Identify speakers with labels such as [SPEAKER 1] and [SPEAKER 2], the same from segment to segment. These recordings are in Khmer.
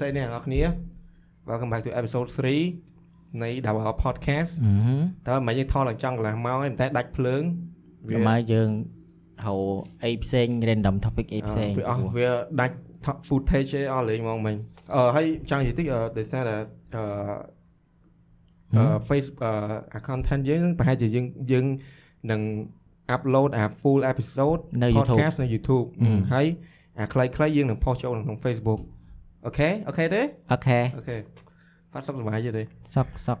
[SPEAKER 1] សីនេះអ្នកនរគ្នា Welcome back to episode 3នៃ Dawa Podcast
[SPEAKER 2] អឺហឹម
[SPEAKER 1] តើមិនយើងថតឡើងចង់កន្លះម៉ោងឯងតែដាច់ភ្លើងវា
[SPEAKER 2] ដល់មកយើងហៅអីផ្សេង random topic អីផ្សេង
[SPEAKER 1] វាអស់វាដាច់ top footage ឯងអស់លេងហ្មងមិញអឺហើយចង់និយាយតិចអឺដោយសារតែអឺអឺ face អឺ account content យើងនឹងប្រហែលជាយើងយើងនឹង upload អា full episode
[SPEAKER 2] នៅ YouTube
[SPEAKER 1] podcast នៅ YouTube ហើយអាខ្លីៗយើងនឹង post ចូលនៅក្នុង Facebook អូខេអូខេទេ
[SPEAKER 2] អូខេ
[SPEAKER 1] អូខេផាត់សុខសប្បាយទេទេ
[SPEAKER 2] សុកសុក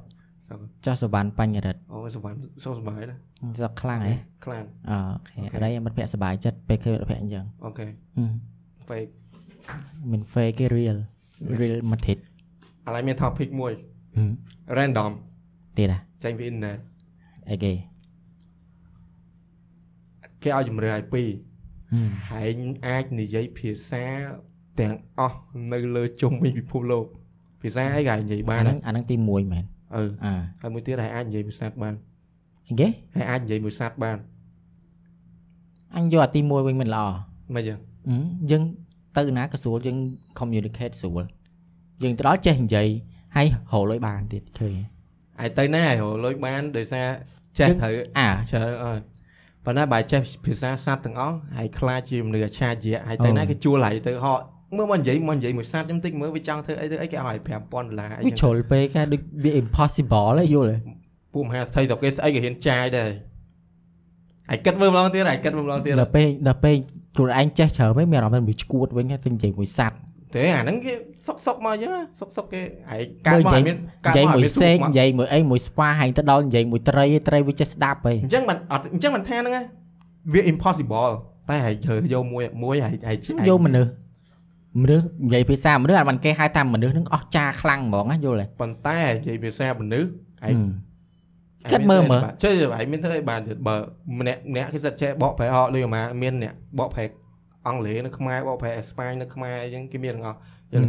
[SPEAKER 1] សុខ
[SPEAKER 2] ចោះសវណ្ណបញ្ញរិទ្ធ
[SPEAKER 1] អូសុខសប្បាយសុខសប្បាយណាស់
[SPEAKER 2] សុកខ្លាំងហ៎
[SPEAKER 1] ខ្លាំង
[SPEAKER 2] អូខេអរិយមិត្តភ័ក្ដិសប្បាយចិត្តពេលឃើញមិត្តភ័ក្ដិអញ្ចឹង
[SPEAKER 1] អូខេ
[SPEAKER 2] ហឹម
[SPEAKER 1] fake
[SPEAKER 2] មិន fake គេ real real មិត្តភ័ក្ដិ
[SPEAKER 1] ឥឡូវមាន topic មួយ random
[SPEAKER 2] ទៀតណា
[SPEAKER 1] ចេញពី internet
[SPEAKER 2] អីគេ
[SPEAKER 1] គេឲ្យជំរឿនឲ្យពីរហែងអាចនិយាយភាសាទាំងអស់នៅលើជុំវិញពិភពលោកភាសាអីក៏អាចនិយាយបា
[SPEAKER 2] អា
[SPEAKER 1] ន
[SPEAKER 2] ហ្នឹ
[SPEAKER 1] ដែរ
[SPEAKER 2] ងអាហ្នឹងទី1មែន
[SPEAKER 1] អឺ
[SPEAKER 2] អា
[SPEAKER 1] ហើយមួយទៀតហើយអាចនិយាយមួយសัตว์បាន
[SPEAKER 2] អីគេ
[SPEAKER 1] ហើយអាចនិយាយមួយសัตว์បាន
[SPEAKER 2] អញយកអាទី1វិញមិនល្អ
[SPEAKER 1] មិនយ៉ាង
[SPEAKER 2] ហឹមយើងទៅណាក៏ស្រួលយើង communicate ស្រួលយើងទៅដល់ចេះនិយាយហើយហៅលុយបានទៀតឃើញហ៎
[SPEAKER 1] អាយទៅណាហើយរកលុយបានដោយសារចេះ
[SPEAKER 2] យើង
[SPEAKER 1] ត្រូវ
[SPEAKER 2] អា
[SPEAKER 1] ច្រើនអើយប៉ុន្តែបើចេះភាសាសัตว์ទាំងអស់ហើយខ្លាចជាមនុស្សអាឆាជាហើយទៅណាគេជួលហើយទៅហកមើលមកនិយាយមកនិយាយមួយសัตว์ខ្ញុំតិចមើលវាចង់ធ្វើអីទៅអីគេឲ្យ5000ដុល្លារអី
[SPEAKER 2] វា
[SPEAKER 1] ចឹង
[SPEAKER 2] ជ្រុលពេកហ่ะដូចវា impossible ហ៎យល់ហ៎
[SPEAKER 1] ពួកមហាស្ថិតគេស្អីក៏ហ៊ានចាយដែរអាយគិតមើលម្ដងទៀតអាយគិតមើលម្ដងទៀត
[SPEAKER 2] ដល់ពេលដល់ពេលខ្លួនឯងចេះច្រើនវិញមានអារម្មណ៍ថាមួយឈួតវិញទៅនិយាយមួយសัตว์
[SPEAKER 1] ទេអាហ្នឹងគេសុកសុកមកអញ្ចឹងណាសុកសុកគេអាយកាត់មកឲ្យមានកាត់
[SPEAKER 2] និយាយ
[SPEAKER 1] មកឲ្យ
[SPEAKER 2] មួយ
[SPEAKER 1] មាន
[SPEAKER 2] សេ
[SPEAKER 1] សេ
[SPEAKER 2] ក
[SPEAKER 1] ក
[SPEAKER 2] និយាយមួយអីមួយស្វាហែងទៅដល់និយាយមួយត្រីត្រីវាចេះស្ដាប់ហី
[SPEAKER 1] អញ្ចឹងមិនអត់អញ្ចឹងមិនថាហ្នឹងណាវា impossible តែអាយជ្រើសយកមួយមួយអាយអាយអា
[SPEAKER 2] យកមនុស្សមនុស្សនិយាយភាសាមនុស្សអាមិនគេហៅថាមនុស្សហ្នឹងអស់ចាខ្លាំងហ្មងណាយល់ហ៎
[SPEAKER 1] ប៉ុន្តែអាយនិយាយភាសាមនុស្សអាយ
[SPEAKER 2] ហឹម គិតមើលមើល
[SPEAKER 1] ចេះអាយមានធ្វើអីបានទៀតបើម្នាក់ម្នាក់គេសិតចេះបកប្រែអត់ដូចអាម៉ាមានអ្នកបកប្រែអង់គ្លេសនៅខ្មែរបកប្រែអេស្ប៉ាញនៅខ្មែរអញ្ចឹងគេមានទាំងអស់យល់ទេ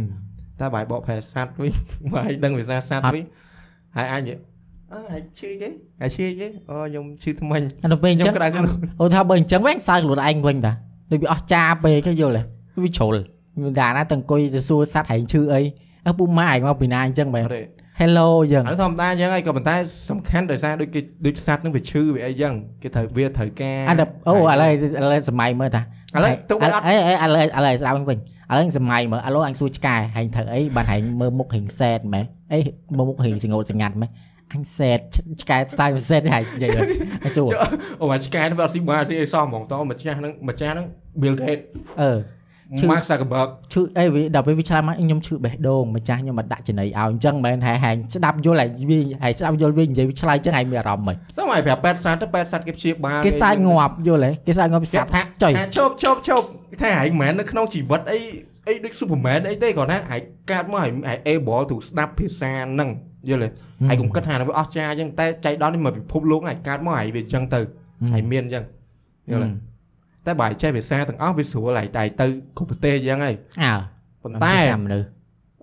[SPEAKER 1] តែបើឲ្យបកប្រែសัต ว์វិញ បើឲ្យដឹងភាសាសัต
[SPEAKER 2] អត់
[SPEAKER 1] ว์វិញហើយអាចនិយាយអើហើយឈឺគេហើយឈឺគេអូខ្ញុំឈឺថ្មិញ
[SPEAKER 2] អាដល់ពេលអញ្ចឹង
[SPEAKER 1] ខ្ញុំក្តៅខ្លួន
[SPEAKER 2] អូថាបើអញ្ចឹងវិញសើចខ្លួនឯងវិញតាដូចវាអស់ចាពេកហ៎យល់ហ៎វាជ្រុលមានតាណាទាំងអង្គុយទៅសួរសัตว์ហែងឈឺអីអើពុកម៉ែឯងមកពីណាអញ្ចឹងមែន
[SPEAKER 1] អត់ទេ
[SPEAKER 2] Hello អញ្ចឹង
[SPEAKER 1] អានោះធម្មតាអញ្ចឹងហើយក៏ប៉ុន្តែសំខាន់ដោយសារដូចគេដូចសัตว์នឹងវាឈឺវាអីអញ្ចឹងគេត្រូវវាត្រូវការ
[SPEAKER 2] អាដល់អូឥឡូវឥឡូវសម័យមើលតា
[SPEAKER 1] ឥឡូវទុកវាអត់
[SPEAKER 2] ឥឡូវឥឡូវឥឡូវស្ដាប់វិញឥឡូវសម័យមើលឥឡូវអញសួរឆ្កែហែងធ្វើអីបានហែងមើលមុខហែងសែតម៉េអីមើលមុខហែងសង្កត់សង្កាត់ម៉េអញសែតឆ្កែស្ដាយមិនសែតទេហែងនិយាយហ៎អញសួរ
[SPEAKER 1] អូមកឆ្កែនឹងវាអត់ស៊ីបានស៊ីអីសោះហ្មងតោះម្ចាស់នឹងម្ចាស់នឹង Bill Gates
[SPEAKER 2] អឺ ឈឺ
[SPEAKER 1] Mark Zuckerberg
[SPEAKER 2] ឈឺអីវាដល់ពេលវាឆ្លាតមកខ្ញុំឈឺបេះដូងម្ចាស់ខ្ញុំមកដាក់ចំណីឲ្យអញ្ចឹងមែនហែហែងស្ដាប់យល់ហែងវាហែងស្ដាប់យល់វានិយាយវាឆ្លើយអញ្ចឹងហែងមានអារម្មណ៍មិន
[SPEAKER 1] សោះមកឲ្យប្រាប់ប៉ែតសัตว์ទៅប៉ែតសัตว์គេព្យាបាល
[SPEAKER 2] គេសាច់ងាប់យល់ហែងគេសាច់ងាប់
[SPEAKER 1] គេ
[SPEAKER 2] សាប់
[SPEAKER 1] ថា
[SPEAKER 2] ចុ
[SPEAKER 1] ចុ
[SPEAKER 2] យ
[SPEAKER 1] យឈប់ឈប់ឈប់ថាហែងមិនមែននៅក្នុងជីវិតអីអីដូច Superman អីទេគ្រាន់តែហែងកាត់មកហែងហែង able to ស្ដាប់ភាសាហ្នឹងយល់ទេ ហើយកុំគិតថាវាអស្ចារ្យអញ្ចឹងតែចៃដន្យនេះមកពិភពលោកហ្នឹងហើយកើតមកហើយវាអញ្ចឹងទៅហើយមានអញ្ចឹង
[SPEAKER 2] Ừ.
[SPEAKER 1] យល់ទេតែបើឲ្យចេះភាសាទាំងអស់វាស្រួលហើយតែទៅគ្រប់ប្រទេសអញ្ចឹងហើយ
[SPEAKER 2] អើ
[SPEAKER 1] ប៉ុន្តែ
[SPEAKER 2] ចាំមនុស្ស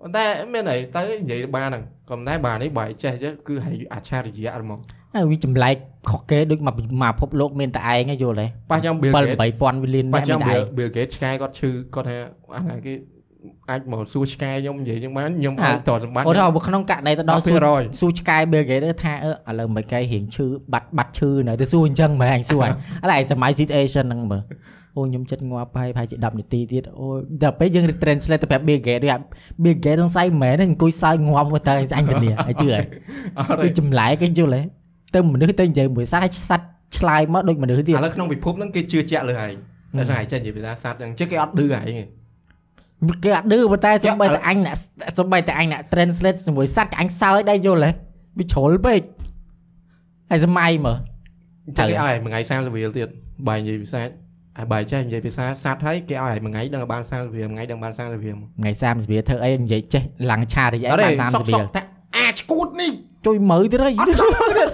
[SPEAKER 1] ប៉ុន្តែមានអីទៅនិយាយបានហ្នឹងក៏ប៉ុន្តែបើនេះបើឲ្យចេះចឹងគឺហើយអច្ឆរិយៈហ្មង
[SPEAKER 2] ហើយវាចម្លែកខុសគេដូចមកពីមកភពលោកមានតែឯងហ៎យល់ហែង
[SPEAKER 1] ប៉ះចាំ Bill
[SPEAKER 2] 7
[SPEAKER 1] Gates
[SPEAKER 2] 8000វិលាន
[SPEAKER 1] ប៉ះ
[SPEAKER 2] អ្នក
[SPEAKER 1] ចាំ
[SPEAKER 2] មានតែឯ
[SPEAKER 1] Bill
[SPEAKER 2] ង
[SPEAKER 1] Bill Gates ឆ្កែគាត់ឈឺគាត់ថាអាណាគេអាចមកសួរឆ្កែខ្ញុំនិយាយអញ្ចឹងបានខ្ញុំ
[SPEAKER 2] អ่า
[SPEAKER 1] ឲ្យតសម្បត្តិ
[SPEAKER 2] អូថាបើក្នុងករណីទៅដល់ស៊ូ
[SPEAKER 1] 10%
[SPEAKER 2] ស៊ូឆ្កែ Bill Gates ទៅថាអឺ ឥឡូវមិនកែរៀងឈឺបាត់បាត់ឈឺនៅទៅស៊ូអញ្ចឹងមែនអញស៊ូហើយឥឡូវឯងសម័យ situation ហ្នឹងមើលអូខ្ញុំចិត្តងាប់ហើយប្រហែលជា10នាទីទៀតអូដល់ពេលយើង translate ទៅប្រាប់ Bill Gates ដូចអា Bill Gates ហ្នឹងសៃមែនទេអង្គុយសើចងាប់មើលទៅឯង អញធានាហើយជឿហើ
[SPEAKER 1] អត់
[SPEAKER 2] យ
[SPEAKER 1] ទេ
[SPEAKER 2] វាចម្លែកគេយល់ហ៎ទៅមនុស្សទៅនិយាយមួយសត្វហើយសត្វឆ្លើយមកដូចមនុស្សទៀត
[SPEAKER 1] ឥឡូវក្នុងពិភពហ្នឹងគេជឿជាក់លើហែងតែស្អីចេះនិយាយភាសាសត្វអញ្ចឹងគេអត់ឌឺហែងទេ
[SPEAKER 2] គេអត់ឌឺប៉ុន្តែសំបីតែអញអ្នកសំបីតែអញអ្នក translate ជាមួយសត្វក៏អញសើចដែរយល់ហ៎វាជ្រុលពេកហើយសម័យមើល
[SPEAKER 1] ចឹងគេឲ្យមួយថ្ងៃ30រៀលទៀតបាយនិយាយភាសាហើយបាយចេះនិយាយភាសាសัตว์ហើយគេឲ្យមួយថ្ងៃដឹងបាន30រៀលមួយថ្ងៃដឹងបាន30រៀល
[SPEAKER 2] ថ្ងៃ30រៀលធ្វើអីនិយាយចេះឡើងឆារីអីបាន
[SPEAKER 1] សុក
[SPEAKER 2] 30រៀ
[SPEAKER 1] សុក
[SPEAKER 2] ល
[SPEAKER 1] តែអាឆ្កួតនេះ
[SPEAKER 2] ជួយមើលទៀតហើយ
[SPEAKER 1] អត់ចង់មើលទៀត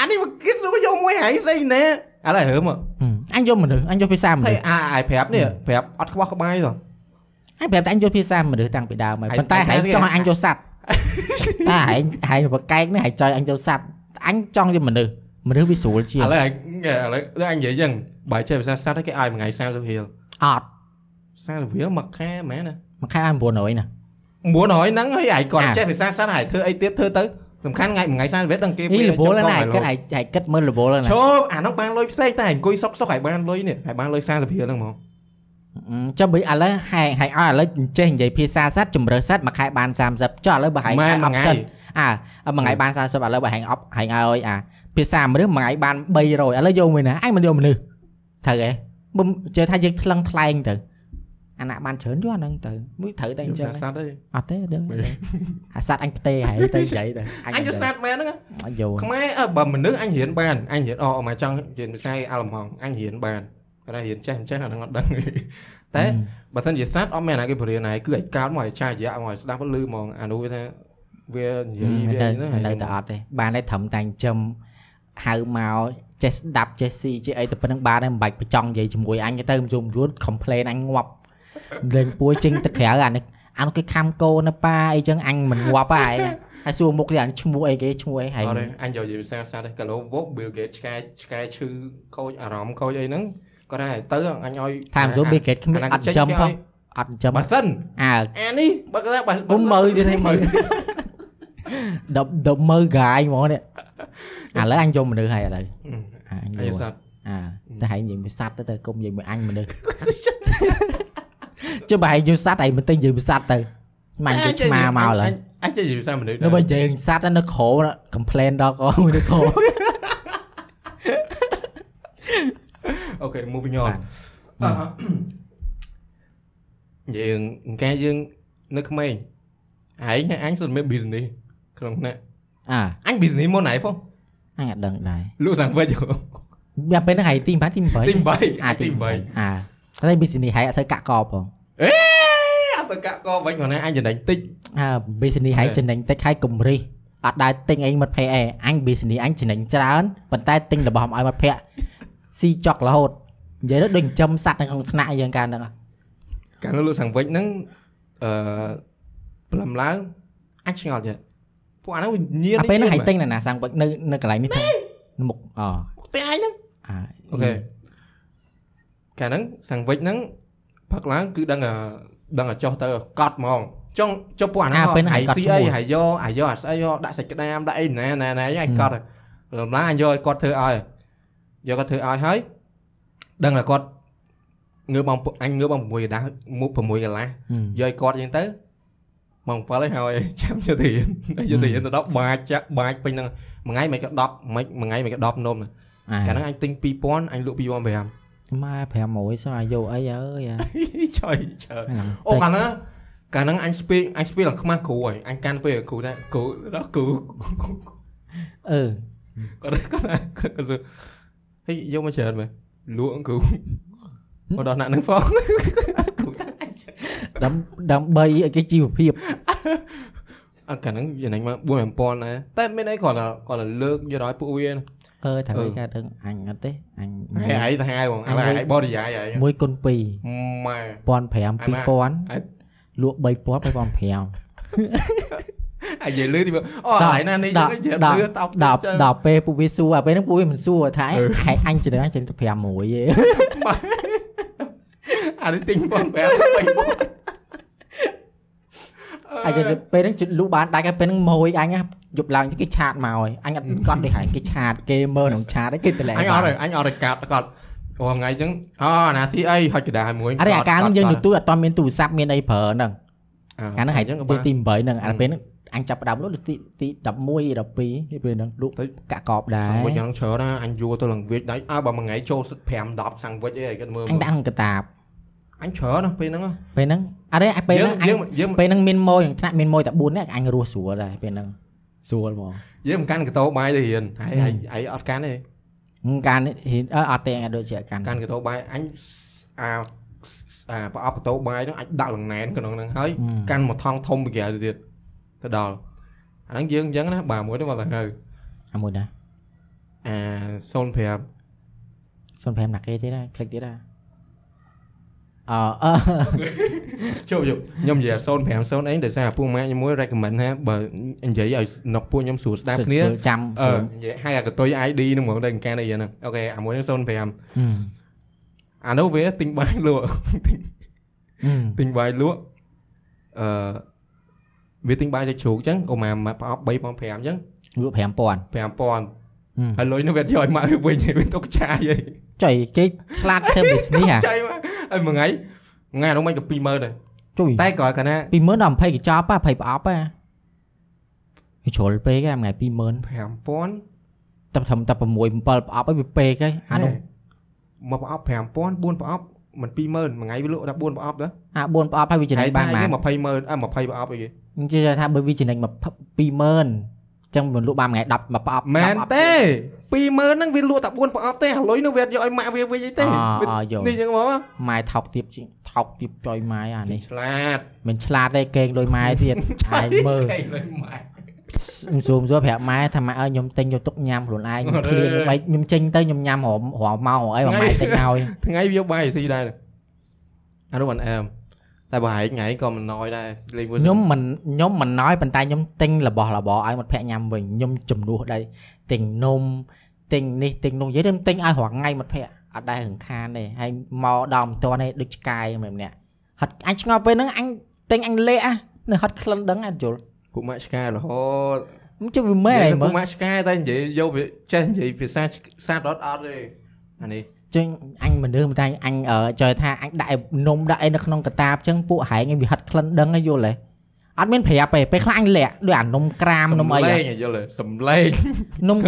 [SPEAKER 1] អានេះមកគិតសួរយកមួយហៃស្អីណែឥឡូវហើមមក
[SPEAKER 2] អញយកមនុស្សអញយកភាសាមនុ
[SPEAKER 1] តែ
[SPEAKER 2] ស្ស
[SPEAKER 1] អាអាយប្រាប់នេះប្រាប់អត់ខ្វះក្បាយទេ
[SPEAKER 2] អញប្រាប់តែអញយកភាសាមនុស្សតាំងពីដើមហើយ
[SPEAKER 1] ឯង
[SPEAKER 2] ប៉ុន្តែ
[SPEAKER 1] ឯ
[SPEAKER 2] ហែ
[SPEAKER 1] ង
[SPEAKER 2] ងច
[SPEAKER 1] ឯ
[SPEAKER 2] ង់ឲ្យ
[SPEAKER 1] ង
[SPEAKER 2] អញយកសัตว์តែហែងហែងប្រកែកនេះហែងចង់ឲ្យអញយកសัតว์អញចង់យកមនុស្សមនុស្សវាស្រួលជាង
[SPEAKER 1] ឥឡូវឥឡូវដូចអញនិយាយចឹងបាយចេះភាសាសัตว์ហើយគេឲ្យមួយថ្ងៃ30រៀល
[SPEAKER 2] អត់
[SPEAKER 1] 30រៀលមួយខែមែនណា
[SPEAKER 2] មួយខែឲ្យ900
[SPEAKER 1] 900
[SPEAKER 2] ណា
[SPEAKER 1] ហ្នឹងហើយឯងគាត់
[SPEAKER 2] អា
[SPEAKER 1] ចេះភាសាសាស្ត្រហើយធ្វើអីទៀតធ្វើទៅសំខាន់ថ្ងៃមួយថ្ងៃសាស្ត្រវេតដល់គេ
[SPEAKER 2] អី
[SPEAKER 1] ឲ្យ
[SPEAKER 2] លវល
[SPEAKER 1] ចំ
[SPEAKER 2] ណា
[SPEAKER 1] ក
[SPEAKER 2] ឯងគិតឯងឯងគិតមើលលវលណា
[SPEAKER 1] ឈប់អាហ្នឹងបានលុយផ្សេងតែឯងអង្គុយសុកសុកឯងបានលុយនេះឯងបានលុយ30រៀលហ្នឹងហ្មង
[SPEAKER 2] អឺចាំបីឥឡូវហែងហែងឲ្យឥឡូវចេះនិយាយភាសាសាស្ត្រជំរើសសាស្ត្រមួយខែបាន30ចុះឥឡូវបើហែង
[SPEAKER 1] ម៉ែ
[SPEAKER 2] ហែង
[SPEAKER 1] មួយ
[SPEAKER 2] អប់
[SPEAKER 1] ថ្ងៃ
[SPEAKER 2] សិនអាមួយថ្ងៃបាន30ឥឡូវបើហែងអប់ហែងឲ្យអាភាសាមនុស្សមួយថ្ងៃបាន300ឥឡូវយកមួយណាឯងមិនយកមនុស្សត្រូវទេមិនចេះថាយើងថ្លឹងថ្លែងទៅអាណាបានច្រើនយកអាហ្នឹងទៅមួយត្រូវតែអញ្ចឹង
[SPEAKER 1] ភាសាសាស្ត្រអី
[SPEAKER 2] អត់ទេដឹង
[SPEAKER 1] មិន
[SPEAKER 2] អាសាស្ត្រអញផ្ទេរហែងទៅនិយាយទៅ
[SPEAKER 1] អញយកសាស្ត្រមែនហ្នឹង
[SPEAKER 2] អញយក
[SPEAKER 1] ខ្មែរអើបើមនុស្សអញរៀនបានអញរៀនអអមកចង់រៀនវិស័យអាល្លឺម៉ង់អញរៀនបានគាត់ថារៀនចេះមិនចេះអាហ្នឹងអត់ ដឹងទេតែ
[SPEAKER 2] Ừ.
[SPEAKER 1] បើសិនជាសាស្ត្រអត់មានអាគេបរៀនណាគឺឯងកើតមកឯងចារយៈមកឯងស្ដាប់លឺហ្មងអានោះវាថាវា
[SPEAKER 2] Ừ,
[SPEAKER 1] និយាយវា
[SPEAKER 2] នៅ
[SPEAKER 1] អីហ្នឹងឯង
[SPEAKER 2] នៅតែអត់ទេបានតែត្រឹមតែចំហៅមកចេះស្ដាប់ចេះស៊ីចេះអីទៅប៉ុណ្្នឹងបានហើយមិនបាច់បច្ចង់និយាយជាមួយអញទេទៅមិនជួយមិនរួន complain អញងាប់លេងពួយចេញទៅក្រៅអានេះអានោះគេខំកោនៅប៉ាអីចឹងអញមិនងាប់ហ៎ឯងហើយសួរមុខទៀតអានេះឈ្មោះអីគេឈ្មោះអីហែង
[SPEAKER 1] អត់ទេអញយកនិយាយភាសាសាស្ត្រទេកាលោវក Bill Gates ឆ្កែឆ្កែឈឺខូចអារម្មណ៍ខូចអីហ្នឹងគាត់ថាឲ្យទៅអញឲ្យ
[SPEAKER 2] ថាមិនសួរ Bill Gates គ្មានអត់ចំផងអត់ចំ
[SPEAKER 1] បើសិន
[SPEAKER 2] អើ
[SPEAKER 1] អានេះបើគាត់ថាបើ
[SPEAKER 2] គុំមើលទៀតឯងមើលដប់ដប់មើលកាយហ្មងនេះឥឡូវអញយកមនុស្សហើយឥឡូវអញ
[SPEAKER 1] អា
[SPEAKER 2] យ
[SPEAKER 1] យុ
[SPEAKER 2] ក
[SPEAKER 1] សាស្ត្រ
[SPEAKER 2] អើតែហែងនិយាយមួយសត្វទៅទៅកុំនិយាយមួយអញ មនុស្សចុះបើហែងយល់សត្វហែងមិនទិញនិយាយមួយសត្វទៅមិនយកឆ្មាមកឥឡូវ
[SPEAKER 1] អញចេះនិយាយភាសាមនុស្ស
[SPEAKER 2] នៅបើនិយាយសត្វនៅក្រោណា complain ដល់កអូននៅក្រោ
[SPEAKER 1] អូខេ moving on
[SPEAKER 2] បាទ
[SPEAKER 1] អឺ យើងអង្គការយើងនៅក្មេងឯងអញសុទ្ធមាន business ក្នុងណា
[SPEAKER 2] អើ
[SPEAKER 1] អញ business មុនហើយផង
[SPEAKER 2] អញអត់ដឹងដែរ
[SPEAKER 1] លក់សាំងវិច
[SPEAKER 2] វាពេលហ្នឹងហែងទី8ទី
[SPEAKER 1] ទី
[SPEAKER 2] 8
[SPEAKER 1] 8
[SPEAKER 2] អា
[SPEAKER 1] អា
[SPEAKER 2] ទី
[SPEAKER 1] ទី
[SPEAKER 2] 8
[SPEAKER 1] 8
[SPEAKER 2] អើតែ business ហែងអត់សូវកាក់កបផង
[SPEAKER 1] អេអត់ទៅកាក់កវិញគាត់ណាអញចំណេញតិច
[SPEAKER 2] អើ business ហែង
[SPEAKER 1] អេ
[SPEAKER 2] ចំណេញតិចហែងកំរិះអត់ដែរទិញអីមិត្តភ័ក្តិអេអញ business អញចំណេញច្រើនប៉ុន្តែទិញរបស់មកឲ្យមិត្តភ័ក្តិស៊ីចុករហូតនិយាយទៅដូចចិញ្ចឹមសត្វនៅក្នុងថ្នាក់យើងកាលហ្នឹង
[SPEAKER 1] កាលនោះលោកសាំងវិចហ្នឹងអឺព្រមឡើងអាចឆ្ងល់ចេះពួកអាហ្នឹងវាញៀន
[SPEAKER 2] អាពេលហ្នឹងឲ្យទិញនៅណាសាំងវឹកនៅនៅកន្លែងនេះទៅមុខអ
[SPEAKER 1] ផ្ទះឯងហ្នឹង
[SPEAKER 2] អា
[SPEAKER 1] អូខេកាលហ្នឹងសាំងវិចហ្នឹងផឹកឡើងគឺដឹងអឺដឹងឲ្យចុះទៅកត់ហ្មងចុងចុះពួកអាហ្នឹងស៊ីអីហើយយកអាយកអាស្អីយកដាក់សាច់ក្តាមដាក់អីណែណែណែឯងកត់ព្រមឡើងអញយកឲ្យគាត់ធ្វើឲ្យយកគាត់ធ្វើឲ្យហើយដឹងថាគាត់ងើបបងអញងើបបង6កន្លះ6កន្លះ
[SPEAKER 2] ហឹម
[SPEAKER 1] យកឲ្យគាត់អញ្ចឹងទៅមក7ហើយ ហើយចាំយកទៅរៀនយកទៅរៀនទៅ10បាច់ចាក់បាច់ពេញហ្នឹងមួយថ្ងៃមិនក៏10មួយមួយថ្ងៃមិនក៏10នំដែរ
[SPEAKER 2] អា
[SPEAKER 1] កាលហ្នឹងអញទិញ2000អញលក់2500
[SPEAKER 2] ម៉ែ500សោះអាយកអីអើយអា
[SPEAKER 1] ចុយចើ
[SPEAKER 2] ហ្នឹង
[SPEAKER 1] អូកាលហ្នឹងកាលហ្នឹងអញស្ពីអញស្ពីឡើងខ្មាស់គ្រូហើយអញកាន់ពេលគ្រូដែរគ្រូដល់គ្រូ
[SPEAKER 2] អឺ
[SPEAKER 1] គាត់គាត់គាត់សួរហេយកមកច្រើនមើលលក់គ្រូមកដល់ណាក់ហ្នឹងផង
[SPEAKER 2] ដើមដើម្បីឲ្យគេជីវភាព
[SPEAKER 1] អកាលហ្នឹងយ៉ាងណាមក4000ដែរតែមានអីគាត់គាត់លើកយកឲ្យពួកវា
[SPEAKER 2] អឺត្រូវ
[SPEAKER 1] អឺ
[SPEAKER 2] ឲ្យការដឹងអញអត់ទេអ
[SPEAKER 1] ឯង
[SPEAKER 2] ញ
[SPEAKER 1] ឯងទៅហៅហ្មងឥឡូវឯងបរិយាយឯង
[SPEAKER 2] 1គុណ2
[SPEAKER 1] ម៉ែ
[SPEAKER 2] 1500
[SPEAKER 1] អាម៉ា
[SPEAKER 2] 2000លក់3000 2500
[SPEAKER 1] អាយនិយាយលឺទីមើលអូអាយណានេះ
[SPEAKER 2] ដល់
[SPEAKER 1] និយាយ
[SPEAKER 2] ដល់
[SPEAKER 1] លឺតោប
[SPEAKER 2] ដល់
[SPEAKER 1] ចឹង
[SPEAKER 2] ដល់ពេលពួកវាសួរអាពេលហ្នឹងពួកវាមិនសួរថា
[SPEAKER 1] អឺ
[SPEAKER 2] ហែកអញជិះអញជិះទៅ500ទេ
[SPEAKER 1] អានេះទិញបងប្រាប់ពេញបង
[SPEAKER 2] អញជិះពេលហ្នឹងជិះលក់បានដាច់ហើយពេលហ្នឹងម៉ួយអញហ៎យប់ឡើងគេឆាតមកហើយអញអត់កត់ទេហែកគេឆាតគេមើលក្នុងឆាតហើយគេតម្លែង
[SPEAKER 1] អញអ
[SPEAKER 2] បា
[SPEAKER 1] ត់
[SPEAKER 2] ន
[SPEAKER 1] ទេអញអត់ទេកាត់គាត់អូថ្ងៃចឹងអូណាស៊ីអីហុចកណ្ដាលមួយ
[SPEAKER 2] អរិយាកាលហ្នឹងយើង
[SPEAKER 1] គាត់
[SPEAKER 2] ទទួលអត់ទាន់មានទូរស័ព្ទមានអីប្រើហ្នឹង
[SPEAKER 1] Ờ,
[SPEAKER 2] កាលហ្នឹងហែក
[SPEAKER 1] អញ្ចឹងក៏
[SPEAKER 2] ទី
[SPEAKER 1] បាន
[SPEAKER 2] ទី8ហ្នឹងអាពេលហ្នឹងអញចាប់ផ្ដើមលក់លើទីទី11 12នេះពេលហ្នឹងលក់
[SPEAKER 1] ទៅ
[SPEAKER 2] ទៅកាក់កបដែរ
[SPEAKER 1] សាំងវិចយ៉ាងច្រើនណាអញយួរទៅឡើងវាចដៃអើបើមួយថ្ងៃចូល5 10សាំងវិចអីឲ្យគាត់មើល
[SPEAKER 2] អញដាក់ក្នុងកតាប
[SPEAKER 1] អញច្រើនណាស់ពេលហ្នឹង
[SPEAKER 2] ពេលហ្នឹងអរិយាអាពេល
[SPEAKER 1] យើ
[SPEAKER 2] ហ្នឹង
[SPEAKER 1] ង
[SPEAKER 2] អញ
[SPEAKER 1] យើងយើង
[SPEAKER 2] ពេលហ្នឹងមានម៉ួយក្នុងថ្នាក់មានម៉ួយតែ4នាក់អញរស់ស្រួលដែរពេលហ្នឹងស្រួលហ្មង
[SPEAKER 1] យើងមិនកាន់កតោបាយទៅរៀនហើយហើយអត់កាន់ទេ
[SPEAKER 2] ហ្នឹងកាលនេះហ៊ានអឺអត់ទេអញអត់ដូចជាកាន់
[SPEAKER 1] កាន់កតោបាយអញអាអាប្រអប់កតោបាយហ្នឹងអាចដាក់លងណែនក្នុងហ្នឹងហើយកាន់មកថងធំពីក្រៅទៅទៀតទៅដល់អាហ្នឹងយើងអញ្ចឹងណាបាទមួយទៅមកទៅហើយ
[SPEAKER 2] អាមួយណា
[SPEAKER 1] អា05
[SPEAKER 2] 05ណាគេទៀតដែរផ្លេចទៀតដែរអឺអឺ
[SPEAKER 1] ជប់ជប់ខ្ញុំនិយាយ05 0អីដោយសារពួកម៉ាក់ខ្ញុំមួយ recommend ថាបើនិយាយឲ្យនុកពួកខ្ញុំស្រួលស្ដាប់គ្នា
[SPEAKER 2] សួរចាំ
[SPEAKER 1] អឺ
[SPEAKER 2] សួរ
[SPEAKER 1] និយាយឲ្យអាកតុយ ID ហ្នឹងហ្មងតែកានអីហ្នឹងអូខេអាមួយហ្នឹង05
[SPEAKER 2] ហឹម
[SPEAKER 1] អានោះវាទិញបាយលក់
[SPEAKER 2] ហឹម
[SPEAKER 1] ទិញបាយលក់ អឺវាទិញបាយសាច់ជ្រូកអញ្ចឹងអូម៉ាមកប្រអប់3 5អញ្ចឹង
[SPEAKER 2] លក់5000
[SPEAKER 1] 5000ហើយលុយនោះវាយកឲ្យ ម៉ាក់វាវិញវាຕົកចាយហើយ
[SPEAKER 2] ចុយគេឆ្លាតធ្វើ business ហ่ะ
[SPEAKER 1] ចាយមកហើយមួយថ្ងៃថ្ងៃនោះមិនក៏20000ដែរ
[SPEAKER 2] ចុយ
[SPEAKER 1] តែក៏កាលណា
[SPEAKER 2] 20000ដល់20កញ្ចប់ហ่ะ20ប្រអប់ហ่ะវាជ្រុលពេកហ่ะមួយថ្ងៃ20000
[SPEAKER 1] 5000
[SPEAKER 2] តែធ្វើតែ6 7ប្រអប់ឲ្យវាពេកហើយអានោះ
[SPEAKER 1] មកប្រអប់5000 4ប្រអប់មិន20000មួយថ្ងៃវាលក់ដល់4ប្រអប់ដែរ
[SPEAKER 2] អា4ប្រអប់ឲ្យវាចំណេញបាន
[SPEAKER 1] ថ
[SPEAKER 2] បាន
[SPEAKER 1] ៃថាយើង20000អើ20ប្រអប់អីគេ
[SPEAKER 2] ខ្ញុំជឿថាបើវាចំណេញមក20000អញ្ចឹងមិនលក់បានមួយថ្ងៃ10មកប្រអប់
[SPEAKER 1] មែន
[SPEAKER 2] 10ប្រអប់
[SPEAKER 1] ទេ20000ហ្នឹងវាលក់តែ4ប្រអប់ទេឥឡូវនោះវាយកឲ្យម៉ាក់វាវិញអីទេ
[SPEAKER 2] អ่า
[SPEAKER 1] វា
[SPEAKER 2] អ่าយល់
[SPEAKER 1] នេះចឹងមក
[SPEAKER 2] ម៉ែថោកទៀតជាងថោកទៀតចុយម៉ែអានេះ
[SPEAKER 1] ឆ្លាត
[SPEAKER 2] មិនឆ្លាតទេកេងលុយម៉ែ ទៀត ឯងមើល
[SPEAKER 1] គេលុយម៉ាក់
[SPEAKER 2] ខ្ញុំស៊ូមសួរប្រាប់ម៉ែថាម៉ែអើយខ្ញុំទិញយកទុកញ៉ាំខ្លួនឯង ខ្ញុំឃ្លៀងបែកខ្ញុំចេញទៅខ្ញុំញ៉ាំរមរមម៉ោរអីបងម៉ែទិ ញឲ្យ
[SPEAKER 1] ថ្ងៃវាយកបាយស៊ីដែរអានោះមិនអែមតែបើហែកថ្ងៃក៏មិនណយដែរលេងវិញ
[SPEAKER 2] ខ្ញុំមិនខ្ញុំមិនណ້ອຍប៉ុន្តែខ្ញុំទិញរបស់របរឲ្យមិត្តភក្តិញ៉ាំវិញខ្ញុំជំនួសដែរទិញนมទិញនេះទិញនោះនិយាយទៅខ្ញុំទិញឲ្យរាល់ថ្ងៃមិត្តភក្តិអត់ដែររំខានទេហើយមកដល់មិនទាន់ទេដូចឆ្កែម្នាក់ៗហត់អញឆ្ងល់ពេលហ្នឹងអញទិញអញលេះអានៅហត់ក្លិនដឹងអត់យល់
[SPEAKER 1] ពួកម៉ាក់ឆ្កែរហូត
[SPEAKER 2] មិនជិះវាមែនអីមើ
[SPEAKER 1] ពួក
[SPEAKER 2] ល
[SPEAKER 1] ម៉ាក់ឆ្កែតែនិយាយយកវាចេះនិយាយភាសាសាស្ត្រអត់អត់ទេអានេះ
[SPEAKER 2] ចឹងអញមនុស្សមិនថាអញអឺចង់ថាអញដាក់នំដាក់អីនៅក្នុងកតាបចឹងពួកហែងឯងវាហិតក្លិនដឹងឯងយល់ទេអត់មានប្រាប់ទេពេលខ្លះអញលាក់ដូចអានំក្រាមនំអី
[SPEAKER 1] សំ
[SPEAKER 2] ហ៎
[SPEAKER 1] លេងយល់ទេសំលេង
[SPEAKER 2] នំ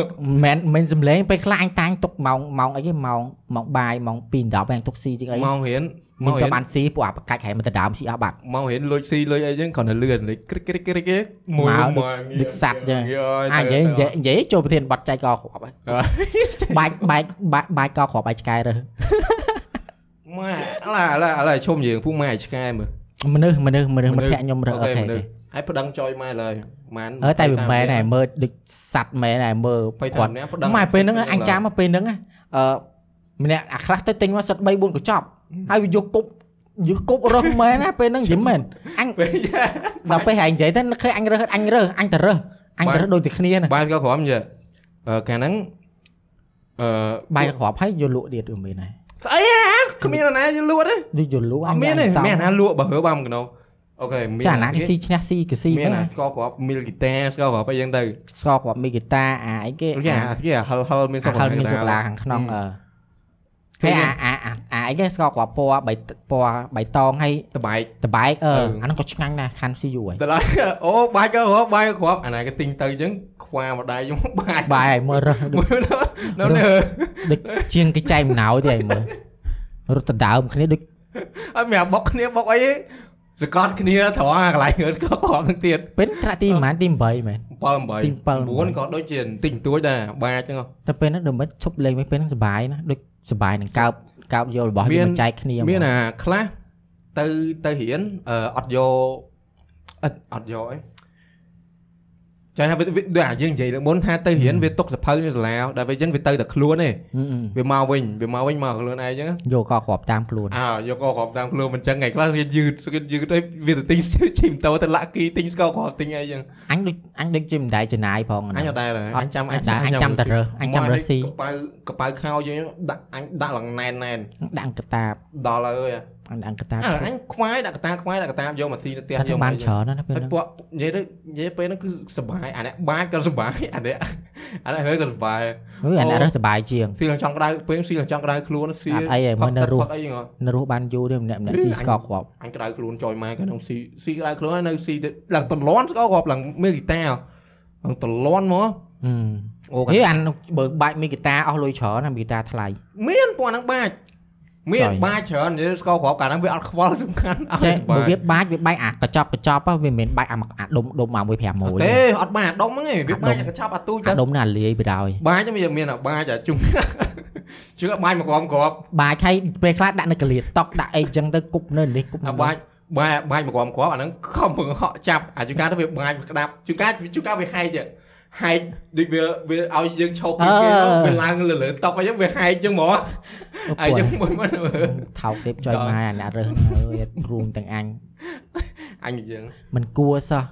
[SPEAKER 2] មិនមិនសំលេងពេលខ្លះអញតាំងទុកម៉ោងម៉ោងអីគេម៉ោងម៉ោងបាយម៉ោង2:10ឯងទុកស៊ីទីអី
[SPEAKER 1] មករៀនម
[SPEAKER 2] មិន
[SPEAKER 1] ក
[SPEAKER 2] ទៅ
[SPEAKER 1] រៀន
[SPEAKER 2] បានស៊ីពួកអាប្រកាច់ហែងមិនទៅដើមស៊ីអស់បាត់
[SPEAKER 1] មករៀនលួចស៊ីលួចអីចឹងគ្រាន់តែលឿនលេខគ្រិចគ្រិចគ្រិចគេ
[SPEAKER 2] មក
[SPEAKER 1] មកងា
[SPEAKER 2] ដូចសัตว์ចឹង
[SPEAKER 1] យ
[SPEAKER 2] អានិ
[SPEAKER 1] ទៅ
[SPEAKER 2] យាយនិ
[SPEAKER 1] ទៅ
[SPEAKER 2] យាយនិយាយចូលប្រធានបတ်ចៃកគ្រាប់ ហើយ
[SPEAKER 1] អើ
[SPEAKER 2] បាច់បាច់បាច់បាច់កគ្រាប់បាយឆ្កែរើស
[SPEAKER 1] ម៉ែឥឡូវឥឡូវឥឡូវឈុំយើងពួកម៉ែឆ្កែមើល
[SPEAKER 2] មនុស្សមនុស្សមនុស្សមិត្តភក្តិខ្ញុំរើសអូខេ
[SPEAKER 1] មនុស្ស
[SPEAKER 2] អូខេ
[SPEAKER 1] ហើយប្តឹងចយម៉ែឡើយម៉ែន
[SPEAKER 2] អើតែវាមែនដែរមើលដូចសัตว์មែនដែរមើល
[SPEAKER 1] បើ
[SPEAKER 2] គា
[SPEAKER 1] គា
[SPEAKER 2] ត់
[SPEAKER 1] ត់អ្នកប្តឹង
[SPEAKER 2] មកពេលហ្នឹងអញចាំមកពេលហ្នឹងអឺម្នាក់អាខ្លះទៅទិញមកសិត3 4កញ្ចប់ហើយវាយកគប់យកគប់រើសមែនណាពេលហ្នឹងនិយាយមែនអញ
[SPEAKER 1] ពេល
[SPEAKER 2] ដល់ពេលហែងនិយាយទៅនឹកឃើញអញរើសអញរើសអញទៅរើសអញទៅរើសដូចតែគ្នាណា
[SPEAKER 1] បាយក៏ក្រំយើអឺកាលហ្នឹងអឺ
[SPEAKER 2] បាយក្របហើយយកលក់ទៀតអឺមែនដែរ
[SPEAKER 1] ស្អីហ่ะគ្មានអាណាយលួតទេ
[SPEAKER 2] ដូចយកលក់
[SPEAKER 1] អត់មានទេមានអាណាលួតបើហើបាមកណោអូខេមាន
[SPEAKER 2] ចាអាណាគេស៊ីឈ្នះស៊ីគេស៊ី
[SPEAKER 1] មា
[SPEAKER 2] ហ្នឹង ន
[SPEAKER 1] អា
[SPEAKER 2] ណា
[SPEAKER 1] ស្គរក្របមីលហ្គីតាស្គរក្របអីយ៉ាងទៅ
[SPEAKER 2] ស្គរក្របមីហ្គីតាអាអីគេ
[SPEAKER 1] គេអាគេហលហលមានសុ
[SPEAKER 2] អា
[SPEAKER 1] ខ
[SPEAKER 2] ហលមានសូកូឡាខាងក្នុងអឺហើយអាអាអាអាអីគេស្គរក្របពណ៌បៃពណ៌បៃតងហើយ
[SPEAKER 1] តបែក
[SPEAKER 2] តបែកអឺ
[SPEAKER 1] អឺ
[SPEAKER 2] អាហ្នឹងក៏ឆ្ងាញ់ដែរខាន់ស៊ីយូរហើយ
[SPEAKER 1] ត ឡើយអូបាយក៏ក្របបាយក៏ក្របអាណាគេទិញទៅអញ្ចឹងខ្វាមកដៃយំបាយ
[SPEAKER 2] បាយហើយមើលរើសដូច
[SPEAKER 1] មួយនោះនោះ
[SPEAKER 2] ដូចជាងគេចែកអំណោយទេហើយមើលរត់ទៅដើមគ្នាដូច
[SPEAKER 1] អត់មានអាបុកគ្នាបុកអីទេសកត់គ្នាត្រង់អាកន្លែងងើតក៏ក្រំនឹងទៀត
[SPEAKER 2] ពេលត្រាក់ទីប្រហែលទី8មែន
[SPEAKER 1] 7 8
[SPEAKER 2] ទី
[SPEAKER 1] 9
[SPEAKER 2] 7
[SPEAKER 1] ក៏ដូចជាបន្តិចបន្តួចដែរបាចឹងហ៎
[SPEAKER 2] តែពេលហ្នឹងដើម្បីឈប់លេងវិញពេលហ្នឹងសប្បាយណាស់ដូចសប្បាយនឹងកើបកើបយករបស់
[SPEAKER 1] មាន
[SPEAKER 2] យើងមកចែកគ្នា
[SPEAKER 1] មាន
[SPEAKER 2] ហ្
[SPEAKER 1] អាខ្លះទៅទៅរៀនអឺអត់យកអត់អត់យកអីចាំថាវាវាដូចអាយើងនិយាយលើកមុនថាទៅរៀនវាຕົកសភៅនៅសាលាដល់ពេលចឹងវាទៅតែខ្លួនទេ
[SPEAKER 2] ម
[SPEAKER 1] វាម
[SPEAKER 2] ហឹម
[SPEAKER 1] កវិញវាមកវិញមកខ្លួនឯងចឹង
[SPEAKER 2] យកក៏គ្របតាមខ្លួន
[SPEAKER 1] អើយកក៏ក្រំតាមខ្លួនមិនចឹងថ្ងៃខ្លះរៀនយឺតរៀនយឺតទៅវាទៅទិញ ឈីមតោទៅលាក់គីទិញស្កក្រំទិញអីចឹង
[SPEAKER 2] អញដូចអញដូចជាមិនដែរចំណាយផង
[SPEAKER 1] អ
[SPEAKER 2] ហ្នឹង
[SPEAKER 1] ញអត់ដែរឡើយ
[SPEAKER 2] អត់
[SPEAKER 1] អញចាំ
[SPEAKER 2] អត់ដែរអញចាំតែរើសអញចាំរើសស៊ី
[SPEAKER 1] កប៉ៅកប៉ៅខោយើងដាក់អញដាក់ឡើងណែនណែន
[SPEAKER 2] ដាក់អង្គតាប
[SPEAKER 1] ដល់ហើយ
[SPEAKER 2] អញដាក់អង្គតាប
[SPEAKER 1] អើអញខ្វាយដាក់កតាខ្វាយដាក់កតាយកមកស៊ីនៅផ្ទះ
[SPEAKER 2] តែ
[SPEAKER 1] យក
[SPEAKER 2] បា
[SPEAKER 1] មក
[SPEAKER 2] នច្រើនណាស់ពេល
[SPEAKER 1] ហើយ
[SPEAKER 2] ហ្នឹង
[SPEAKER 1] ពួកនិយាយទៅនិយាយពេលហ្នឹងគឺសុបាយអានេះបាចក៏សុបាយ អានេះអានេះហើយក៏សុបាយ
[SPEAKER 2] ហូយអានេះរើសសប្បាយជាង
[SPEAKER 1] ស៊ីឡើងចង់ក្តៅពេលស៊ីឡើងចង់ក្តៅខ្លួនស៊ី
[SPEAKER 2] អត់អីឯងមើលនៅរស់
[SPEAKER 1] ផឹកទឹកផឹកអីហ្មង
[SPEAKER 2] នៅរស់បានយូរទេម្នាក់ម្នាក់ស៊ីស្គរគ្រប
[SPEAKER 1] អញក្តៅខ្លួនចយម៉ែក៏នឹងស៊ីស៊ីក្តៅខ្លួនហើយនៅស៊ីទៅឡើងតលន់ស្គរគ្រាប់ឡើងមេហ្គីតាឡើងតលន់មក
[SPEAKER 2] ហឹម
[SPEAKER 1] អូកា
[SPEAKER 2] ហីអានបើបាច់មីហ្គីតាអស់លុយច្រើនណាមីហ្គីតាថ្លៃ
[SPEAKER 1] មានពណ៌ហ្នឹងបាច់មាន
[SPEAKER 2] ចុយ
[SPEAKER 1] បាច់ច្រើននិយាយស្គាល់ក្របកាលហ្នឹងវាអត់ខ្វល់សំខាន់អត់
[SPEAKER 2] ចេះ
[SPEAKER 1] ស
[SPEAKER 2] បើ
[SPEAKER 1] បាយ
[SPEAKER 2] វាបាច់វាបាច់អាកញ្ចប់កញ្ចប់ហ៎វាមិនមែនបាច់អាមកអាដុំដុំអាមួយ5ម៉ូយ
[SPEAKER 1] ទេអត់បានអាដុំហ្នឹងឯងវាបាច់កញ្ចប់អាទូចទៅ
[SPEAKER 2] អាដុំណាលាយបដ ாய்
[SPEAKER 1] បាច់ហ្នឹងវាមានអាបាច់អាជុំ ជឿបាច់មកក្រមក្រប
[SPEAKER 2] បាច់ហើយពេលខ្លះដាក់នៅកលៀតតុកដាក់អីចឹងទៅគប់នៅនេះគប់នៅ
[SPEAKER 1] អាបាច់បាច់បាច់មកក្រមក្របអាហ្នឹងខំពង្ហក់ចាប់អាជួនកាលទៅវាបាច់វាក្តាប់ជួនកាលជួនកាលវាហែកទៀតហែកដូចវាវាឲ្យយើងឈប់ពីគេមកវាឡើងលើលើតុកអីចឹងវាហែកចឹងហ្មង
[SPEAKER 2] អូ
[SPEAKER 1] ហើយចឹ
[SPEAKER 2] ពួ
[SPEAKER 1] ង
[SPEAKER 2] យ
[SPEAKER 1] មួយមួយ
[SPEAKER 2] ថោកទេចុយម៉ែអាអ្នករើសហ្នឹងអើយរួមទាំងអញ
[SPEAKER 1] អញយើង
[SPEAKER 2] មិនគួរសោះ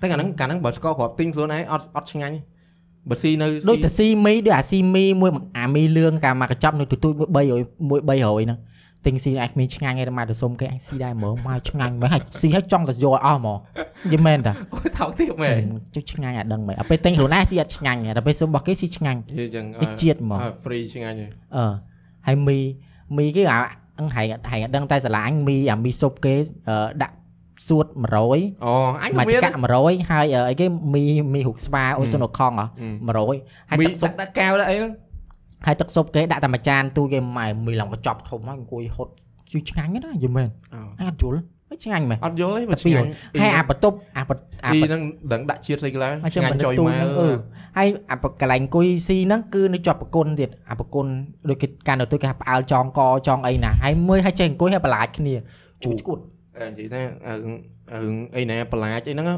[SPEAKER 1] តែអាហ្នឹងកាលហ្នឹងបើស្គាល់ក្របទិញខ្លួនឯងអត់អត់ឆ្ងាញ់ទេបើស៊ីនៅស៊ី
[SPEAKER 2] ដូចតែស៊ីមីដូចអាស៊ីមីមួយអាមីលឿងកាលមកកញ្ចប់នៅទូទូចមួយ300មួយ300ហ្នឹង ទិញស៊ីអាចគ្មានឆ្ងាញ់ឯងម៉ែទៅសុំគេអាចស៊ីដែរហ្មងម៉ែឆ្ងាញ់ហ្មងអាចស៊ីឲ្យចង់តែយកឲ្យអស់ហ្មងនិយាយមែនតា
[SPEAKER 1] អូយថោកទៀតមែន
[SPEAKER 2] ចុះឆ្ងាញ់អាដឹងហ្មងដល់ពេលទិញខ្លួនឯងស៊ីអត់ឆ្ងាញ់ទេដល់ពេលសុំរបស់គេស៊ីឆ្ងាញ់
[SPEAKER 1] និយាយចឹង
[SPEAKER 2] វាជាតិហ្មង
[SPEAKER 1] អើ free ឆ្ងាញ់ហើយ
[SPEAKER 2] អឺហើយមីមីគេអាអង្ហែងអត់ហែងអត់ដឹងតែសាឡាអញមីអាមីសុបគេអឺដាក់សួត100
[SPEAKER 1] អូអញ
[SPEAKER 2] មក
[SPEAKER 1] ក៏មាន
[SPEAKER 2] ចកាក់100ហើយអឺអីគេមីមីរុកស្វាអូសុនខងអ្
[SPEAKER 1] ហឹម
[SPEAKER 2] ហ៎100ហើយ
[SPEAKER 1] មី
[SPEAKER 2] ទឹកសុ
[SPEAKER 1] សា
[SPEAKER 2] ប
[SPEAKER 1] ក់ដាក់កៅដាក់អីហ្នឹង
[SPEAKER 2] ហើយទឹកសុបគេដាក់តែមួយចានទូគេម៉ែមីឡើងមកចប់ធំហើយអង្គុយហត់ជឿឆ្ងាញ់ណាស់យល់មែន
[SPEAKER 1] អូ
[SPEAKER 2] អញអត់យល់ហើយឆ្ងាញ់មែន
[SPEAKER 1] អត់យល់ទេ
[SPEAKER 2] តែ
[SPEAKER 1] វា
[SPEAKER 2] ពី
[SPEAKER 1] ឆ្ងាញ់
[SPEAKER 2] ហើយអាបន្ទប់អាបន្ទប់អា
[SPEAKER 1] ទី
[SPEAKER 2] បន្ទប់
[SPEAKER 1] ហ្នឹងដឹងដាក់ជាតិស្អីកន្លែង
[SPEAKER 2] អាច
[SPEAKER 1] ឆ្ងាញ់
[SPEAKER 2] មិន
[SPEAKER 1] ចុយ
[SPEAKER 2] ទូ
[SPEAKER 1] មក
[SPEAKER 2] ហ្នឹងអឺហើយអាបកន្លែងអង្គុយស៊ីហ្នឹងគឺនៅជាប់ប្រគុណទៀតអាប្រគុណដូចគេកាន់ទៅទូគេហៅផ្អើលចងកចងអីណាហើយមើលហើយចេះអង្គុយហើយបន្លាចគ្នាឈួតឈួត
[SPEAKER 1] អើនិយាយថាអើរឿងអីណាបន្លាចអីហ្នឹង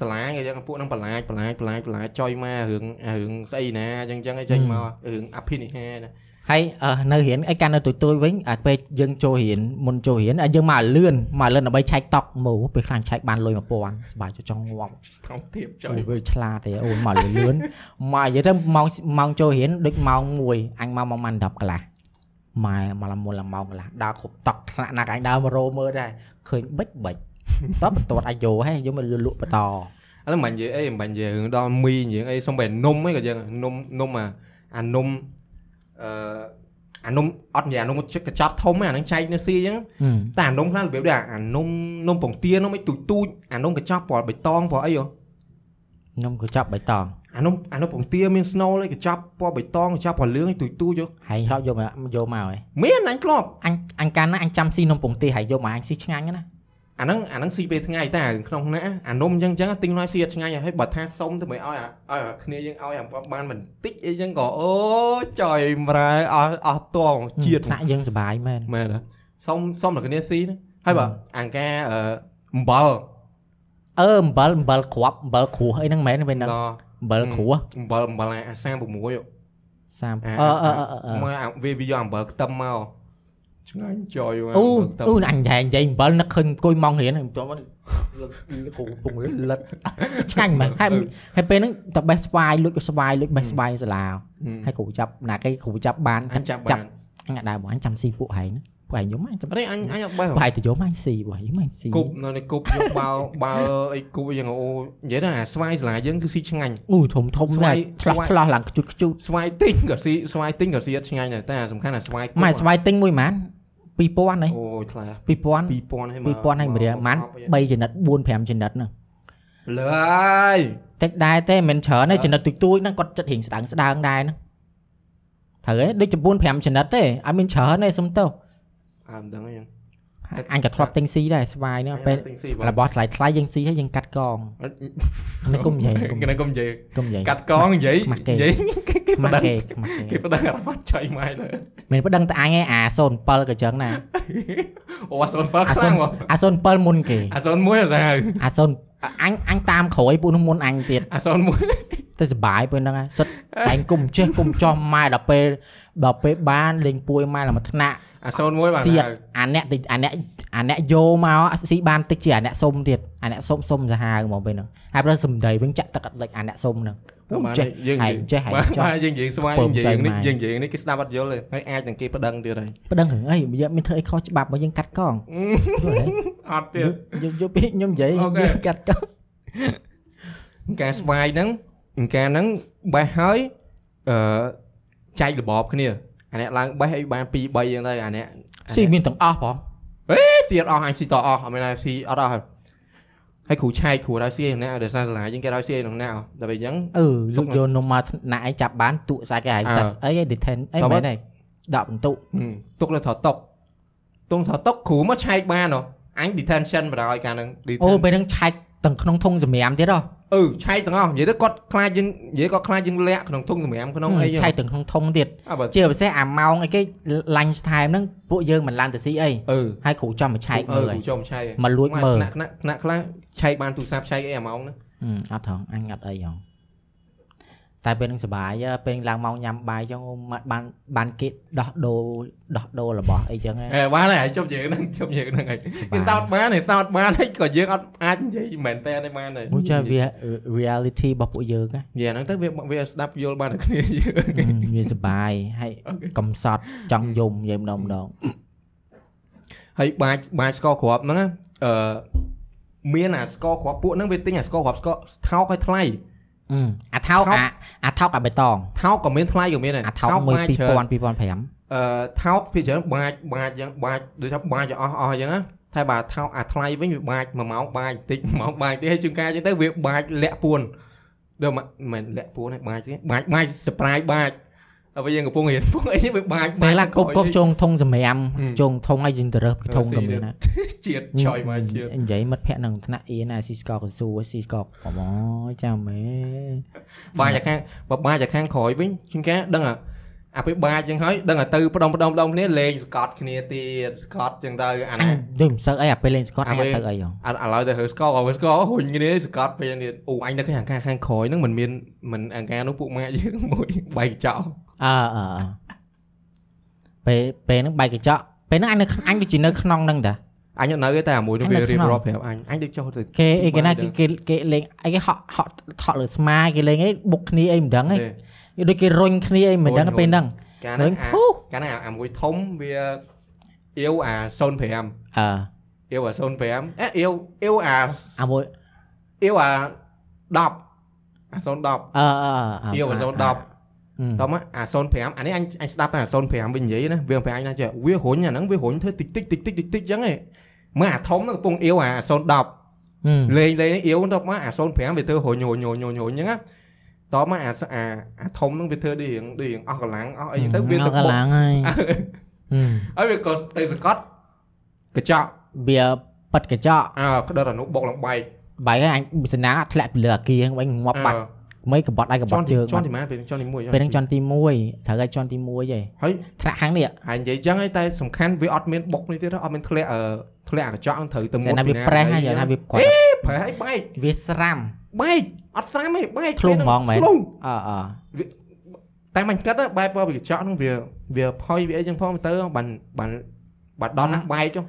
[SPEAKER 1] សាឡាគេចឹងពួកហ្នឹងបន្លាចបន្លាចបន្លាចបន្លាចចុយមករឿងរឿងស្អីណាចឹងចឹងអីចេញមករឿងអភិនិហាណា
[SPEAKER 2] ហើយអឺនៅរៀនអីកាន់នៅទូទួយវិញអាពេលយើងចូលរៀនមុនចូលរៀនអាយើងមកលឿនមកលឿនដើម្បីឆែកតក់មូពេលខ្លាំងឆែកបានលុយ1000សบายចូលចង់ងាប់
[SPEAKER 1] ថោកទៀតចុយ
[SPEAKER 2] អូវាឆ្លាតទេអូនមកលឿនលឿនមកនិយាយទៅម៉ោងម៉ោងចូលរៀនដូចម៉ោង1អញមកម៉ោងម៉ាន់10កន្លះម៉ែមកលមុនលម៉ោងកន្លះដើរគ្រប់តក់ថ្នាក់ណាក៏អញដើរមករោមើលដែរឃើញបិចបិចតបបន្ទាត់អាចយកហេយកមកលក់បន្ត
[SPEAKER 1] ឥឡូវមិននិយាយអីមិននិយាយរឿងដល់មីនិយាយអីសុំតែនំហ្នឹងក៏យ៉ាងនំនំអាអានំអឺអានំអត់និយាយអានំជិះកញ្ចប់ធំហ្នឹងអាហ្នឹងចែកនៅស៊ីអញ្ចឹង
[SPEAKER 2] ហឹម
[SPEAKER 1] តែអានំខ្លះរបៀបដូចអានំនំពងទានំអីទូចទូចអានំកញ្ចប់ពណ៌បៃតងពណ៌អីហ៎
[SPEAKER 2] ខ្ញុំក៏ចាប់បៃតង
[SPEAKER 1] អានំអានំពងទាមានស្នូលអីកញ្ចប់ពណ៌បៃតងកញ្ចប់ពណ៌លឿងអីទូចទូចហ៎
[SPEAKER 2] ហើយហប់យកមកយកមកហើយ
[SPEAKER 1] មានអញធ្លាប់
[SPEAKER 2] អញអញកាលណាអញចាំស៊ីនំពងទាហើយយកមកអញស៊ីឆ្ងាញ់ណា
[SPEAKER 1] អាហ្នឹងអាហ្នឹងស៊ីពេលថ្ងៃតែអារឿងក្នុងណាអានំអញ្ចឹងអញ្ចឹងទិញមកស៊ីអត់ឆ្ងាញ់ហើយបើថាសុំទៅមិនឲ្យអាឲ្យអាគ្នាយើងឲ្យអាបានបន្តិចអីអញ្ចឹងក៏អូចុយម្រែអស់អស់តងជាតិ
[SPEAKER 2] ថ្នាក់យើងសុបាយមែន
[SPEAKER 1] មែនហ៎សុំសុំតែគ្នាស៊ីណាហើយបើអង្ការអឺអំបិល
[SPEAKER 2] អឺអំបិលអំបិលគ្រាប់អំបិលគ្រួសអីហ្នឹងមែនទេពេលហ្នឹង
[SPEAKER 1] ដល់
[SPEAKER 2] អំបិលគ្រួស
[SPEAKER 1] អំបិលអំបិលអាអា36យក
[SPEAKER 2] 30អឺ
[SPEAKER 1] អា
[SPEAKER 2] អឺអឺអឺ
[SPEAKER 1] មកអាវាវាយកអំបិលខ្ទឹមមកឆ្ងាញ់ចយមក
[SPEAKER 2] អូ
[SPEAKER 1] អំបិលខ្ទឹម
[SPEAKER 2] អូអញញ៉ែនិយាយអំបិលនឹកឃើញអង្គុយម៉ងរៀនមិនទាន់គ្រូពងលិតឆ្ងាញ់មែនហើយហើយពេលហ្នឹងតបេះស្វាយលួចស្វាយលួចបេះស្វាយសាឡាហើយគ្រូចាប់ណាគេគ្រូចាប់បាន
[SPEAKER 1] អញចាប់បាន
[SPEAKER 2] អញអត់ដើរមកអញចាំស៊ីពួកឯងពួកឯងយកមកអញចាំ
[SPEAKER 1] អត់ឯងអញអញអត់បេះហ៎
[SPEAKER 2] ពួកឯងទៅយកមកអញស៊ីពួកឯងយកមកអញស៊ី
[SPEAKER 1] គប់នៅនេះគប់យកបាល់បាល់អីគប់អីយ៉ាងអូនិយាយថាអាស្វាយសាលាយើងគឺស៊ីឆ្ងាញ់
[SPEAKER 2] អូធំធំ
[SPEAKER 1] ស្វា
[SPEAKER 2] ណាស់
[SPEAKER 1] យ
[SPEAKER 2] ឆ្លោះ
[SPEAKER 1] ស្វាយ
[SPEAKER 2] ឆ្លោះឡើងខ្ជុតខ្ជុត
[SPEAKER 1] ស្វាយទិញក៏ស៊ីស្វាយទិញក៏ស៊ីអត់ឆ្ងាញ់ដែរតែអាសំខាន់អាស្វាយគប់
[SPEAKER 2] ម៉ែស្វាយទិញមួយម៉ាន2000ហ្នឹង
[SPEAKER 1] អូយថ្លៃហ៎2000
[SPEAKER 2] 2000
[SPEAKER 1] ហើយមក
[SPEAKER 2] 2000ហើយម្រាម៉ាន3ចំណិត4 5ចំណិតហ្នឹង
[SPEAKER 1] លើហើយ
[SPEAKER 2] តិចដែរទេមិនច្រើនទេចំណិតទូចទូចហ្នឹងគាត់ចិត្តរៀងស្ដើងស្ដើងដែរហ្នឹងត្រូវទេដូចចំនួន5ចំណិតទេអត់មានច្រើនទេសុំទោស
[SPEAKER 1] អត់ដឹងទេខ្ញុំ តិច
[SPEAKER 2] អញក៏ធ្លាប់ទិញស៊ីដែរស្វាយហ្នឹងពេល
[SPEAKER 1] អញទិញស៊ីបង
[SPEAKER 2] របស់ថ្លៃថ្លៃយើងស៊ីហើយយើងកាត់កងនេះគុំនិយាយគុំនិយាយ
[SPEAKER 1] គេកុំនិយាយ
[SPEAKER 2] គុំនិយាយ
[SPEAKER 1] កាត់កងនិយាយ
[SPEAKER 2] ខ្មាស់គេ
[SPEAKER 1] និយាយគេប
[SPEAKER 2] ខ្មាស់
[SPEAKER 1] ដិង
[SPEAKER 2] គេខ្មាស់
[SPEAKER 1] គេ
[SPEAKER 2] គេ
[SPEAKER 1] បដិងអារម្មណ៍ចៃម៉ៃលើ
[SPEAKER 2] មិនប៉ណ្ដឹងតែអញឯងអា07ក៏ចឹងណា
[SPEAKER 1] អូអាសូនបើ
[SPEAKER 2] អា
[SPEAKER 1] ខ្លាំងហ៎
[SPEAKER 2] 07អា07មុនគេ
[SPEAKER 1] អាសូនមួយអត់ដឹងហើយ
[SPEAKER 2] អា0អញអញតាមក្រោយពួកនោះមុនអញទៀត
[SPEAKER 1] អាសូនមួយ
[SPEAKER 2] តែសបាយពេលហ្នឹងឯងសិត ឯងគុំចេះគុំចោះម៉ែដល់ពេលដល់ពេលបានលេងពួយម៉ែឡើងមកថ្នាក់
[SPEAKER 1] អាសូនមួយបាន
[SPEAKER 2] សៀត
[SPEAKER 1] ហើយ
[SPEAKER 2] អាអ្នកតិចអាអ្នកអាអ្នកយោមកស៊ីបានតិចជាអាអ្នកសុំទៀតអាអ្នកសុំសុំសាហាវហ្មកពេលហ្នឹងហើយប្រសិនសំដីវិញចាក់ទឹកអត់លិចអាអ្នកសុំហ្នឹងអូ
[SPEAKER 1] បាន
[SPEAKER 2] ចេះ
[SPEAKER 1] យើង
[SPEAKER 2] ហែងចេះហែង
[SPEAKER 1] បាទ
[SPEAKER 2] ចោះ
[SPEAKER 1] បាទយើងនិយាយស្វាយ
[SPEAKER 2] ពើ
[SPEAKER 1] យើង
[SPEAKER 2] ម
[SPEAKER 1] និយាយនេះ
[SPEAKER 2] ចៃម៉ាយ
[SPEAKER 1] យើងនិយាយនេះគេស្ដាប់អត់យល់ទេហើយអាចនឹងគេបដិងទៀតហើយ
[SPEAKER 2] ប៉ណ្ដឹងរឿងអីយើងមានធ្វើអីខុសច្បាប់មកយើងកាត់កង
[SPEAKER 1] អត់ទៀត
[SPEAKER 2] យើងយកពីខ្ញុំនិយាយ
[SPEAKER 1] អូខេ
[SPEAKER 2] យើងកាត់កង
[SPEAKER 1] ការស្វាយហ្នឹងការហ្នឹងបេះហើយអឺចែករបបគ្នាអាអ្នកឡើងបេះឲ្យបាន2 3យ៉ាងដែរអាអ្នក
[SPEAKER 2] ស៊ីមានទាំងអស់បង
[SPEAKER 1] ស៊ីអត់អស់អញស៊ីតអស់អត់មានណាស៊ីអត់អស់ហើយហើយគ្រូឆែកគ្រូឲ្យស៊ីឯណាដោយសារសាលាយើងគេឲ្យស៊ីឯណាដល់ពេលអញ្ចឹង
[SPEAKER 2] អឺលោកយកនំមកថ្នាក់ឯងចាប់ បានទូកសាច់ឯង
[SPEAKER 1] អើ
[SPEAKER 2] សាច់អីឯង detain អី
[SPEAKER 1] តោះមក
[SPEAKER 2] មែនឯងដកបន្ទុក
[SPEAKER 1] ទុកលើថតតុកទុកថតតុកគ្រូមកឆែកបានហ៎អញ detention បណ្ដោយកាលហ្នឹង
[SPEAKER 2] អូ
[SPEAKER 1] detention
[SPEAKER 2] ពេលហ្នឹងឆែកទាំងក្នុងធុងសម្រាមទៀតហ៎
[SPEAKER 1] អឺឆែកទាំងអស់និយាយទៅគាត់ខ្លាចយើងនិយាយគាត់ខ្លាចយើងលាក់ក្នុងធុងសម្រាមក្នុងអី
[SPEAKER 2] ឆែកទាំងក្នុងធុងទៀត
[SPEAKER 1] អើបើ
[SPEAKER 2] ជាពិសេសអាម៉ោងអីគេ lunch time ហ្នឹងពួកយើងមិនឡើងទៅស៊ីអី
[SPEAKER 1] អឺ
[SPEAKER 2] ហើយគ្រូចាំមកឆែក
[SPEAKER 1] អឺ
[SPEAKER 2] មើល
[SPEAKER 1] គ្រូចូលឆែក
[SPEAKER 2] មកលួចមើល
[SPEAKER 1] ថ្នាក់ថ្នាក់ថ្នាក់ខ្លះឆែកបានទូរស័ព្ទឆែកអីអាម៉ោងហ្នឹង
[SPEAKER 2] ហឹមអត់ថងអញអត់អីហងតែពេលហ្នឹងសុបាយទេពេលឡើងមកញ៉ាំបាយចឹងអូមកបានបានគេដោះដូរដោះដូររបស់អីចឹងហ៎
[SPEAKER 1] អេបានហើយឲ្យជប់យើងហ្នឹងជប់យើងហ្នឹងហើយ
[SPEAKER 2] បា
[SPEAKER 1] គេសោ
[SPEAKER 2] យ
[SPEAKER 1] តបានហើយសោតបានហើយក៏យើងអត់អាចនិយាយមែនតើបានហើយ
[SPEAKER 2] មួយចាវា reality របស់ពួកយើងហ៎
[SPEAKER 1] យ៉ាហ្នឹងទៅវាវាស្ដាប់យល់បានតែគ្នា យឺ
[SPEAKER 2] វាសុបាយហើយកំសត់ចង់យំយាយម្ដងម្ដង
[SPEAKER 1] ហើយបាច់បាច់ស្ករគ្រាប់ហ្នឹងណាអឺមានអាស្ករគ្រាប់ពួកហ្នឹងវាទិញអាស្ករគ្រាប់ស្ករថោកឲ្យថ្លៃ
[SPEAKER 2] អឺអាថោក
[SPEAKER 1] ថោក
[SPEAKER 2] អាអាថោកអាបៃតង
[SPEAKER 1] ថោកក៏មានថ្លៃក៏មានដែរ
[SPEAKER 2] អាថោកមើល
[SPEAKER 1] បាច់ច្រើន
[SPEAKER 2] 2000 2005
[SPEAKER 1] អឺថោកភាគច្រើនបាចបាចអញ្ចឹងបាចដូចថាបាចឲ្យអស់អស់អញ្ចឹងណាតែបើថោកអាថ្លៃវិញវាបាចមួយម៉ោងបាចបន្តិច មួយម៉ោងបាចបន្តិចហើយជួនកាលអញ្ចឹងទៅវាបាចលាក់ពួនដល់មិនមែនលាក់ពួនទេបាចទេបាចបាច surprise បាចដល់ពេលយើងកំពុងរៀនពុកអី នេះវាបាច
[SPEAKER 2] ពេលឡាគប់គប់ ជ
[SPEAKER 1] ជ
[SPEAKER 2] ងធុងសម្រាម
[SPEAKER 1] អឺ
[SPEAKER 2] ជងធុងឲ្យយើងទៅរើសធុង
[SPEAKER 1] រើសស៊ី
[SPEAKER 2] ក៏មា
[SPEAKER 1] ទៅ
[SPEAKER 2] នណា
[SPEAKER 1] ជាតិឆ យមកជាតិ
[SPEAKER 2] និយាយមិត្តភ័ក្ដិនឹងថ្នាក់អៀនអាស៊ីស្កកកស៊ូអាស៊ីស្កកអូយចាំមែន
[SPEAKER 1] បាចអាខាងបើបាចអាខាងក្រោយវិញជួនកាលដឹងអាអាពេលបាចអញ្ចឹងហើយដឹងអាទៅផ្ដុំផ្ដុំផ្ដុំគ្នាលេងសកត់គ្នាទៀតសកត់អញ្ចឹងទៅអា ណា
[SPEAKER 2] ដូចមិនសឹកអីអាពេលលេងស្កត
[SPEAKER 1] អា
[SPEAKER 2] អា
[SPEAKER 1] ពេល
[SPEAKER 2] សឹកអីហ៎
[SPEAKER 1] អត់ឥឡូវទៅហឺស្កអហឺស្កហ៊ុញគ្នាសកាត់ពេលនេះអូអញនៅឃើញអាការខាងក្រោយហ្នឹងមិនមានមិនអាការនោះពួកម៉ាក់យើងមួយបែកចោល
[SPEAKER 2] អើអើអើពេលពេលហ្នឹងបែកកញ្ចក់ពេលហ្នឹងអញនៅក្នុងអញដូចជានៅក្នុងហ្នឹងតា
[SPEAKER 1] អញអត់នៅទេតែអាមួយនោះវារៀបរាប់ប្រាប់អញអញដូចចោលទៅ
[SPEAKER 2] គេអីគេណាគេគេគេលេងអីគេហក់ហក់ថក់លើស្មាគេលេងអីបុកគ្នាអីមិនដឹងអី
[SPEAKER 1] ទេ
[SPEAKER 2] ដូចគេរុញគ្នាអីមិនដឹង
[SPEAKER 1] រុញ
[SPEAKER 2] ពេលហ្នឹង
[SPEAKER 1] ការ
[SPEAKER 2] រុ
[SPEAKER 1] ហ្នឹង
[SPEAKER 2] ញ
[SPEAKER 1] អា
[SPEAKER 2] ហូ
[SPEAKER 1] ការហ្នឹងអាមួយធំវាអ៊ីវអា05
[SPEAKER 2] អើ
[SPEAKER 1] អ៊ីវអា05អេអ៊ីវអ៊ីវអា
[SPEAKER 2] អាមួយ
[SPEAKER 1] អ៊ីវអា10អា010
[SPEAKER 2] អើអើ
[SPEAKER 1] អ៊ីវអា010 តោះមកអា05អានេះអញអញស្ដាប់តែអា05វិញនិយាយណាវាមិនប្រាញ់ណាចេះវារុញអាហ្នឹងវារុញធ្វើតិចតិចតិចតិចតិចតិចអញ្ចឹងឯងមើលអាធំហ្នឹងកំពុងអៀវអា010លេងលេងអៀវទៅមកអា05វាធ្វើរុញរុញរុញរុញរុញអញ្ចឹងណាតោះមកអាសអាអាធំហ្នឹងវាធ្វើដូចរៀងដូចរៀងអស់កម្លាំងអស់អីទៅវាទៅ
[SPEAKER 2] ក
[SPEAKER 1] បុក
[SPEAKER 2] ន្លងហើយអឺ
[SPEAKER 1] ហើយវាក៏ទៅសង្កត់កញ្ចក់
[SPEAKER 2] វាប៉ិតកញ្ចក់
[SPEAKER 1] អើក្តត់អានោះបុកឡើងបែក
[SPEAKER 2] បែកហើយអញសណ្ណាធ្លាក់ពីលើអាគារហ្នឹងវិញងាប់បាត់មិនក្បត់ដៃក្ប
[SPEAKER 1] ច
[SPEAKER 2] ត់
[SPEAKER 1] ន់
[SPEAKER 2] ជើង
[SPEAKER 1] ចន់ទីម៉ានពេលចន់ទី1
[SPEAKER 2] ពេលហ្នឹងជាន់ទី1ត្រូវឲ្យជាន់ទី1ឯង
[SPEAKER 1] ហើយ
[SPEAKER 2] ថ្នាក់ខាងនេះ
[SPEAKER 1] ហើយនិយាយអញ្ចឹងឯងតែសំខាន់វាអត់មានបុកនេះទេទេអត់មានធ្លាក់អឺធ្លាក់អាកញ្ចក់ហ្នឹងត្រូវទៅមុ
[SPEAKER 2] តែ
[SPEAKER 1] ខ
[SPEAKER 2] ណាវាប្រេះហើយណាវាគាត់
[SPEAKER 1] ប្រេះឲ្យបែក
[SPEAKER 2] វាស្រាំ
[SPEAKER 1] បែកអត់ស្រាំទេបែក
[SPEAKER 2] ធ្លុះហ្មងមែន
[SPEAKER 1] ធ្លុះ
[SPEAKER 2] អើអើ
[SPEAKER 1] តែមិនគិតទេបែបបើវាកញ្ចក់ហ្នឹងវាវាផុយវាអីចឹងផងទៅបានបានបានដល់ណាស់បែកចុះ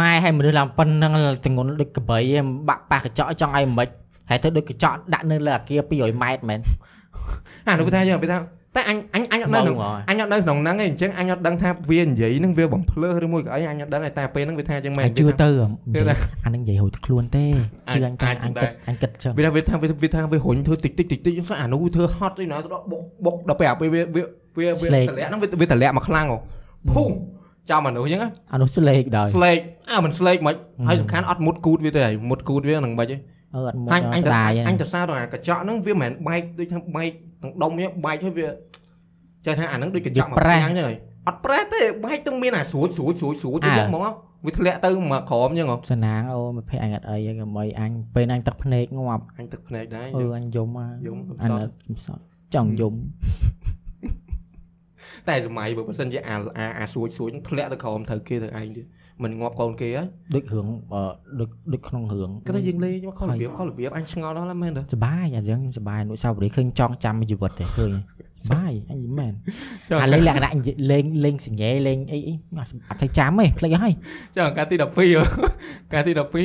[SPEAKER 2] ម៉ែឲ្យមនុស្សឡើងប៉ុណ្ណឹងទងន់ដូចកបីឯងបាក់ប៉ះកញ្ចក់ចង់ឲ្យមិនហើយធ្វើដូចកញ្ចក់ដាក់នៅលើអាគារ200ម៉ែត្រមែន
[SPEAKER 1] អានោះវាថាយ៉ាងវាថាតែអញអញអញអត់នៅក្នុង
[SPEAKER 2] ហ្មង
[SPEAKER 1] អញអត់នៅក្នុងហ្នឹងឯងអញ្ចឹងអញអត់ដឹងថាវានិយាយហ្នឹងវាបំភ្លើសឬមួយក៏អីអញអត់ដឹងឯងតែពេលហ្នឹងវាថាអញ្ចឹងមែ
[SPEAKER 2] ហើយ
[SPEAKER 1] ន
[SPEAKER 2] ជឿ
[SPEAKER 1] វាថា
[SPEAKER 2] ទៅ
[SPEAKER 1] ជឿណា
[SPEAKER 2] អានឹងនិយាយរួចខ្លួនទេជឿអញតែ
[SPEAKER 1] អាច
[SPEAKER 2] អញ
[SPEAKER 1] ដែរ
[SPEAKER 2] គិតអញគិតចឹង
[SPEAKER 1] វាថាវាថាវាវាថាវារុញធ្វើតិចតិចតិចតិចចឹងស្អាអានោះវាធ្វើហត់ឯណាទៅដល់បុកបុកដល់ពេលអាពេលវាវាវាវាតម្លាក់ហ្នឹងវាវាតម្លាក់មកខ្លាំងហ៎ភូចាំអានោះអញ្ចឹងណា
[SPEAKER 2] អានោះស្លេកដល់
[SPEAKER 1] ស្លេកអើមិនស្លេកហ្មិនហើយសំខាន់អត់មុតគូតវាទេហើយមុតគូតវានឹងមិនហ
[SPEAKER 2] អឺអត់មក
[SPEAKER 1] ិចអញអញទៅ
[SPEAKER 2] ស្ដាយ
[SPEAKER 1] អញទៅសារទៅអាកញ្ចក់ហ្នឹងវាមិនមែនបែកដូចថាបែកទាំងដុំវាបែកហើយវាចេះថាអាហ្នឹងដូចកញ្ចក់មកផ្ទាំងហ្នឹងហើយអត់ប្រេះទេបែកទាំងមានអាស្រួចស្រួចស្រួចស្រួចទៅហ្មងវាធ្លាក់ទៅមកក្រមអញ្ចឹង
[SPEAKER 2] សណាងអូមិត្តភ័ក្ដិអញអត់អីឯងកុំអីអញពេលអញទឹកភ្នែកងាប់
[SPEAKER 1] អញទឹកភ្នែកដែរ
[SPEAKER 2] អឺអញយំអា
[SPEAKER 1] យំ
[SPEAKER 2] អញអត់មិនសត់ចង់យំ
[SPEAKER 1] តែសម័យបើបើសិនជាអាអាស្រួចស្រួចធ្លាក់ទៅក្រមត្រូវគេទៅឯងទៀតមិនងាប់កូនគេហើយ
[SPEAKER 2] ដូចរឿងអឺដូចដូចក្នុងរឿង
[SPEAKER 1] គេថាយើងលេងខុសរបៀបខុសរបៀបអញឆ្ងល់ដល់មែនទេ
[SPEAKER 2] សបាយអាយ៉ាងសបាយអនុស្សាវរីយ៍ឃើញចងចាំជីវិតទេឃើញ សបាយអញយីមែនអាលេងលក្ខណៈនិយាយលេងលេងសញ្ញេលេងអីអីអត់អត់ទៅចាំទេភ្លេចហើយ
[SPEAKER 1] ចុះការទី12ហ៎ការទី12អឺ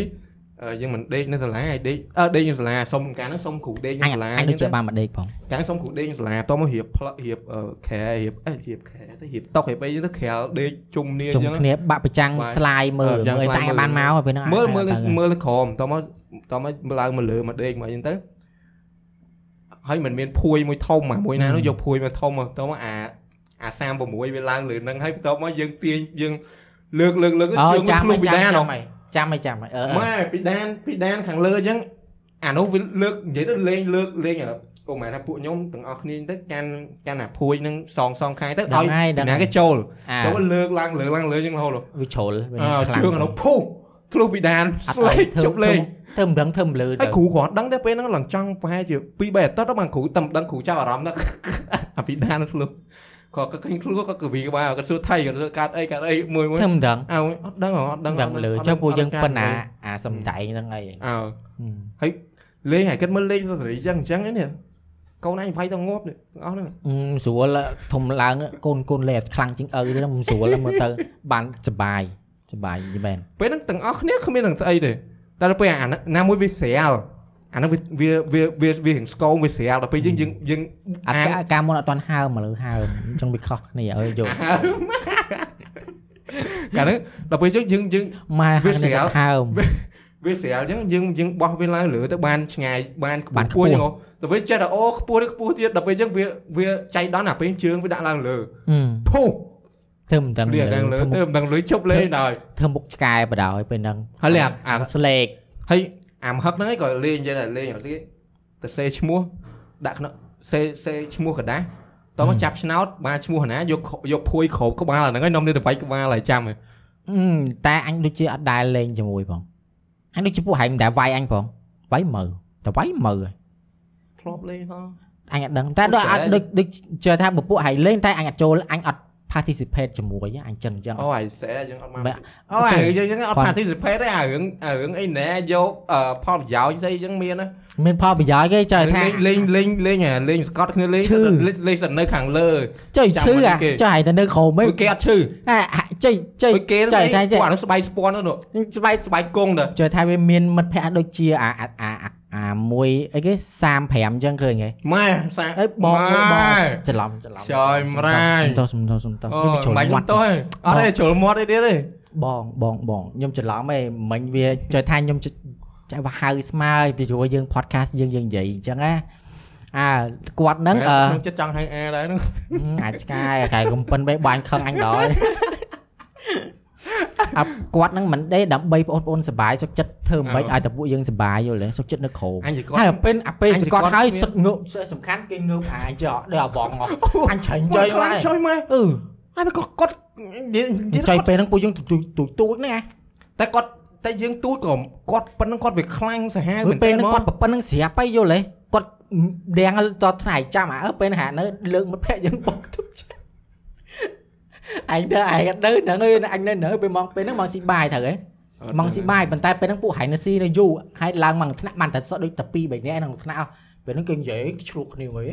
[SPEAKER 1] យើងមិនដេកនៅសាលាឲ្យដេកអឺដេកនៅសាលាសុំការហ្នឹងសុំគ្រូដេកនៅ
[SPEAKER 2] អញ
[SPEAKER 1] សាលា
[SPEAKER 2] អញដូចជាបានមកដេកផង
[SPEAKER 1] ការហ្នឹងសុំគ្រូដេកនៅសាលាតោះមករៀបផ្លឹករៀបអឺខែរៀបអេរៀបខែទៅរៀបតុករៀបអីទៅក្រាលដេកជុំគ្នាអ
[SPEAKER 2] ជុំ
[SPEAKER 1] ញ្ចឹង
[SPEAKER 2] គ្នាបាក់ប្រចាំង
[SPEAKER 1] បាទ
[SPEAKER 2] ស្លាយមើល
[SPEAKER 1] អឺចាំ
[SPEAKER 2] មើល
[SPEAKER 1] ស្លាយ
[SPEAKER 2] តែ
[SPEAKER 1] មើល
[SPEAKER 2] បានមកហើយពេលហ្នឹង
[SPEAKER 1] មើល
[SPEAKER 2] អា
[SPEAKER 1] មើល
[SPEAKER 2] ចទៅហើយ
[SPEAKER 1] មើលក្រមតោះមកតោះមកឡើងមកលើមកដេកមកអីហ្នឹងទៅហើយมันមានភួយមួយធំអាមួយណានោះយកភួយមកធំមកតោះមកអាអា36វាឡើងលើហ្នឹងហើយបន្ទាប់មកយើងទាញយើងលើកលើកលើក
[SPEAKER 2] អូ
[SPEAKER 1] ជើង
[SPEAKER 2] ចាំ
[SPEAKER 1] ខ្លួន
[SPEAKER 2] ឲ្យ
[SPEAKER 1] ពី
[SPEAKER 2] ចាំ
[SPEAKER 1] ដា
[SPEAKER 2] ឲ្យ
[SPEAKER 1] នហ្នឹង
[SPEAKER 2] ចាំឲ្យចាំឲ្យចាំឲ្យអឺអឺ
[SPEAKER 1] ម៉ែពីដានពីដានខាងលើអញ្ចឹងអានោះវាលើកនិយាយទៅលេងលើកលេងអាអូម៉ែថាពួកខ្ញុំទាំងអស់គ្នាទៅកាន់កាន់អាភួយនឹងសងសងខាងទៅ
[SPEAKER 2] ដឹងហើយដឹង
[SPEAKER 1] អ្នកគេចូល
[SPEAKER 2] អា
[SPEAKER 1] ចូលលើកឡើងលើកឡើងលើអញ្ចឹងរហូត
[SPEAKER 2] វាជ្រុលវា
[SPEAKER 1] អើ
[SPEAKER 2] ខ្លាំង
[SPEAKER 1] ជើងអានោះភុះធ្លុះពីដាន
[SPEAKER 2] អត់
[SPEAKER 1] ស្លេក
[SPEAKER 2] អី
[SPEAKER 1] ជប់លេង
[SPEAKER 2] ធ្វើធ្វើមិនដឹងធ្វើមិនលឺ
[SPEAKER 1] ហើយ
[SPEAKER 2] ទៅ
[SPEAKER 1] គ្រូគ្រាន់ដឹងតែពេលហ្នឹងឡើងចង់ប្រហែលជា2 3អាទិត្យដល់បានគ្រូតែមិនដឹងគ្រូចាប់អារម្មណ៍ ដល់ អាពីដានធ្លុះគាត់ក៏ឃើញធ្លុះគាត់ក៏វិក្បាលគាត់សួរថៃគាត់សួរកាត់អីកាត់អីមួយមួយ
[SPEAKER 2] ធ្វើមិនដឹង
[SPEAKER 1] អើអត់ដឹងហ៎អត់ដឹង
[SPEAKER 2] ដឹង
[SPEAKER 1] អត់
[SPEAKER 2] លឺ
[SPEAKER 1] អត់
[SPEAKER 2] ចុះពួក
[SPEAKER 1] អត់
[SPEAKER 2] យើង
[SPEAKER 1] កាត់
[SPEAKER 2] ប៉ុណ្ណា
[SPEAKER 1] អី
[SPEAKER 2] អាសំដែងហ្នឹងអី
[SPEAKER 1] អើ លេងហើយគិតមើលលេងសត្វរីអញ្ចឹងអញ្ចឹងឯនេះកូនអញវាយទៅងាប់នេះទាំងអស់ហ្នឹង
[SPEAKER 2] ហឹមស្រួលធំឡើងកូនកូនលេងខ្លាំងជាងឪទេហ្នឹងមិនស្រួលមើលទៅបានសបាយសបាយយីមែន
[SPEAKER 1] ពេលហ្នឹងទាំងអស់គ្នាគ្មាននឹងស្អីទេតែដល់ពេលអាណាណាមួយវាស្រាលអាហ្នឹងវាវាវាវាវារៀងស្គងវាស្រាលដល់ពេលយើងយើងយើង
[SPEAKER 2] អាកាការមុនអត់តាន់ហើមឥឡូវហើមអញ្ចឹងវាខុសគ្នាអើយយក
[SPEAKER 1] កាលហ្នឹងដល់ពេលយើងយើងយើង
[SPEAKER 2] ម៉ែ
[SPEAKER 1] វា
[SPEAKER 2] ហើយ
[SPEAKER 1] ស្រា
[SPEAKER 2] នឹង
[SPEAKER 1] ល
[SPEAKER 2] ហើម
[SPEAKER 1] វាស្រាលអញ្ចឹងយើងយើងបោះវាឡើងលើទៅបានឆ្ងាយបានខ្ព
[SPEAKER 2] បា
[SPEAKER 1] ស់
[SPEAKER 2] នខ្ព
[SPEAKER 1] ខ្ព
[SPEAKER 2] ស់
[SPEAKER 1] ស់ហ្នឹងហ៎ដល់ពេលចេះតែអូខ្ពស់នេះខ្ពស់ទៀតដល់ពេលអញ្ចឹងវាវាចៃដន្យអាពេលជើងវាដាក់ឡើងលើ
[SPEAKER 2] ហឹម
[SPEAKER 1] ភុះ
[SPEAKER 2] ធ្វើមិនដឹង
[SPEAKER 1] លៀកឡើងលើទៅមិនដឹងលុយជប់លេងដល់
[SPEAKER 2] ធ្វើមុខឆ្កែបដហើយពេលហ្នឹង
[SPEAKER 1] ហើយលៀកអា
[SPEAKER 2] ស្លេក
[SPEAKER 1] ហើយអាមហឹកហ្នឹងឯងក៏លេងអញ្ចឹងដែរលេងអត់ទេទៅសេឈ្មោះដាក់ក្នុងសេសេឈ្មោះกระดาษតោះមកចាប់ឆ្នោតបានឈ្មោះណាយកខយកភួយក្របក្បាលអាហ្នឹងឯងនាំទៅទៅវាយក្បាលហើយចាំឯង
[SPEAKER 2] ហឹមតែអញដូចជាអត់ដែលលេងជាមួយផងអញដូចជាពួកហែងមិនដែលវាយអញផងវាយមើលតែវាយមើលហើយ
[SPEAKER 1] ធ្លាប់លេងហ៎
[SPEAKER 2] អញអត់ដឹងតែដូចអត់
[SPEAKER 1] អូស្រាលី
[SPEAKER 2] ដូចដូចជឿថាពពួកហៃលេងតែអញអត់ចូលអញអត់ participate ជាមួយទេអញចឹងចឹង
[SPEAKER 1] អូអាយសេយើងអត់មក
[SPEAKER 2] បែក
[SPEAKER 1] អូអាយយើងអត់
[SPEAKER 2] គាត់
[SPEAKER 1] participate ទេអារឿងអារឿងអីណែយកអឺផលប្រយោជន៍ស្អីយើងមានណា
[SPEAKER 2] មានផលប្រយោជន៍គេចើថា
[SPEAKER 1] លេងលេងលេងលេងអាលេងសកតគ្នាលេង
[SPEAKER 2] ឈឺ
[SPEAKER 1] លេងលេងសនៅខាងលើ
[SPEAKER 2] ចុយឈឺអាចុយហៃទៅនៅក្រោមហី
[SPEAKER 1] ពួកគេអត់ឈឺ
[SPEAKER 2] អាចុយចុយ
[SPEAKER 1] ពួកគេ
[SPEAKER 2] ចុ
[SPEAKER 1] ហ្នឹង
[SPEAKER 2] យថា
[SPEAKER 1] ឯង
[SPEAKER 2] ចុ
[SPEAKER 1] ពួ
[SPEAKER 2] យ
[SPEAKER 1] កអានោះស្បែកស្ពាន់នោះ
[SPEAKER 2] ស្បែក
[SPEAKER 1] ស្បែកគង់ទៅ
[SPEAKER 2] ចុយថាវាមានមិត្តភ័ក្តិដូចជាអាអាអាអាអាមួយអីគេ35ចឹងឃើញហី
[SPEAKER 1] ម៉ែសា
[SPEAKER 2] អីបង
[SPEAKER 1] ម៉ែ
[SPEAKER 2] មួយបងច្រឡំច្រឡំ
[SPEAKER 1] ចុយមរាយ
[SPEAKER 2] សំទោសសំទោសសំទោស
[SPEAKER 1] អូ
[SPEAKER 2] ខ្ញុំចូល
[SPEAKER 1] មិនបា
[SPEAKER 2] វ
[SPEAKER 1] ច់
[SPEAKER 2] ត្ត
[SPEAKER 1] ទៅអត់ទេជ្រុលមាត់ទេទៀតទេ
[SPEAKER 2] បងបងបងខ្ញុំច្រឡំហីមិញវាចុយថាខ្ញុំចុចចាក់វាហៅស្មើពីព្រោះយើង podcast យើងយើងនិយាយអញ្ចឹងណាអាគាត់ហ្នឹងអឺ
[SPEAKER 1] ខ្ញុំចិត្តចង់ហៅអាដែរហ្នឹង
[SPEAKER 2] អឺអាចឆ្កាយអាកាយកំពិនបែបាញ់ខឹងអញដល់អាគាត់ហ្នឹងមិនដេដើម្បីបងប្អូនសុបាយសុខចិត្តធ្វើមិនបាច់ឲ្យតែពួកយើងសុបាយយល់ទេសុខចិត្តនៅក្រោម
[SPEAKER 1] អញជាគាត់
[SPEAKER 2] ហើយពេលអាពេល
[SPEAKER 1] អញ
[SPEAKER 2] សគាត់
[SPEAKER 1] គាត់
[SPEAKER 2] ហើយ
[SPEAKER 1] គ្មាន
[SPEAKER 2] សុខងើបសំខាន់គេងើបអាអញចោដល់អាបងមកអញច្រែង
[SPEAKER 1] ចុ
[SPEAKER 2] ចុ
[SPEAKER 1] យ
[SPEAKER 2] យមក
[SPEAKER 1] ខ្លាំងចុយម៉ែ
[SPEAKER 2] អឺ
[SPEAKER 1] ហើយក៏គាត់និយាយ
[SPEAKER 2] ចុ
[SPEAKER 1] ចុ
[SPEAKER 2] យ
[SPEAKER 1] យ
[SPEAKER 2] ពេលហ្នឹងពួកយើងទូចទូចទូចហ្នឹង
[SPEAKER 1] តែគាត់តែយើងទូចក៏គាត់ប៉ុណ្ណឹងគាត់វាខ្លាំងសាហាវ
[SPEAKER 2] អាពេលហ្នឹង
[SPEAKER 1] មែ
[SPEAKER 2] គាត់ប្រពន្ធហ្នឹងស្រាប់ហើយយល់ទេគាត់ដេងតថ្ងៃចាំអាអើពេលហ្នឹងហានៅលើកមិត្តភក្តិយើងបងទូច អញទៅឯងទៅហ្នឹងឯងអញនៅនៅពេលមកពេលហ្នឹងមកស៊ីបាយត្រូវហ៎ ម៉ងស៊ីបាយប៉ុន្តែពេលហ្នឹងពួកហៃនៅស៊ីនៅយូរហើយឡើងមកថ្នាក់បានតែសក់ដូចតែ2 3នាក់ក្នុងថ្នាក់អស់ពេលហ្នឹងគេនិយាយឆ្លោះគ្នាមកហី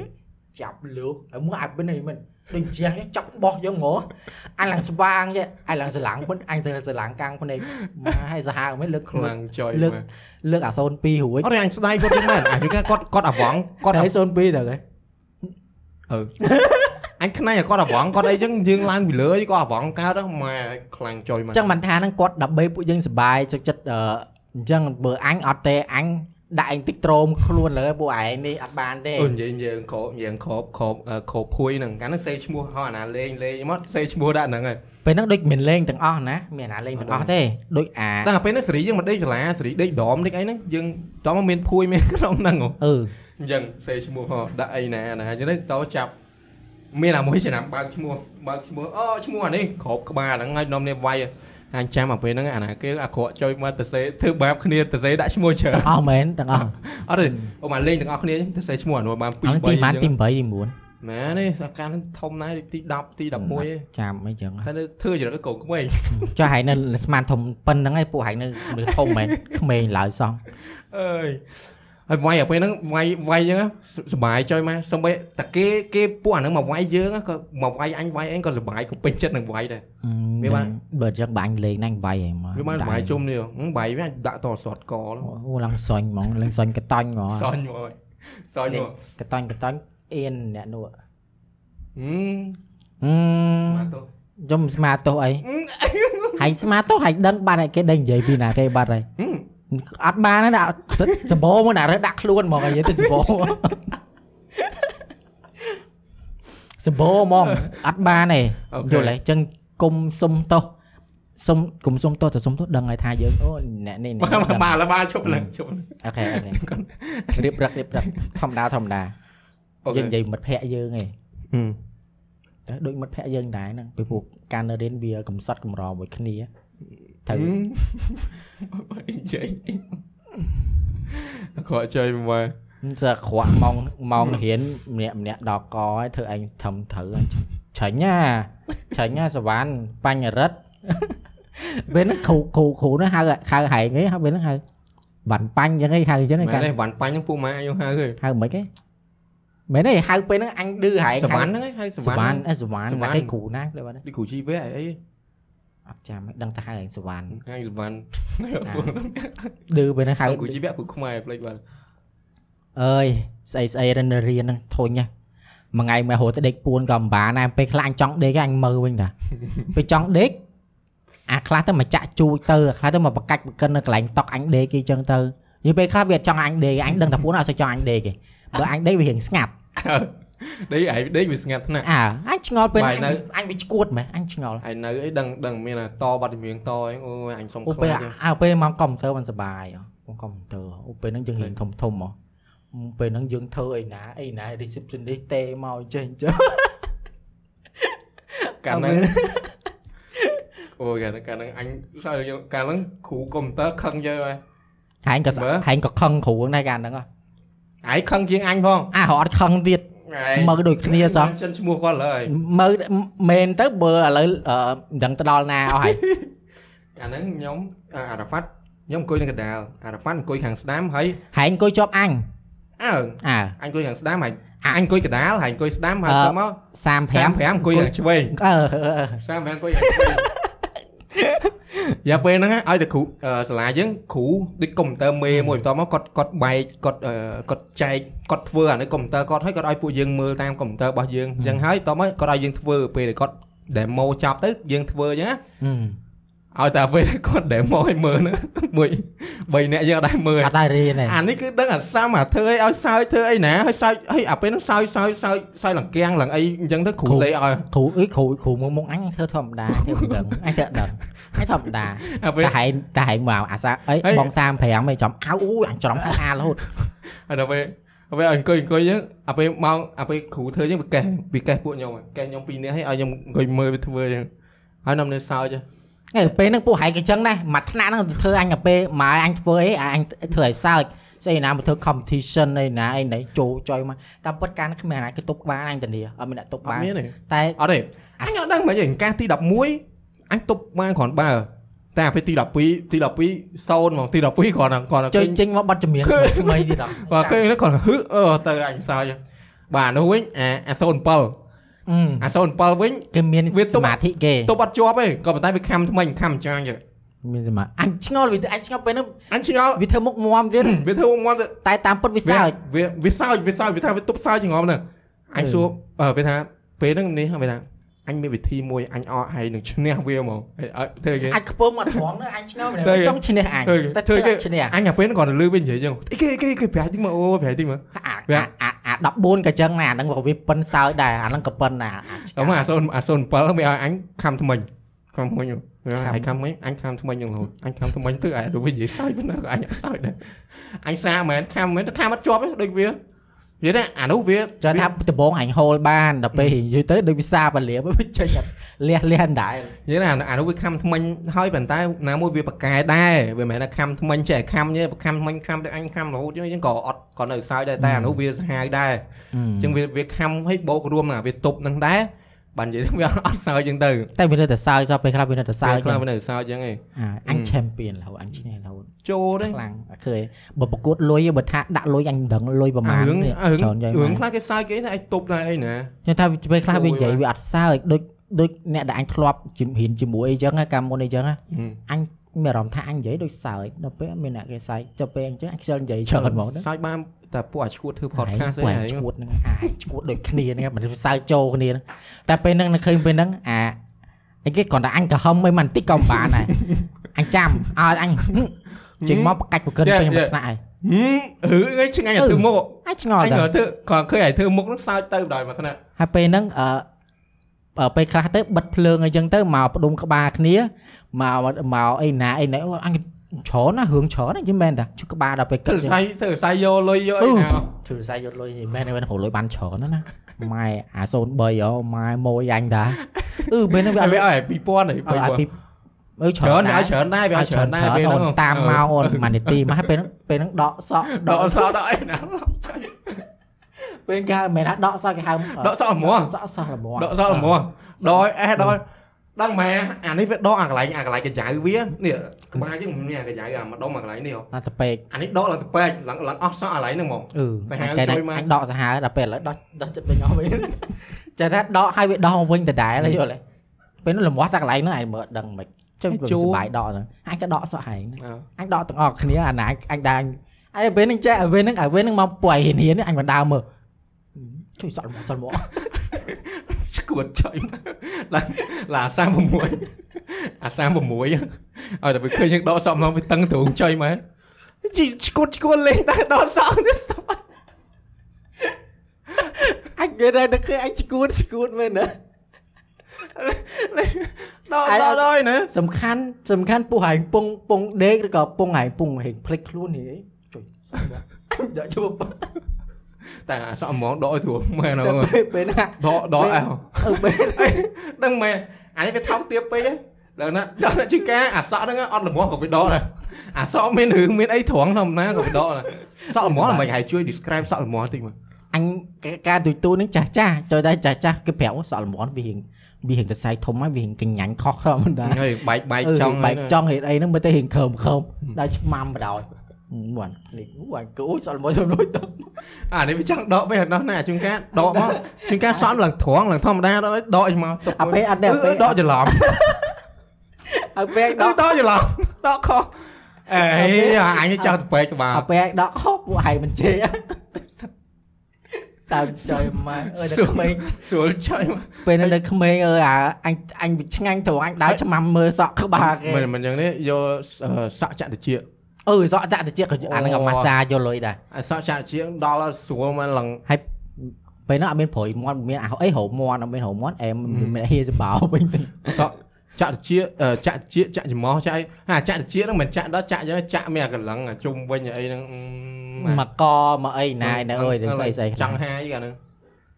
[SPEAKER 2] ចាប់លើកហើយមើលអាបិននេះមិនដូចជាចាប់បោះយើងហ្មងអញឡើងស្វាងចេះអញឡើង ស្រឡាំងមិនអញទៅស្រឡាំងកាំងភ្នែក មកឲ្យសាហាវមិនលើកខ្លួន
[SPEAKER 1] ខ្លាំងចុយលើ
[SPEAKER 2] លើកលើកអា02រួច
[SPEAKER 1] អត់អញស្ដាយគាត់ទេមែនអញគាត់គាត់គាត់អាវងគាត់
[SPEAKER 2] តែ02ទៅហី
[SPEAKER 1] អញខ្នៃគាត់អាវងគាត់អីចឹងយើងឡើងពីលើគាត់អាវងកើតម៉ែខ្លាំងចុយម៉ែ
[SPEAKER 2] អញ្ចឹងមិនថាហ្នឹងគាត់ដើម្បីពួកយើងសុបាយចុកចិត្តអឺអញ្ចឹងបើអញអត់ទេអញដាក់ឯងតិចត្រោមខ្លួនលើពួកឯងនេះអត់បានទេ
[SPEAKER 1] អូនិយាយយើងក្របយើងក្របក្របក្របភួយហ្នឹងកាលហ្នឹងសេឈ្មោះហោះអាណាលេងលេងមកសេឈ្មោះដាក់ហ្នឹងហើយ
[SPEAKER 2] ពេលហ្នឹងដូចមានលេងទាំងអស់ណាមានអាលេងទាំងអស់ទេដូចអា
[SPEAKER 1] តែពេលហ្នឹងសេរីយើងមកដេកសាលាសេរីដេកដមដេកអីហ្នឹងយើងតោះមកមានភួយមានក្នុងហ្នឹងហ៎
[SPEAKER 2] អឺ
[SPEAKER 1] អញ្ចឹងសេឈ្មោះហ៎ដាក់អីណាណាអញ្ចឹងទៅតោះចាប់មានអាមួយឆ្នាំបើកឈ្មោះបើកឈ្មោះអូឈ្មោះអានេះក្របក្បាលហ្នឹងហើយនាំនេះវាយអញចាំអាពេលហ្នឹងអាណាគេអាក្រក់ចុយមកទៅសេធ្វើបាបគ្នាទៅសេដាក់ឈ្មោះច្រើន
[SPEAKER 2] ទាំងអស់មែនទាំងអស់
[SPEAKER 1] អត់ទេអូមកលេងទាំងអស់គ្នាទៅសេឈ្មោះអានោះបាន2 3
[SPEAKER 2] អ
[SPEAKER 1] អ
[SPEAKER 2] ស់ទីម៉ាន
[SPEAKER 1] ញ្ចឹ
[SPEAKER 2] ទី
[SPEAKER 1] ង
[SPEAKER 2] 8ទី9
[SPEAKER 1] ម៉ែនេះអាការហ្នឹងធំណាស់ទី10ទី11ឯង
[SPEAKER 2] ចាំអីចឹង
[SPEAKER 1] តែនៅធ្វើចរិតកូនក្មេង
[SPEAKER 2] ចុះហែងនៅស្មានធំប៉ុណ្្នឹងឯងពួកហែងនៅនៅធំមែនក្មេងឡើយសោះ
[SPEAKER 1] អើយហើយវាយអាពេលហ្នឹងវាយវាយអញ្ចឹងសบายចុយម៉ែសំបីតាគេគេពួកអាហ្នឹងមកវាយយើងហ្នឹងក៏មកវាយអញវាយអញក៏សบายក៏ពេញចិត្តនឹងវាយដែរ វាបាន
[SPEAKER 2] បើអញ្ចឹងបាញ់លេងហ្នឹងវាយឯងមក
[SPEAKER 1] វាបានវាយជុំនេះហ៎វាយវាអញដាក់តសតកល
[SPEAKER 2] អូឡើងសាញ់ហ្មងឡើងសាញ់កតាញ់ហ្មង
[SPEAKER 1] សន់មកហើយសន់មក
[SPEAKER 2] កតាញ់កតាញ់អៀនអ្នកនោះ
[SPEAKER 1] ហ
[SPEAKER 2] អ
[SPEAKER 1] ឹមមកទៅ
[SPEAKER 2] ឺខ្ញុំស្មាទោសអីហែងស្មាទោសហែងដឹងបានឲ្យគេដឹងនិយាយពីណាទេបាត់ហើ
[SPEAKER 1] ហ
[SPEAKER 2] យ
[SPEAKER 1] ឹម
[SPEAKER 2] អត់បានណាដាក់សិតសម្បោមកណារើសដាក់ខ្លួនហ្មងនិយាយទៅសម្បោសម្បោហ្មងអត់បានទេយល់ហើយអញ្ចឹងគុំសុំទោសសុំគុំសុំទោសតែសុំទោសដឹងឲ្យថាយើងអូអ្នកនេះនេះ
[SPEAKER 1] មកមកឡាបាជប់ឡើងជប់ឡើង
[SPEAKER 2] អូខេអូខេរៀបរឹករៀបរឹកធម្មតាធម្មតា
[SPEAKER 1] អូខេ
[SPEAKER 2] យើងនិយាយមិត្តភ័ក្តិយើងឯង
[SPEAKER 1] ហឹម
[SPEAKER 2] តែដូចមិត្តភ័ក្តិយើងដែរហ្នឹងពីព្រោះការនៅរៀនវាកំសត់កំរមួយគ្នា
[SPEAKER 1] ទៅ
[SPEAKER 2] ត្រូវ
[SPEAKER 1] អីចេ ញគាត់ចុយមក
[SPEAKER 2] សើខ្វាក់ម៉ោងម៉ោងរៀនម្នាក់ម្នាក់ដល់កឲ្យធ្វើឯងធំត្រូវឯងច្រាញ់ណាច្រាញ់ណាសវណ្ណបញ្ញរិទ្ធពេលហ្នឹងគ្រូគ្រូគ្រូហ្នឹងហៅហៅហែងឯងហៅពេលហ្នឹងហៅវណ្ណបាញ់អញ្ចឹងឯងហៅអញ្ចឹងឯង
[SPEAKER 1] មែ
[SPEAKER 2] កា
[SPEAKER 1] ន
[SPEAKER 2] ត់
[SPEAKER 1] ទេវ៉ាន់បាញ់ហ្នឹងពួកម៉ែអញហៅហ
[SPEAKER 2] ហៅមិនឯងមែនទេហៅពេលហ្នឹងអញឌឺហែ
[SPEAKER 1] ើ
[SPEAKER 2] ង
[SPEAKER 1] សវណ្ណហ្នឹងហៅស
[SPEAKER 2] ស
[SPEAKER 1] វ
[SPEAKER 2] វណ្ណ
[SPEAKER 1] ណ្ណ
[SPEAKER 2] អេសវណ្ណ
[SPEAKER 1] សវណ្ណ
[SPEAKER 2] ណាគេគ្រូណាគេបាត់
[SPEAKER 1] នេះគ្រូជីវៈអី
[SPEAKER 2] អត់ចាំឯងដឹងតែហៅឯងសវណ្ណ
[SPEAKER 1] ហៅសវណ្ណ
[SPEAKER 2] ឌឺពេលហ្នឹងហៅ
[SPEAKER 1] ហើយគ្រូជីវៈគ្រូខ្មែរផ្លេចបាត់
[SPEAKER 2] អើយស្អីស្អីរនរៀនហ្នឹងធុញណាមួយថ្ងៃមកហូរទៅដេកពួនក៏មិនបានដែរពេលខ្លះអញចង់ដេកឯងមើលវិញតាពេលចង់ដេក អាខ្លះទៅមកចាក់ជួយទៅអាខ្លះទៅមកបកាច់បកិននៅកន្លែងតុកអញដេកគេអញ្ចឹងទៅនិយាយពេលខ្លះវាអត់ចង់អញដេកអញដឹងថាពួនអត់សូវចង់អញដេកទេបើអញដេកវារៀងស្ងាត់
[SPEAKER 1] ដេកឯងដេកវាស្ងាត់ថ្នាក់
[SPEAKER 2] អើអញឆ្ងល់ពេល
[SPEAKER 1] បាយ
[SPEAKER 2] ហ្នឹង
[SPEAKER 1] នៅ
[SPEAKER 2] អញអញវាឆ្កួតមែនអញឆ្ងល់
[SPEAKER 1] ឯងនៅអីដឹងដឹងមានតែតប័ណ្ណចម្រៀងតអីអូយអញសុំ
[SPEAKER 2] អូពេល
[SPEAKER 1] ខ្លាចទេ
[SPEAKER 2] អើពេលមកកុំព្យូទ័រមិនសប្បាយអូកុំព្យូទ័រអូពេលហ្នឹងយើងរៀងធំធំហ៎អូពេលហ្នឹងយើងធ្វើអីណាអីណា reception នេះទេមកអញ្ចេះអញ្ចឹង
[SPEAKER 1] កាលហ្នឹងអូយកាលហ្នឹងកាលហ្នឹងអញសើយើងកាលហ្នឹងគ្រូកុំព្យូទ័រខឹងយើហើយ
[SPEAKER 2] ហែងក៏ស
[SPEAKER 1] មើល
[SPEAKER 2] ហែងក៏ខឹងគ្រូហ្នឹងដែរកាលហ្នឹងហ៎
[SPEAKER 1] ឯងខឹងជាងអញផង
[SPEAKER 2] អារអត់ខឹងទៀតមើលដូចគ្នាសោះ
[SPEAKER 1] សិនឈ្មោះគាត់លើហើយ
[SPEAKER 2] មើលមែនទៅបើឥឡូវអឺមិនដឹងទៅដល់ណាអស់ហើយ
[SPEAKER 1] អាហ្នឹងខ្ញុំអាអារ៉ាហ្វាត់ខ្ញុំអង្គុយនៅកណ្ដាលអារ៉ាហ្វាត់អង្គុយខាងស្ដាំហើយ
[SPEAKER 2] ហែងអង្គុយជាប់អញ
[SPEAKER 1] អើ
[SPEAKER 2] អើ
[SPEAKER 1] អញអង្គុយខាងស្ដាំហើយ
[SPEAKER 2] អា
[SPEAKER 1] អញអង្គុយកណ្ដាលហើយអង្គុយស្ដាំហើយទៅមក
[SPEAKER 2] 35
[SPEAKER 1] 35អង្គុយខាងឆ្វេង
[SPEAKER 2] អឺអឺអឺ
[SPEAKER 1] សាមមែនអង្គុយយ៉ាងឆ្វេង យ៉ាពេលហ្នឹងណាឲ្យតែគ្រូអឺសាលាយើងគ្រូដូចកុំព្យូទ័រមេមួយបន្តមកគាត់គាត់បែកគាត់អឺគាត់ចែកគាត់ធ្វើអានៅកុំព្យូទ័រគាត់ហើយគាត់ឲ្យពួកយើងមើលតាមកុំព្យូទ័ររបស់យើងអញ្ចឹងហើយបន្តមកគាត់ឲ្យយើងធ្វើពេលដែលគាត់ demo ចប់ទៅយើងធ្វើអញ្ចឹងណា
[SPEAKER 2] ហឹម
[SPEAKER 1] ឲ្យតែ ពេលដែលគាត់ demo ឲ្យមើល ហ្នឹងមួយ3នាក់យើងអត់ដែរមើល
[SPEAKER 2] អត់ដែររៀនទេ
[SPEAKER 1] អានេះគឺដឹងអាសាមអាធ្វើអីឲ្យសើចធ្វើអីណាឲ្យសើចហើយអាពេលហ្នឹងសើចសើចសើចសើចលង្កៀងលង្អីអញ្ចឹងទៅគ្រូលេឲ្យ
[SPEAKER 2] គ្រូអីគ្រូគ្រូមួយមុខអញធ្វើធម្មតាធ្វើមិនដឹងអញធ្វើអត់ដឹងអញធម្មតា
[SPEAKER 1] អាពេល
[SPEAKER 2] តែហែងតែហែងមកអាសាអី
[SPEAKER 1] ហើយ
[SPEAKER 2] បង35ឯងចំអៅអូយអញច្រំអារហូត
[SPEAKER 1] ហើយដល់ពេលដល់ពេលអង្គុយអង្គុយយើងអាពេលម៉ោងអាពេលគ្រូធ្វើយើងវាកេះវាកេះពួកខ្ញុំហើយកេះខ្ញុំពីរនាក់ឲ្យខ្ញុំអង្គុយមើលវាធ្វើយើងហើយនំនេះសើចហ៎
[SPEAKER 2] ឯងពេលហ្នឹងពួកហែងក៏អញ្ចឹងដែរមួយថ្នាក់ហ្នឹងធ្វើអញទៅពេលមកឲ្យអញធ្វើអីឲ្យអញធ្វើឲ្យសើចស្អីណាមកធ្វើ competition អីណាអីណីចូលចុយមកតែពិតការហ្នឹងគ្មានអាណាគេទប់បានអញធានាអត់មានអ្នកទប់
[SPEAKER 1] អ
[SPEAKER 2] បា
[SPEAKER 1] ត់
[SPEAKER 2] ន
[SPEAKER 1] មានទេ
[SPEAKER 2] តែ
[SPEAKER 1] អត់ទេអញអត់ដឹងមិនឯងកាសទី11អញទប់បានគ្រាន់បើតែអាពេលទី12ទី12សូន្យហ្មងទី12គ្រាន់តែគ្រាន់តែ
[SPEAKER 2] ចុ
[SPEAKER 1] ឃើ
[SPEAKER 2] យ
[SPEAKER 1] ញ
[SPEAKER 2] ចេញមកបတ်ចម្រៀង
[SPEAKER 1] ឃើញ
[SPEAKER 2] ថ្មីទៀតអត់
[SPEAKER 1] បាទឃើញហ្នឹងគ្រាន់តែហឹអឺទៅអញសើចហ៎បាទនោះវិញអាអា07
[SPEAKER 2] អឺ
[SPEAKER 1] អា07វិញ
[SPEAKER 2] គេមាន
[SPEAKER 1] វា
[SPEAKER 2] វា
[SPEAKER 1] ទប់
[SPEAKER 2] សមាធិគេ
[SPEAKER 1] ទប់អត់ជាប់ទេក៏ប៉ុន្តែវាខំថ្មីខំចាញ់ទៀត
[SPEAKER 2] មានសមាធិអញឆ្ងល់វាអញឆ្ងល់ពេលហ្នឹង
[SPEAKER 1] អញឆ្ងល់
[SPEAKER 2] វាធ្វើមុខមាំទៀត
[SPEAKER 1] វាធ្វើមកទៅ
[SPEAKER 2] តែតាមពិតវាសើច
[SPEAKER 1] វាវាសើចវាសើចវាថាវាទប់សើចចងំហ្នឹងអញ
[SPEAKER 2] អឺ
[SPEAKER 1] សួរអឺវាថាពេលហ្នឹងនេះវាថាអញមានវិធីមួយអញអត់ហើយនឹងឈ្នះវាហ្មងហើយឲ្យធ្វើគេ
[SPEAKER 2] អញខ្ពើមអត់ត្រង់ហ្នឹងអញឆ្ងល់មែន
[SPEAKER 1] ទៅ
[SPEAKER 2] ទេចង់ឈ្នះអញ
[SPEAKER 1] ទៅគេ
[SPEAKER 2] តែ
[SPEAKER 1] ធ្វើ
[SPEAKER 2] ធ្វើ
[SPEAKER 1] គេ
[SPEAKER 2] អត់ឈ្នះ
[SPEAKER 1] អញតែពេលហ្នឹងគ្រាន់តែលឺវានិយាយចឹងអីគេគេគេប្រែតិចមកអូប្រែតិចមក
[SPEAKER 2] អាអាអាអា14ក៏ចឹងណាអាហ្នឹងក៏វាប៉ិនសើចដែរអាហ្នឹងក៏ប៉ិនណាអាឆ្ក
[SPEAKER 1] ដល់មកអាសូនអាសូន7ហ្នឹងវាឲ្យអញខំថ្មិញខំថ្មិញហ៎វា
[SPEAKER 2] ាំ
[SPEAKER 1] ឲ្យខំថ្មិញអញខំថ្មិញចឹងរហូតអញខំថ្មិញទៅអាដូចវានិយាយសើចប៉ុណ្ណាក៏អញអត់សើចដែរអញសាមែនខំមែនតែខំអត់ជាប់ទេដូចវានិយាយថាអានោះវា
[SPEAKER 2] ចូលថាដំបងអញហូលបានដល់ពេលយូរទៅដូចវាសាបលាបវាចេញអត់លះលះអណ្ដែរ
[SPEAKER 1] និយាយថាអានោះវាខំថ្មិញហើយប៉ុន្តែណាមួយវាប្រកែដែរវាមិនមែនថាខំថ្មិញចេះខំទេប្រខំថ្មិញខំទៅអញខំរហូតចឹងចឹងក៏អត់ក៏នៅសើចដែរតែអានោះវាសាហាវដែរចឹងវាវាខំឲ្យបោករួមណាវាទប់នឹងដែរបាននិយាយថាវាអត់សើចចឹងទៅ
[SPEAKER 2] តែវានៅតែសើចសោះពេលខ្លះវានៅតែសើច
[SPEAKER 1] វាខ្លះវានៅសើចចឹងឯង
[SPEAKER 2] អាអញ champion រហូតអញឈ្នះរហូត
[SPEAKER 1] ចូលទេ
[SPEAKER 2] ខ្លាំងអត់ឃើញបើប្រកួតលុយបើថាដាក់លុយអញមិនដឹងលុយប្រមា
[SPEAKER 1] អា
[SPEAKER 2] ណ
[SPEAKER 1] រឿង
[SPEAKER 2] នេះ
[SPEAKER 1] អារឿង
[SPEAKER 2] ច្រើនយ៉ាង
[SPEAKER 1] រឿង
[SPEAKER 2] ខ្លាំង
[SPEAKER 1] ខ្លះគេសើចគេថាឯងទប់ដែរអីណា
[SPEAKER 2] ខ្ញុំថាពេលខ្លះវា
[SPEAKER 1] អូយ
[SPEAKER 2] និយាយវាអត់សើចដូចដូចអ្នកដែលអញធ្លាប់ជំហានជាមួយអីចឹងណាកាលមុនអីចឹងណា
[SPEAKER 1] ហឹម
[SPEAKER 2] អញមានអារម្មណ៍ថាអញនិយាយដូចសើចដល់ពេលមានអ្នកគេសើចទៅពេលអញ្ចឹងអញខ្ជិលនិយាយច្រើនហ្មងណា
[SPEAKER 1] សើចបានតែពួកអាឈួតធ្វើ podcast
[SPEAKER 2] ឯ
[SPEAKER 1] ឯ
[SPEAKER 2] ង
[SPEAKER 1] ង
[SPEAKER 2] ឈួតហ្នឹងអាយឈួតដូចគ្នាហ្នឹងមិនសើចចូលគ្នាហ្នឹងតែពេលហ្នឹងនៅឃើញពេលហ្នឹងអាអីគេគ្រាន់តែអញក្រហមអីមិនតិចក៏មិនបាន ដែរអញចាំឲ្យអញចេញមកបកាច់ប្រកិន
[SPEAKER 1] Yeah,
[SPEAKER 2] ពេញមួយ
[SPEAKER 1] yeah.
[SPEAKER 2] ថ្នាក់ហើយ
[SPEAKER 1] ហឹមហឺអីឆ្ងាញ់អាធ្វើមុខ
[SPEAKER 2] អញឆ្ងល់
[SPEAKER 1] អញ
[SPEAKER 2] ទៅ
[SPEAKER 1] គាត់ធ្វើគាត់ឃើញឲ្យធ្វើមុខហ្នឹងសើចទៅបណ្ដោយមកថ្នាក់
[SPEAKER 2] ហើយពេលហ្នឹងអឺអឺពេលខ្លះទៅបិទភ្លើងអីចឹងទៅមកផ្ដុំក្បាលគ្នាមកមកអីណាអីណាអូអញច្រើនណាស់រឿងច្រើនណាស់យីមែនតាជុះក្បាលដល់ពេល
[SPEAKER 1] ធ្វើស
[SPEAKER 2] គិត
[SPEAKER 1] រសៃធ្វើសរសៃយកលុយយកអីណា
[SPEAKER 2] ជឺសាយយកលុយយីមែនឯងរកលុយបានច្រើនណាស់ណាម៉ែអា03អូម៉ែម៉ួយអញតាអឺពេលហ្នឹងវា
[SPEAKER 1] វា
[SPEAKER 2] អ
[SPEAKER 1] អ
[SPEAKER 2] ត់
[SPEAKER 1] ត់វា
[SPEAKER 2] ឲ្យ
[SPEAKER 1] ឲ្យ2000ហើយ
[SPEAKER 2] ឲ្យពីអឺ
[SPEAKER 1] ច្រើន
[SPEAKER 2] ណា
[SPEAKER 1] ឲ្យច្រើនដែរវា
[SPEAKER 2] À,
[SPEAKER 1] ឲ្យច្រើនដែរពេលហ្នឹ
[SPEAKER 2] អូ
[SPEAKER 1] ង
[SPEAKER 2] នតាមមកអូនម៉ានីទីមកហើយពេលហ្នឹងពេលហ្នឹងដកសក់
[SPEAKER 1] ដកសក់ដកអីណា
[SPEAKER 2] ពេលគេហៅមិនមែនថាដកសក់គេហៅ
[SPEAKER 1] ដកសក់ហ្មង
[SPEAKER 2] សក់សក់ល្មម
[SPEAKER 1] ដកសក់ហ្មងដកអេសដកដឹងម៉ែអានេះវាដកអាកន្លែងអាកន្លែងកញ្ចៅវានេះក្បាលយើងមានអាកញ្ចៅអាម្ដុំអាកន្លែងនេះ
[SPEAKER 2] អាទៅពេក
[SPEAKER 1] អានេះដកឡើងទៅពេកឡើងឡើងអស់សក់អាកន្លែងហ្នឹងហ្មង
[SPEAKER 2] អឺ
[SPEAKER 1] ទៅហៅ
[SPEAKER 2] អញតែ
[SPEAKER 1] ជួយមក
[SPEAKER 2] អញដកសាហាវដល់ពេលឥឡូវដកដកចិត្តវិញអស់វិញ ចេះថាដកឲ្យវាដកមកវិញដដែលហើយយល់ទេពេលនោះលំអស់តែកន្លែងហ្នឹងឯងមើលដឹងមិនចឹងវាសុបាយដកហ្នឹងអញក៏ដកសក់ហែងហ្នឹងអញដកទាំងអស់គ្នាអាណាចអញដែរអញពេលហ្នឹងចេះពេលហ្នឹងអាពេលហ្នឹងមកពួយហ៊ានហ៊ានអញមិនដើរមើលជួយសក់មកសក់មក
[SPEAKER 1] ស្គួតចុយឡើងឡើង36 អា36ហ្នឹងឲ្យតែវាឃើញយើងដកសក់មកវាតឹងទ្រូងចុយមកជីឈួតឈួតលេងតែដកសក់នេះ
[SPEAKER 2] អញគេតែឃើញអញស្គួតស្គួតមែនណា
[SPEAKER 1] ដល់
[SPEAKER 2] អាយ
[SPEAKER 1] ដល់ដល់ណា
[SPEAKER 2] សំខាន់សំខាន់ពោះហែងពងពងដេកឬក៏ពងហែងពងហែងភ្លេចខ្លួននេះអីជួយដាក់ជួប
[SPEAKER 1] តែអាសក់ហ្មងដកឲ្យស្រួ លមែនអើ
[SPEAKER 2] តែពេលពេលណា
[SPEAKER 1] ដកដកអើ
[SPEAKER 2] អឺពេល
[SPEAKER 1] ដឹងមែនអានេះវាថោកទៀតពេកហ៎ដល់ណាដល់ណាជាងការអាសក់ហ្នឹងអត់ល្មមក៏វាដកដែរអាសក់មានរឿងមានអីត្រង់ធម្មតាក៏វាដកដែរសក់ល្មមមិនឲ្យជួយ describe សក់ល្មមតិចមើល
[SPEAKER 2] អញការទូចទូចនឹងចាស់ចាស់ចូលតែចាស់ចាស់គេប្រាប់សក់ល្មន់វាហៀងវាហៀងទៅសាយធំហើយវាហៀងកញ្ញាញ់ខុសធម្មតា
[SPEAKER 1] ហើយបែកបែកចង់
[SPEAKER 2] បែកចង់ហេតុអីហ្នឹងមើលទៅហៀងខើមខើមដល់ឆ្មាំបណ្ដោយមួនលេខអូអញកអូយសល់មួយសល់មួយទៅ
[SPEAKER 1] អានេះវាចង់ដកពេលដល់ណាជាងការដកមកជាងការសក់ឡើងត្រង់ឡើងធម្មតាដល់ឲ្យដកឲ្យមកទុក
[SPEAKER 2] អាពេលអត់ដែរ
[SPEAKER 1] អឺដកច្រឡំ
[SPEAKER 2] អាពេលដ
[SPEAKER 1] ដក
[SPEAKER 2] ក
[SPEAKER 1] ដកច្រឡំដកខុសអេអញចង់ទៅពេកក្បាល
[SPEAKER 2] អាពេលដកខុសពួកហៃមិនជេសើចចុយម៉ែអើយដល់ក្មេង
[SPEAKER 1] ស្រួលចុយមក
[SPEAKER 2] ពេលហ្នឹងដល់ក្មេងអើយអាអញអញវាឆ្ងាញ់ទៅអញដើរឆ្មាំមើលសក់ក្បាលគេ
[SPEAKER 1] មិនមិនយ៉ាងនេះយកអឺសក់ចាក់តិច
[SPEAKER 2] អើយសក់ចាក់តិចក៏អាហ្នឹង
[SPEAKER 1] អូ
[SPEAKER 2] អាម៉ាសាយកលុយដែរ
[SPEAKER 1] អាសក់ចាក់តិចដល់ឲ្យស្រួលមកឡើង
[SPEAKER 2] ហើយពេលហ្នឹងអត់មានព្រួយមាត់មានអាអីហៅមាត់អត់មានហៅមាត់អែមមានហៀសម្បោវិញទៅ
[SPEAKER 1] សក់ចាក់តិចអឺចាក់តិចចាក់ច្រមុះចាក់អីអាចាក់តិចហ្នឹងមិនចាក់ដល់ចាក់យ៉ាងចាក់មានអាកន្លឹងអាជុំវិញអាអីហ្នឹងអឺ
[SPEAKER 2] មកកមកអីណាយណាអើយដល់ស្អីស្អី
[SPEAKER 1] ចង់ហាយកាហ្នឹង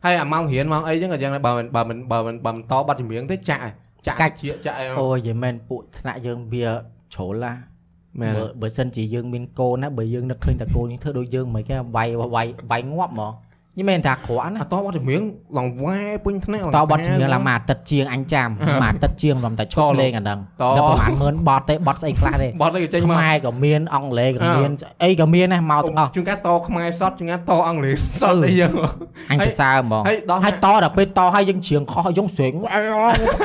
[SPEAKER 1] ហើយអាម៉ោងរៀនម៉ោងអីចឹងក៏យ៉ាងដែរបើមិនបើមិនបើមិនបើមិនតបាត់ចម្រៀងទេចាក់ចាក់តិចចាក់អី
[SPEAKER 2] អូយយីមែនពួកថ្នាក់យើងវាជ្រុលឡា
[SPEAKER 1] មែន
[SPEAKER 2] បើបើសិនជាយើងមានកូនណាបើយើងនឹកឃើញតែកូនយើងធ្វើដូចយើងមិនគេវាយវាយវាយងាប់ហ្មងនេះមិនថាក្រាន់ណា
[SPEAKER 1] អាតបាត់ចម្រៀងឡងវ៉ែពុញថ្នាក់
[SPEAKER 2] តបត់ជំនឿឡើងមួយអាទិត្យជាងអញចាំ មួយអាទិត្យជាងខ្ញុំតែឈប់
[SPEAKER 1] ត
[SPEAKER 2] លេងអាហ្នឹង
[SPEAKER 1] ត
[SPEAKER 2] ដល់ប្រហែលមើលបត់ទេបត់ស្អីខ្លះទេ
[SPEAKER 1] បាត់ទៅចេញមក
[SPEAKER 2] ខ្មែរក៏មានអង់គ្លេសក៏
[SPEAKER 1] អឺ
[SPEAKER 2] មានអីក៏មានណាមកទាំងអស់
[SPEAKER 1] ជួនកាលតខ្មែរសតជួនកាលតអង់គ្លេសសតអីយ៉ាង
[SPEAKER 2] អញសរសើរហ្មង
[SPEAKER 1] ហើយដល់
[SPEAKER 2] ហើយតដល់ពេលតហើយយើងជ្រៀងខុសយើងស្រែងអើ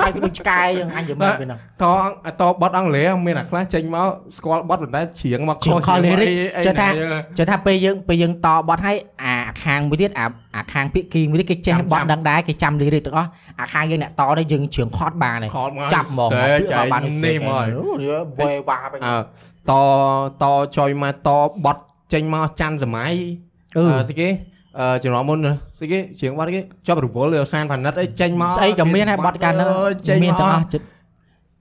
[SPEAKER 2] ហើយដូចឆ្កែយើងអញយល់មើលពេលហ្នឹង
[SPEAKER 1] តអតបត់អង់គ្លេសមានអាខ្លះចេញមកស្គាល់បត់ប៉ុន្តែច្រៀងមក
[SPEAKER 2] ច្រៀងខុស lyric
[SPEAKER 1] អី
[SPEAKER 2] ចេះថា
[SPEAKER 1] អីហ្នឹង
[SPEAKER 2] ចុះថាពេលយើងពេលយើងតបត់ឲ្យអាខាងមួយទៀតអាអាខាងពាក្យគីមួយទៀតគេចេះ
[SPEAKER 1] ចាំ
[SPEAKER 2] បត់
[SPEAKER 1] ចាំ
[SPEAKER 2] ដឹងដែរគេចាំលីរិកទាំងអស់អាខាងយើងអ្នកតនេះយើងជ្រៀងខត់បានហើយ
[SPEAKER 1] ខត់មក
[SPEAKER 2] ចាប់ហ្មង
[SPEAKER 1] សេ
[SPEAKER 2] ពាក្យ
[SPEAKER 1] ចៃ
[SPEAKER 2] ខត់បាន
[SPEAKER 1] នេះមកហើយ
[SPEAKER 2] វេវ៉ាបែប
[SPEAKER 1] អើតតចុយមកតបត់ចេញមកច័ន្ទសម័យ
[SPEAKER 2] អឺ
[SPEAKER 1] អឺស្អីគេអឺជំនាន់មុនណាស្អីគេច្រៀងបត់គេជាប់រវល់លើសានផានិតអីចេញមក
[SPEAKER 2] ស្អីក៏មានហើយបត់កាលហ្នោះ
[SPEAKER 1] អើយចេញ
[SPEAKER 2] មាន
[SPEAKER 1] មក
[SPEAKER 2] ទាំងអស់ចិត្ត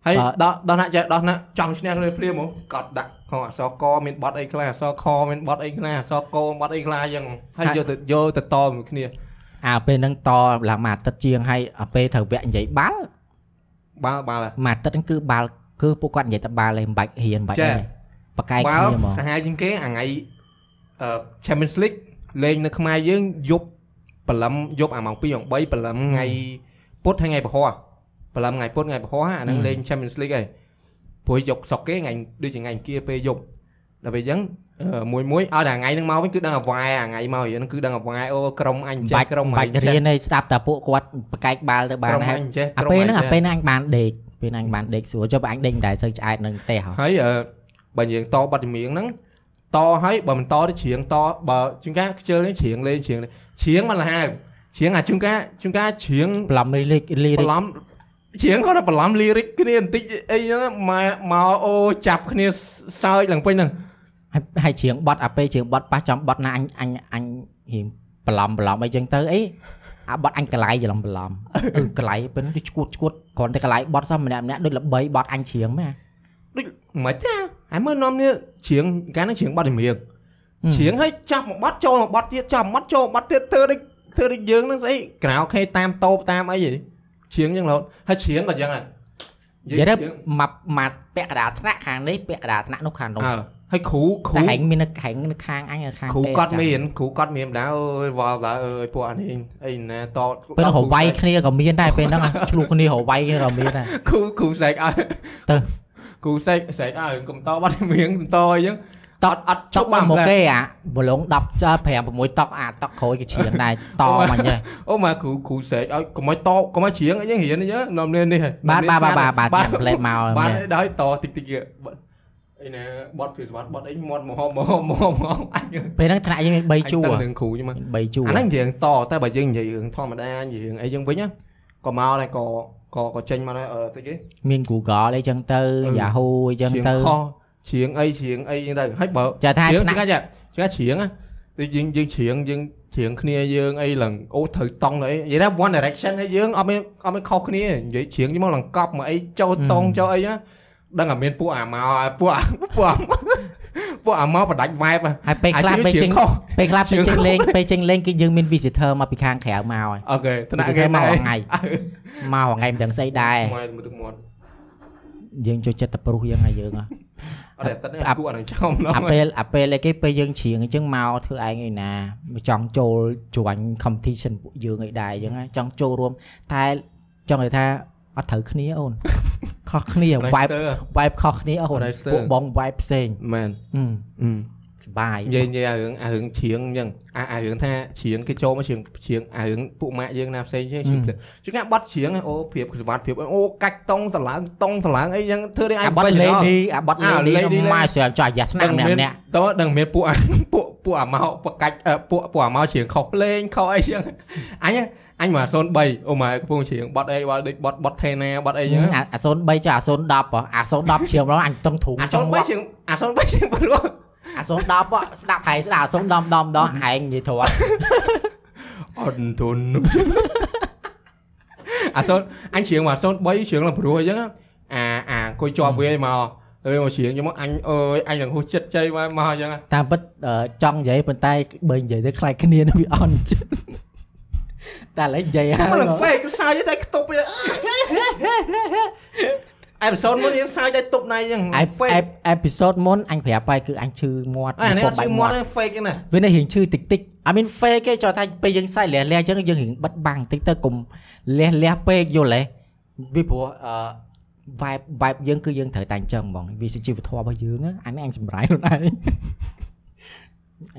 [SPEAKER 1] ហើយ
[SPEAKER 2] អឺ
[SPEAKER 1] ដល់ដល់ណាចេះដល់ណាចង់ឈ្នះលើព្រាមហ៎កត់ដាក់ហោអក្សរកមានបត់អីខ្លះអក្សរខមានបត់អីខ្លះអក្សរកបត់អីខ្លះអញ្ចឹងហើយយកទៅយកទៅតមួយគ្នា
[SPEAKER 2] អាពេលហ្នឹងតឡើងមួយអាទិត្យជាងហើយអាពេលត្រូវវគ្គនិយាយបាល់
[SPEAKER 1] បាល់បាល់
[SPEAKER 2] មួយអាទិត្យហ្នឹងគឺបាល់គឺពួកគាត់និយាយតែបាល់ឯងមិនបាច់ហ៊ានមិនបាច់
[SPEAKER 1] ចេះ
[SPEAKER 2] អីទេបកកាយ
[SPEAKER 1] បា
[SPEAKER 2] គ្នា
[SPEAKER 1] ល់
[SPEAKER 2] ហ្មង
[SPEAKER 1] សាហាវជាងគេអាថ្ងៃអឺ Champions League លេងនៅខ្មែរយើងយប់ព្រលឹមយប់អាម៉ោង2ម៉ោង3ព្រលឹមថ្ងៃពុធហើយថ្ងៃពហុព្រលឹមថ្ងៃពុធថ្ងៃពហុអាហ្នឹង
[SPEAKER 2] អឺ
[SPEAKER 1] លេង Champions League ហើយព្រោះយកសក់គេថ្ងៃដូចជាថ្ងៃអង្គារពេលយប់ដល់ពេលអញ្ចឹងអឺមួយមួយឲ្យតែថ្ងៃហ្នឹងមកវិញគឺដឹងអាវ៉ែអាថ្ងៃមកហ្នឹងគឺដឹងអាវ៉ែអូក្រុមអញ
[SPEAKER 2] មិន
[SPEAKER 1] ចេះ
[SPEAKER 2] បាច់
[SPEAKER 1] ក្រុម
[SPEAKER 2] មិ
[SPEAKER 1] អ
[SPEAKER 2] នបា
[SPEAKER 1] ញ
[SPEAKER 2] ច់រៀ
[SPEAKER 1] ចេះ
[SPEAKER 2] នទេស្ដាប់តែពួកគាត់បកកាយបាល់ទៅបាន
[SPEAKER 1] ក្រុម
[SPEAKER 2] ហើយ
[SPEAKER 1] អញចេះ
[SPEAKER 2] អា
[SPEAKER 1] ក្រុម
[SPEAKER 2] ពេល
[SPEAKER 1] អញ
[SPEAKER 2] ហ្នឹងអា
[SPEAKER 1] ចេះ
[SPEAKER 2] ពេលហ្នឹងអញបានដេកពេលហ្នឹងអញបានដេកស្រួលចុះបើអញដេកមិនដែរសូវឆ្អែតនឹងទេហ៎
[SPEAKER 1] ហើយអឺបើនិយាយតបាត់ជំនៀងហ្នឹងតហើយបើមិនតទេច្រៀងតបើជួនកាលខ្ជិលនេះច្រៀងលេងច្រៀងលេងច្រៀងមកលហើមច្រៀងអាជួនកាលជួនកាលច្រៀង
[SPEAKER 2] ប្លំលីរិកលីរិ
[SPEAKER 1] ប្រ
[SPEAKER 2] ក
[SPEAKER 1] ឡំច្រៀងគាត់ប្រឡំលីរិកគ្នាបន្តិចអីហ្នឹងមកមកអូចាប់គ្នាសើចឡើងពេញហ្នឹង
[SPEAKER 2] ហើយហើយច្រៀងបត់អាពេលច្រៀងបត់ប៉ះចំបត់ណាអញអញអញរៀងប្លំប្លំអីចឹងទៅអីអាបត់អញកន្លែងច្រឡំប្លំអឺកន្លែងពេលហ្នឹងវាឈួតឈួតគ្រាន់តែកន្លែងបត់សោះម្នាក់ម្នាក់ដូចល្បីបត់អញច្រៀងមែន
[SPEAKER 1] ដូចមិនទេហើយមើលនាំនេះច្រៀងកាលហ្នឹងច្រៀងបាត់ជំនៀងច្រៀងហើយចាប់មកបាត់ចូលមកបាត់ទៀតចាប់មកបាត់ចូលមកបាត់ទៀតធ្វើដូចធ្វើដូចយើងហ្នឹងស្អីក្រៅខេតាមតូបតាមអីហីច្រៀងយ៉ាងឡូតហើយច្រៀងក៏យ៉ាងដែរនិ
[SPEAKER 2] និយាយទៅ
[SPEAKER 1] ច្រៀង
[SPEAKER 2] មកមកពាក់កណ្ដាលថ្នាក់ខាងនេះពាក់កណ្ដាលថ្នាក់នោះខាងនោះ
[SPEAKER 1] អើហើយគ្រូ
[SPEAKER 2] តែ
[SPEAKER 1] គ្រូ
[SPEAKER 2] ហែងមាននៅហែងនៅខាងអញនៅខាង
[SPEAKER 1] គ្រូ
[SPEAKER 2] ទេ
[SPEAKER 1] គាត់
[SPEAKER 2] ចាំ
[SPEAKER 1] មានគ្រូគាត់មានម្ដងអើយវល់ដល់អើយពួកអានេះអីណាត
[SPEAKER 2] ពេលហ្នឹងរវាយគ្នាក៏មានដែរពេលហ្នឹងអាឆ្លោះគ្នារវាយគ្នាក៏មានដែរ
[SPEAKER 1] គ្រូគ្រូស្រែកអើ
[SPEAKER 2] ទៅ
[SPEAKER 1] គ្រូស្រែកស្រែកអើកុំតបាត់មៀងកុំតអីចឹងតអត់
[SPEAKER 2] ចុ
[SPEAKER 1] ឈ
[SPEAKER 2] ក
[SPEAKER 1] ប់
[SPEAKER 2] បា
[SPEAKER 1] បាន ន
[SPEAKER 2] មក
[SPEAKER 1] ម្លេះ
[SPEAKER 2] គេអាបលង10ចើ5 6តក់អាតក់ក្រួយគេឈៀងដែរតមកញ៉េះ
[SPEAKER 1] អូមកគ្រូគ្រូស្រែកឲ្យកុំឲ្យតកុំឲ្យច្រៀងអីចឹងរៀនអីចឹងនាំនេះនេះហើយ
[SPEAKER 2] បាទបាទបាទបាទបាទ
[SPEAKER 1] បា
[SPEAKER 2] សាំផ្លែតមក
[SPEAKER 1] បាទ
[SPEAKER 2] មែន
[SPEAKER 1] ដល់តតិចតិចទៀតបាទអីណាបត់ពីសវត្តបត់អីមាត់មហមមហមមហម មហមអញ
[SPEAKER 2] ពេលហ្នឹងថ្នាក់យើងមាន3ជួរ
[SPEAKER 1] អញទៅនឹងគ្រូចឹងមក
[SPEAKER 2] 3ជួរ
[SPEAKER 1] អាហ្នឹងនិយាយរឿងតតែបើយើងនិយាយរឿងធម្មតានិយាយរឿងអីចឹងវិញណាក៏មកដែរក៏ ក៏ក៏ចេញមកដែរអឺស្អីគេ
[SPEAKER 2] មាន Google អីចឹងទៅ
[SPEAKER 1] Ừ.
[SPEAKER 2] Yahoo អីចឹង
[SPEAKER 1] ច្រៀង
[SPEAKER 2] ទៅ
[SPEAKER 1] ខុសច្រៀងអីច្រៀងអីចឹងទៅហើយបើ
[SPEAKER 2] ចាថា
[SPEAKER 1] ច្រៀង
[SPEAKER 2] ថ្នាក់
[SPEAKER 1] គេថាច្រៀងច្រៀងណាដូចយើងយើងច្រៀងយើងច្រៀងគ្នាយើងអីឡើងអូត្រូវតង់ទៅអីនិយាយថា one direction ហើយយើងអត់មានអត់មានខុសគ្នានិយាយច្រៀងយកមកឡើងកប់មកអីចូលតង់ចូលអីណាដឹងតែមានពួកអាម៉ោពួក អាពួកអាពួកអាម៉ោបដាច់ vibe ហ៎
[SPEAKER 2] ហើយពេល
[SPEAKER 1] អា
[SPEAKER 2] ខ្លះពេលចេ
[SPEAKER 1] ច្រៀ
[SPEAKER 2] ញ
[SPEAKER 1] ងខុស
[SPEAKER 2] ពេលខ្លះពេលចេញលេងពេលចេញលេងគឺយើងមាន visitor មកពីខាងក្រៅមកហើយ
[SPEAKER 1] អូខេថ្នាក់គេ
[SPEAKER 2] ម
[SPEAKER 1] មក ក
[SPEAKER 2] រាល់ថ្ងៃមករាល់ថ្ងៃមិនដឹងស្អីដែរ
[SPEAKER 1] មកមើលទឹកមាត់
[SPEAKER 2] យើងចូលចិត្តតែប្រុសយើងហើយយើង
[SPEAKER 1] អ
[SPEAKER 2] ហ៎
[SPEAKER 1] ត់តែទឹកគួរអានឹងចំឡង
[SPEAKER 2] អាពេលអាពេលឯគេពេលយើងច្រៀងអញ្ចឹងមកធ្វើឯងឯណាចង់ចូលជួញ competition ពួកយើងឯដែរអញ្ចឹងណាចង់ចូលរួមតែចង់និយាយថាអត់ត្រូវគ្នាអូន ខុសគ្នា vibe vibe ខុសគ្នាអូន
[SPEAKER 1] Producer
[SPEAKER 2] ពួកបង vibe ផ្សេង
[SPEAKER 1] មែន
[SPEAKER 2] ហឹម
[SPEAKER 1] អឺ
[SPEAKER 2] សបាយ
[SPEAKER 1] និយាយនិយាយអារឿងអារឿងជ្រៀងអញ្ចឹងអាអារឿងថាជ្រៀងគេចូលមកជ្រៀងជ្រៀងអារឿងពួកម៉ាក់យើងណាផ្សេងជាងជ្រៀងជួនកាលបាត់ជ្រៀងអូព្រៀបសម្បត្តិព្រៀបអូកាច់តង់តឡើងតង់តឡើងអីអញ្ចឹងធ្វើនេះឯ
[SPEAKER 2] អា
[SPEAKER 1] ង
[SPEAKER 2] បាត់
[SPEAKER 1] professional
[SPEAKER 2] lady អាបាត់
[SPEAKER 1] អា
[SPEAKER 2] lady
[SPEAKER 1] lady
[SPEAKER 2] មកស្រាប់ចោះអាយ៉ាថ្នាក់
[SPEAKER 1] ដឹង
[SPEAKER 2] ម្នាក់
[SPEAKER 1] មាន
[SPEAKER 2] ម្នាក់
[SPEAKER 1] តើដឹងមានពួក អាពួកពួកអាម៉ោបកាច់អឺពួកពួកអាម៉ោជ្រៀងខុសភ្លេងខុសអីអញ្ចឹងអញអញមក03អូម៉ែកំពុងជ្រៀងបាត់អីបាត់ដូចបាត់បាត់ថេណាបាត់អីអញ្ចឹង
[SPEAKER 2] អាអា03ចោះអា010ហ៎អា010ជ្រាមឡងអញຕົងធុង
[SPEAKER 1] អា
[SPEAKER 2] ចង់វត្ត
[SPEAKER 1] 03ជ្រៀងអា03ជ្រៀងព្រោះ
[SPEAKER 2] អាសូន10ហ៎ស្ដាប់ហើយស្ដាប់អាសូន10 10 10ឯងនិយាយត្រូវ
[SPEAKER 1] អត់ធន់ នោះអាសូនអញជ្រៀងមក03ជ្រៀងឡើងព្រោះអញ្ចឹងអាអាអង្គុយជាប់វាមកអើមកជ្រៀងយកមកអញអើយអញនឹងហួសចិត្តចៃមកមកអញ្ចឹង
[SPEAKER 2] តាមពិតអឺចង់និយាយប៉ុន្តែបើនិយាយទៅខ្លាចគ្នានឹងវាអន់ចឹង តែឥឡូវនិយាយហើ
[SPEAKER 1] មកឡើង
[SPEAKER 2] យ
[SPEAKER 1] fake ខ្សោយតែខ្ទប់វាអេពីសូតមួយនេះខ្សោយតែទប់ណៃអញ្ចឹង
[SPEAKER 2] អេ
[SPEAKER 1] fake
[SPEAKER 2] អេពីសូតមុនអញប្រាប់ហើយគឺអញឈឺមាត់
[SPEAKER 1] អានេះអត់
[SPEAKER 2] បា
[SPEAKER 1] ឈឺ
[SPEAKER 2] ញ់
[SPEAKER 1] មាត់ទេ fake ទេណា
[SPEAKER 2] វានេះរៀងឈឺតិចតិច I mean fake គេចោះថាពេលយើងសាច់លះលះចឹងយើងរៀងបិទបាំងតិចទៅកុំលះលះពេកយល់ទេវាព្រោះអឺ vibe vibe យើងគឺយើងត្រូវតែអញ្ចឹងហ្មងវាជាជីវធម៌របស់យើង ណាអានេះអញសម្រាយខ្លួនឯង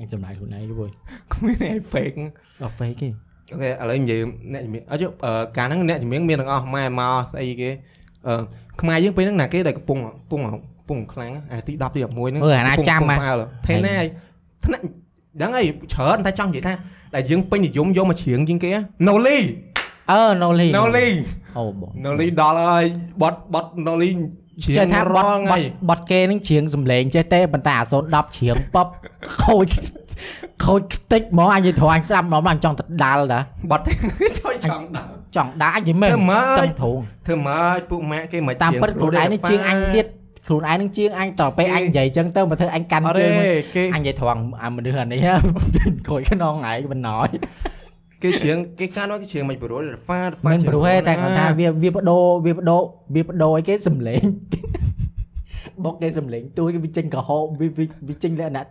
[SPEAKER 2] អញសម្រាយខ្លួនឯងយល់
[SPEAKER 1] គ្មានអី fake
[SPEAKER 2] អត់ fake ទេ
[SPEAKER 1] អូខេឥឡូវនិយាយអ្នកជំនាញអត់ជិអឺកាលហ្នឹងអ្នកជំនាញមានទាំងអស់ម៉ែមកស្អីគេអឺខ្មែរយើងពេលហ្នឹងណាគេដែលកំពុងកំពុងកំពុងខ្លាំងអាទី10ទី11ហ្នឹង
[SPEAKER 2] មើលអាណាចាំ
[SPEAKER 1] ហ្ម
[SPEAKER 2] អា
[SPEAKER 1] ងផេណាថ្នាក់ដឹងអីច្រើនតែចង់និយាយថាដែលយើងពេញនិយមយកមកច្រៀងជាងគេ Noli
[SPEAKER 2] អឺ Noli
[SPEAKER 1] Noli
[SPEAKER 2] អូបង
[SPEAKER 1] Noli ដល់ហើយបត់បត់ Noli ច្រៀ
[SPEAKER 2] ចេះ
[SPEAKER 1] ង
[SPEAKER 2] ថា
[SPEAKER 1] រ
[SPEAKER 2] បត់
[SPEAKER 1] ងហើយ
[SPEAKER 2] បត់គេនឹងច្រៀងសំឡេងចេះទេប៉ុន្តែអាសូន10ច្រៀង ប៉បខូចខូចខ្ទេចហ្មងអញនិយាយត្រូវអញស្ដាប់ហ្មងអញចង់ទៅដាល់តា
[SPEAKER 1] បត់ ចូលចង់ដល់
[SPEAKER 2] ចង់ដាល់អញនិយាយមែន
[SPEAKER 1] ធ្វើម៉េច
[SPEAKER 2] ទាំងធង
[SPEAKER 1] ធ្វើម៉េចពួកម៉ាក់គេមិន
[SPEAKER 2] តាម
[SPEAKER 1] ច្រៀង
[SPEAKER 2] ពិតខ្លួនឯងនឹង
[SPEAKER 1] ព្រោះ
[SPEAKER 2] ច្រៀងអញទៀតខ្លួនឯងនឹងច្រៀងអញតទៅពេលអញនិយាយចឹងទៅមកធ្វើអញកាន់
[SPEAKER 1] អត់
[SPEAKER 2] ជើ
[SPEAKER 1] ទេ
[SPEAKER 2] ង
[SPEAKER 1] គេ
[SPEAKER 2] អញនិយាយត្រង់អាមនុស្សអានេះ ខូចខ្នងឯងមិនណយ
[SPEAKER 1] គេច្រៀងគេកាលនោះគេច្រៀងមិនព្រោះរ៉ាហ្វាហ្វា
[SPEAKER 2] មិនព្រោះទេតែគាត់ថាវាវាបដូរវាបដូរវាបដូរអីគេសំ ឡេង បុកគេសំឡេងទួយគេវាចេញក្រហមវាវាវាចេញលក្ខណៈ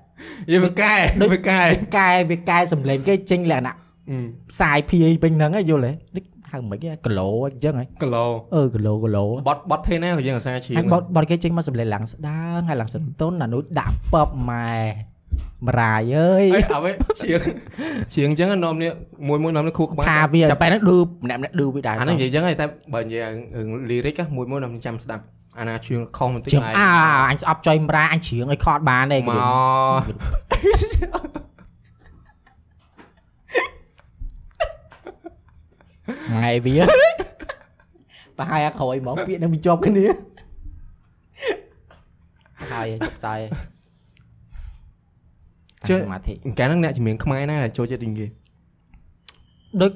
[SPEAKER 1] យើងវាកែ
[SPEAKER 2] ដូច
[SPEAKER 1] វាកែ
[SPEAKER 2] វាកែវាកែសំឡេងគេចេញលក្ខណៈ
[SPEAKER 1] Ừ,
[SPEAKER 2] ផ្សាយភីពេញហ្នឹងឯងយល់ទេដូចហៅមិនគេគីឡូអញ្ចឹងឯង
[SPEAKER 1] គីឡូ
[SPEAKER 2] អឺគីឡូគីឡូ
[SPEAKER 1] បត់បត់ថេណាក៏យើងអាសាច្រៀ
[SPEAKER 2] ហើ
[SPEAKER 1] ង
[SPEAKER 2] យបត់បត់គេចេញមកសំឡេងឡើងស្ដាងហើយឡើងសន្ទុនអានោះដាក់ពបម៉ែមរាយអើយ
[SPEAKER 1] អីអ្វីច្រៀងច្រៀងអញ្ចឹងនំនេះមួយមួយនំនេះខួរក្បាល
[SPEAKER 2] ថាវាបែរហ្នឹងឌឺម្នាក់ម្នាក់ឌឺវាដែរ
[SPEAKER 1] អាហ្នឹងនិយាយអញ្ចឹងហើយតែបើនិយាយរឿង ừ, lyric ហ្នឹងមួយមួយនំចាំស្ដាប់អាណាច្រៀងខុសបន្តិច
[SPEAKER 2] ជើង
[SPEAKER 1] ឯង
[SPEAKER 2] អាអញស្អប់ចុយមរាអញជ្រៀងឲ្យខត់បានទេ
[SPEAKER 1] ម
[SPEAKER 2] គ្រូ
[SPEAKER 1] ក
[SPEAKER 2] ថ្ងៃវា ប្រហែលអាក្រោយហ្មងពាក្យហ្នឹងវាជាប់គ្នាហើយចុកខ្សោយជើងសមាធិ
[SPEAKER 1] កាលហ្នឹងអ្នកចម្រៀងខ្មែរណាដែលចូលចិត្តនិយាយ
[SPEAKER 2] ដូច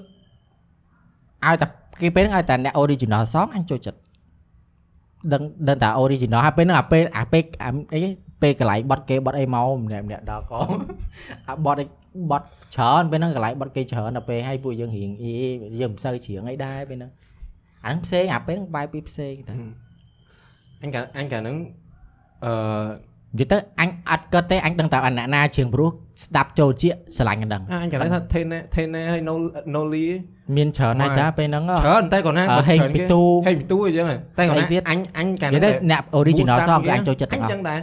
[SPEAKER 2] ឲ្យតែគេពេលហ្នឹងឲ្យតែអ្នក original song អញចូលចិត្តដឹងដឹងតែ original ហើយពេលហ្នឹងអាពេលអាពេលអាអីពេលកន្លែងបត់គេបត់អីមកម្នាក់ម្នាក់ ដល់កោ អាបត់អីបត់ច្រើនពេលហ្នឹងកន្លែងបត់គេច្រើនដល់ពេលឲ្យពួកយើងរៀងអីយើងមិនសូវច្រៀងអីដែរពេលហ្នឹងអាហ្នឹងផ្សេងអាពេលហ្នឹង vibe ពីផ្សេងតែ
[SPEAKER 1] អញកាលអញកាលហ្នឹងអ ờ,
[SPEAKER 2] និយាយទៅអញអត់កើតទេអញដឹងតែអាអ្នកណាច្រៀងព្រោះស្ដាប់ចូលជាស្រឡាញ់កណ្ដឹង
[SPEAKER 1] ឺអញកាលហ្នឹងថាថេណាថេណាហើយ No- Noli
[SPEAKER 2] មានច្រើនណាស់តាពេលហ្នឹងហ៎
[SPEAKER 1] ច្រើនតែគាត់ណា
[SPEAKER 2] អឺហេងពីទូ
[SPEAKER 1] ហេងពីទូអញ្ចឹងហើយតែគាត់
[SPEAKER 2] ស្អីទៀត
[SPEAKER 1] ណាអញអញកាល
[SPEAKER 2] និយាយទៅ
[SPEAKER 1] ហ្នឹង
[SPEAKER 2] អ្នក original song គឺអញចូលចិត្ត
[SPEAKER 1] អ
[SPEAKER 2] ទាំងអស់
[SPEAKER 1] ញ្ចឹងដែរ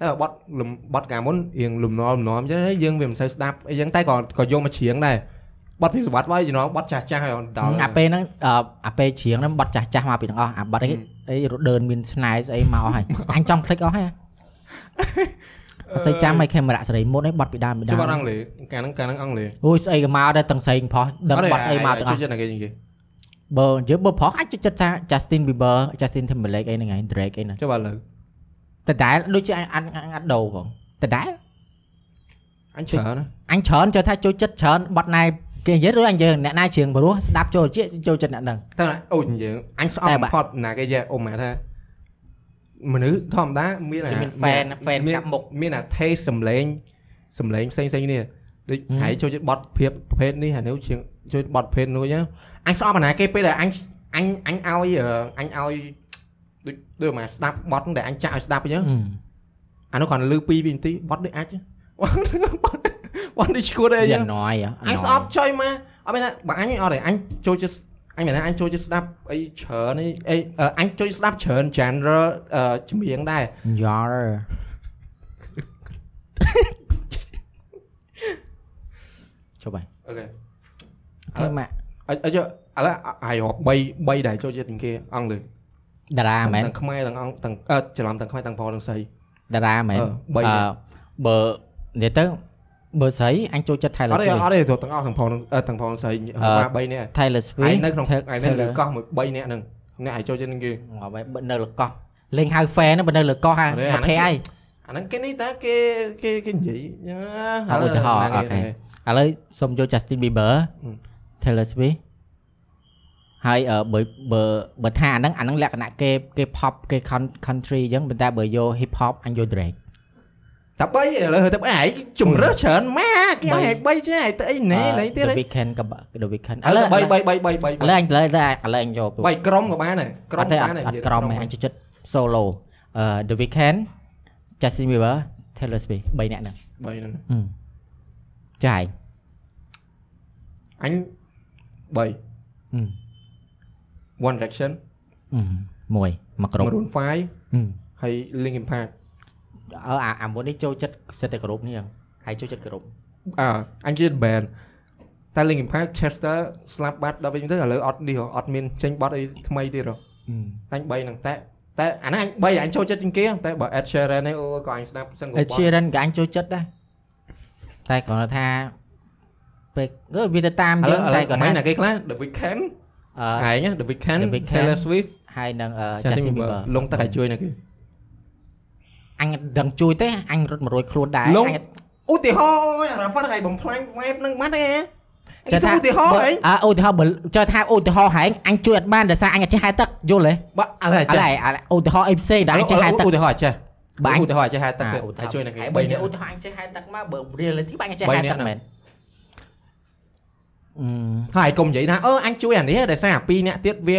[SPEAKER 1] តែបត់លំបត់កាលមុនរៀងលំនាំលំនាំអញ្ចឹងហើយយើងវាមិនសូវស្ដាប់អីចឹងតែក៏ក៏យកមកច្រៀងដែរបត់ពីសវត្តមកជំនាន់បត់ចាស់ចាស់ហើយដល់
[SPEAKER 2] អាពេលហ្នឹងអឺអាពេលច្រៀងហ្នឹងបាត់ចាស់ចាស់មកពីទាំងអស់អាបាត់អី
[SPEAKER 1] ហឹម
[SPEAKER 2] អីរដើនមានស្នែស្អីមកអស់ហើយ អញចង់ភ្លេចអស់ហើយអត់សូវចាំឲ្យខេមរៈសេរីមុនឯងបាត់ពីដើមពីដើ
[SPEAKER 1] ជួយប
[SPEAKER 2] ម
[SPEAKER 1] ត់អង់គ្លេសកាលហ្នឹងកាលហ្នឹងអង់គ្លេស à,
[SPEAKER 2] អូយស្អីក៏មកដែរទាំងស្អីផងដឹងបាត់ស្អីមកទាំងអស់
[SPEAKER 1] ជួយចិត្តតែគេជាងគេ
[SPEAKER 2] បើយើងបើប្រុសអាចចូលចិត្តចា Justin Bieber Justin Timberlake អីហ្នឹងឯង Drake អីហ្នឹង
[SPEAKER 1] ចុះបើឥឡូវ
[SPEAKER 2] តដែលដូចជាអញអញអញអត់ដូរផងតដែល
[SPEAKER 1] អញច្រើនណា
[SPEAKER 2] អញច្រើនចូលថាចូលចិត្តច្រើនបត់ណែគេនិយាយឬអញយើងអ្នកណាជើងព្រោះស្ដាប់ចូលជាចូលចិត្តអ្នកហ្នឹង
[SPEAKER 1] តើណាអូយយើងអញស្អ
[SPEAKER 2] តែ
[SPEAKER 1] ប់
[SPEAKER 2] បា
[SPEAKER 1] បំ
[SPEAKER 2] ក់
[SPEAKER 1] ផុតណាគេចេះអ៊ំណាថាមនុស្សធម្មតាមានអាមា
[SPEAKER 2] គេមាន fan fan
[SPEAKER 1] មាន
[SPEAKER 2] កាប់មុខ
[SPEAKER 1] មានអា taste សំឡេងសំឡេងផ្សេងផ្សេងៗគ្នាដូចហើយចូលចិត្តបត់ភាពប្រភេទនេះហើយនៅជាងចូលចិត្តបត់ប្រភេទនោះអញ្ចឹងអញស្អប់អាណាគេពេលដែលអញអញអញឲ្យអឺអញឲ្យដូចដូចមកស្ដាប់បត់ដែលអញចាក់ឲ្យស្ដាប់អញ្ចឹង អានោះគ្រាន់តែលើ2វិនាទីបត់ដូច អាចទេបត់បត់ដូចឈួតអីអញ្ចឹ
[SPEAKER 2] យ៉ា
[SPEAKER 1] ង
[SPEAKER 2] ណយ
[SPEAKER 1] អញស្អប់ចុយមកអត់មែនថាបើអញអត់ទេអញចូលចិត្តអញមែនថាអញចូលចិត្តស្ដាប់អីច្រើនអីអីអឺអញចូលចិត្តស្ដាប់ច្រើន genre អឺចម្រៀងដែរ
[SPEAKER 2] យ៉ារ ចុះបាយ
[SPEAKER 1] អូខេ
[SPEAKER 2] អឺម៉ាក់
[SPEAKER 1] អត់អត់ចុះឥឡូវអាយរាប់3 3ដែលចូលចិត្តជាងគេអង់គ្លេស
[SPEAKER 2] តារាមែន
[SPEAKER 1] ទាំងខ្មែរទាំងអង់ទាំងអឺច្រឡំទាំងខ្មែរទាំងផលទាំងស្រី
[SPEAKER 2] តារាមែន
[SPEAKER 1] អឺបី
[SPEAKER 2] អឺ
[SPEAKER 1] ទេ
[SPEAKER 2] បើនិយាយទៅបើស្រីអញចូលចិត្ត
[SPEAKER 1] អ
[SPEAKER 2] Taylor
[SPEAKER 1] ត់ទេ
[SPEAKER 2] Swift
[SPEAKER 1] អត់ទេទាំងអស់ទាំងផលទាំងអឺទាំងផលទាំងស្រី
[SPEAKER 2] អឺ
[SPEAKER 1] 3នាក់
[SPEAKER 2] Taylor
[SPEAKER 1] ឯ
[SPEAKER 2] Swift
[SPEAKER 1] ងនៅក្នុងឯ
[SPEAKER 2] Ta-
[SPEAKER 1] ងនៅលើ
[SPEAKER 2] Taylor
[SPEAKER 1] កោះមួយ3នាក់ហ្នឹងអ្នកឯងចូលចិត្តជាងគេ
[SPEAKER 2] ងាប់ហើយបើនៅលកោះលេងហៅ fan ហ្នឹងបើនៅលកោះហ่า
[SPEAKER 1] អត់ទេ
[SPEAKER 2] ប្រភេទ
[SPEAKER 1] អា
[SPEAKER 2] ហើយ
[SPEAKER 1] ហ្នឹង អាហ្នឹងគេនេះតើគេគេគេនិយាយ
[SPEAKER 2] អ่ะឧទាហរណ៍អូខេ ឥឡូវសូមយក Justin Bieber Taylor Swift ហើយអឺបើបើបើថាអាហ្នឹងអាហ្នឹងលក្ខណៈគេគេ pop គេ con- country អញ្ចឹងប៉ុន្តែបើយក hip hop អញយក Drake
[SPEAKER 1] តែបីឥឡូវទៅឯងជំរើសច្រើនម៉ាកគេឲ្យឯងបីចេះឯងទៅអីណែ
[SPEAKER 2] អឺ
[SPEAKER 1] ណៃទៀត
[SPEAKER 2] The
[SPEAKER 1] ឥ
[SPEAKER 2] Weeknd ក៏បើ The Weeknd ឥ
[SPEAKER 1] ឡូ
[SPEAKER 2] ឡូវ
[SPEAKER 1] វ
[SPEAKER 2] ឥ
[SPEAKER 1] បី
[SPEAKER 2] ឡូវ
[SPEAKER 1] បីបីបីបី
[SPEAKER 2] ឥឡូវអញឥឡូវឥឡូវឥឡូវអញយកព្រោះ
[SPEAKER 1] បីក្រុមក៏បានដែរក្រុម
[SPEAKER 2] អត់ទេអ
[SPEAKER 1] បាន
[SPEAKER 2] ត់
[SPEAKER 1] ដែរ
[SPEAKER 2] អ
[SPEAKER 1] និយាយ
[SPEAKER 2] ត់ក្រុមឯងអញចូលចិត្ត solo អឺ The Weeknd Justin Bieber Taylor Swift 3នាក់ហ្នឹង
[SPEAKER 1] បីហ្នឹង
[SPEAKER 2] ចាយ
[SPEAKER 1] អញបី
[SPEAKER 2] អឺ
[SPEAKER 1] One Direction
[SPEAKER 2] អឺមួយមកក្រុម
[SPEAKER 1] Maroon 5
[SPEAKER 2] អឺ
[SPEAKER 1] ហើយ Linkin Park
[SPEAKER 2] អើអាអាមួយនេះចូលចិត្តសិតតែក្រុមនេះហ៎ហើយចូលចិត្តក្រុម
[SPEAKER 1] អើអញជិត band តែ Linkin Park Chester ស្លាប់បាត់ដល់វិញទៅឥឡូវអត់នេះហ៎អត់មានចេញបាត់អីថ្មីទៀតហ៎ អញ3ហ្នឹងតែតែអាហ្នឹងអញ3អញចូលចិត្តជាងគេតែបើ Ed Sheeran ហ្នឹងអូក៏អញស្ដាប់សឹងក៏
[SPEAKER 2] អេ
[SPEAKER 1] ប
[SPEAKER 2] ឈៀរិនក៏អញចូលចិត្តដែរតែគ្រាន់តែថាពេលគឺវាទៅតាម
[SPEAKER 1] ត់ឥឡូ
[SPEAKER 2] យើ
[SPEAKER 1] វឥ
[SPEAKER 2] ង
[SPEAKER 1] ឡូ
[SPEAKER 2] តែ
[SPEAKER 1] វ
[SPEAKER 2] គ្រាន់
[SPEAKER 1] មិន
[SPEAKER 2] តែអឺ
[SPEAKER 1] ណាគេខ្លះ The Weeknd ឯងណា The Weeknd
[SPEAKER 2] Ờ. The Weeknd
[SPEAKER 1] Taylor Swift
[SPEAKER 2] ហើយនឹងអឺ
[SPEAKER 1] Justin
[SPEAKER 2] Justin
[SPEAKER 1] Bieber
[SPEAKER 2] Bieber Ờ.
[SPEAKER 1] លងតែគេជួយណាគេ
[SPEAKER 2] អញដឹងជួយទេអញរត់100ខ្លួនដែរ
[SPEAKER 1] លង
[SPEAKER 2] អញ
[SPEAKER 1] ឧទាហរណ៍អារ៉ាហ្វាត់ឯងបំផ្លាញ vibe ហ្នឹងបាត់ទេហ៎
[SPEAKER 2] ច
[SPEAKER 1] ចាំ
[SPEAKER 2] ថា
[SPEAKER 1] ឧទាហរណ៍ឯង
[SPEAKER 2] អើឧទាហរណ៍បើចថាឧទាហរណ៍ហែងអញជួយអត់បានដោយសារអញអត់ចេះហែលទឹកយល់ទេ
[SPEAKER 1] បើឥឡូវ
[SPEAKER 2] ឥឡូវ
[SPEAKER 1] ចាំ
[SPEAKER 2] ឥឡូវឧទាហរណ៍អីផ្សេងដែលអញចេះហែលទឹក
[SPEAKER 1] ឧទាហរណ៍ចេះ
[SPEAKER 2] បើអញ
[SPEAKER 1] ឧទាហរណ៍ចេះហែលទឹកគេ
[SPEAKER 2] ហ
[SPEAKER 1] តែជួយណាគេ
[SPEAKER 2] ហែ
[SPEAKER 1] បី
[SPEAKER 2] បើជា
[SPEAKER 1] នាក់
[SPEAKER 2] ឧទាហរណ៍អញចេះហែលទឹកមកបើ reality បើអញអត់ចេះ
[SPEAKER 1] បី
[SPEAKER 2] ហែល
[SPEAKER 1] នាក់
[SPEAKER 2] ទឹក
[SPEAKER 1] ហ្នឹង
[SPEAKER 2] មែន
[SPEAKER 1] ហើយកុំនិយាយថាអឺអញជួយអានេះដោយសារអាពីរនាក់ទៀតវា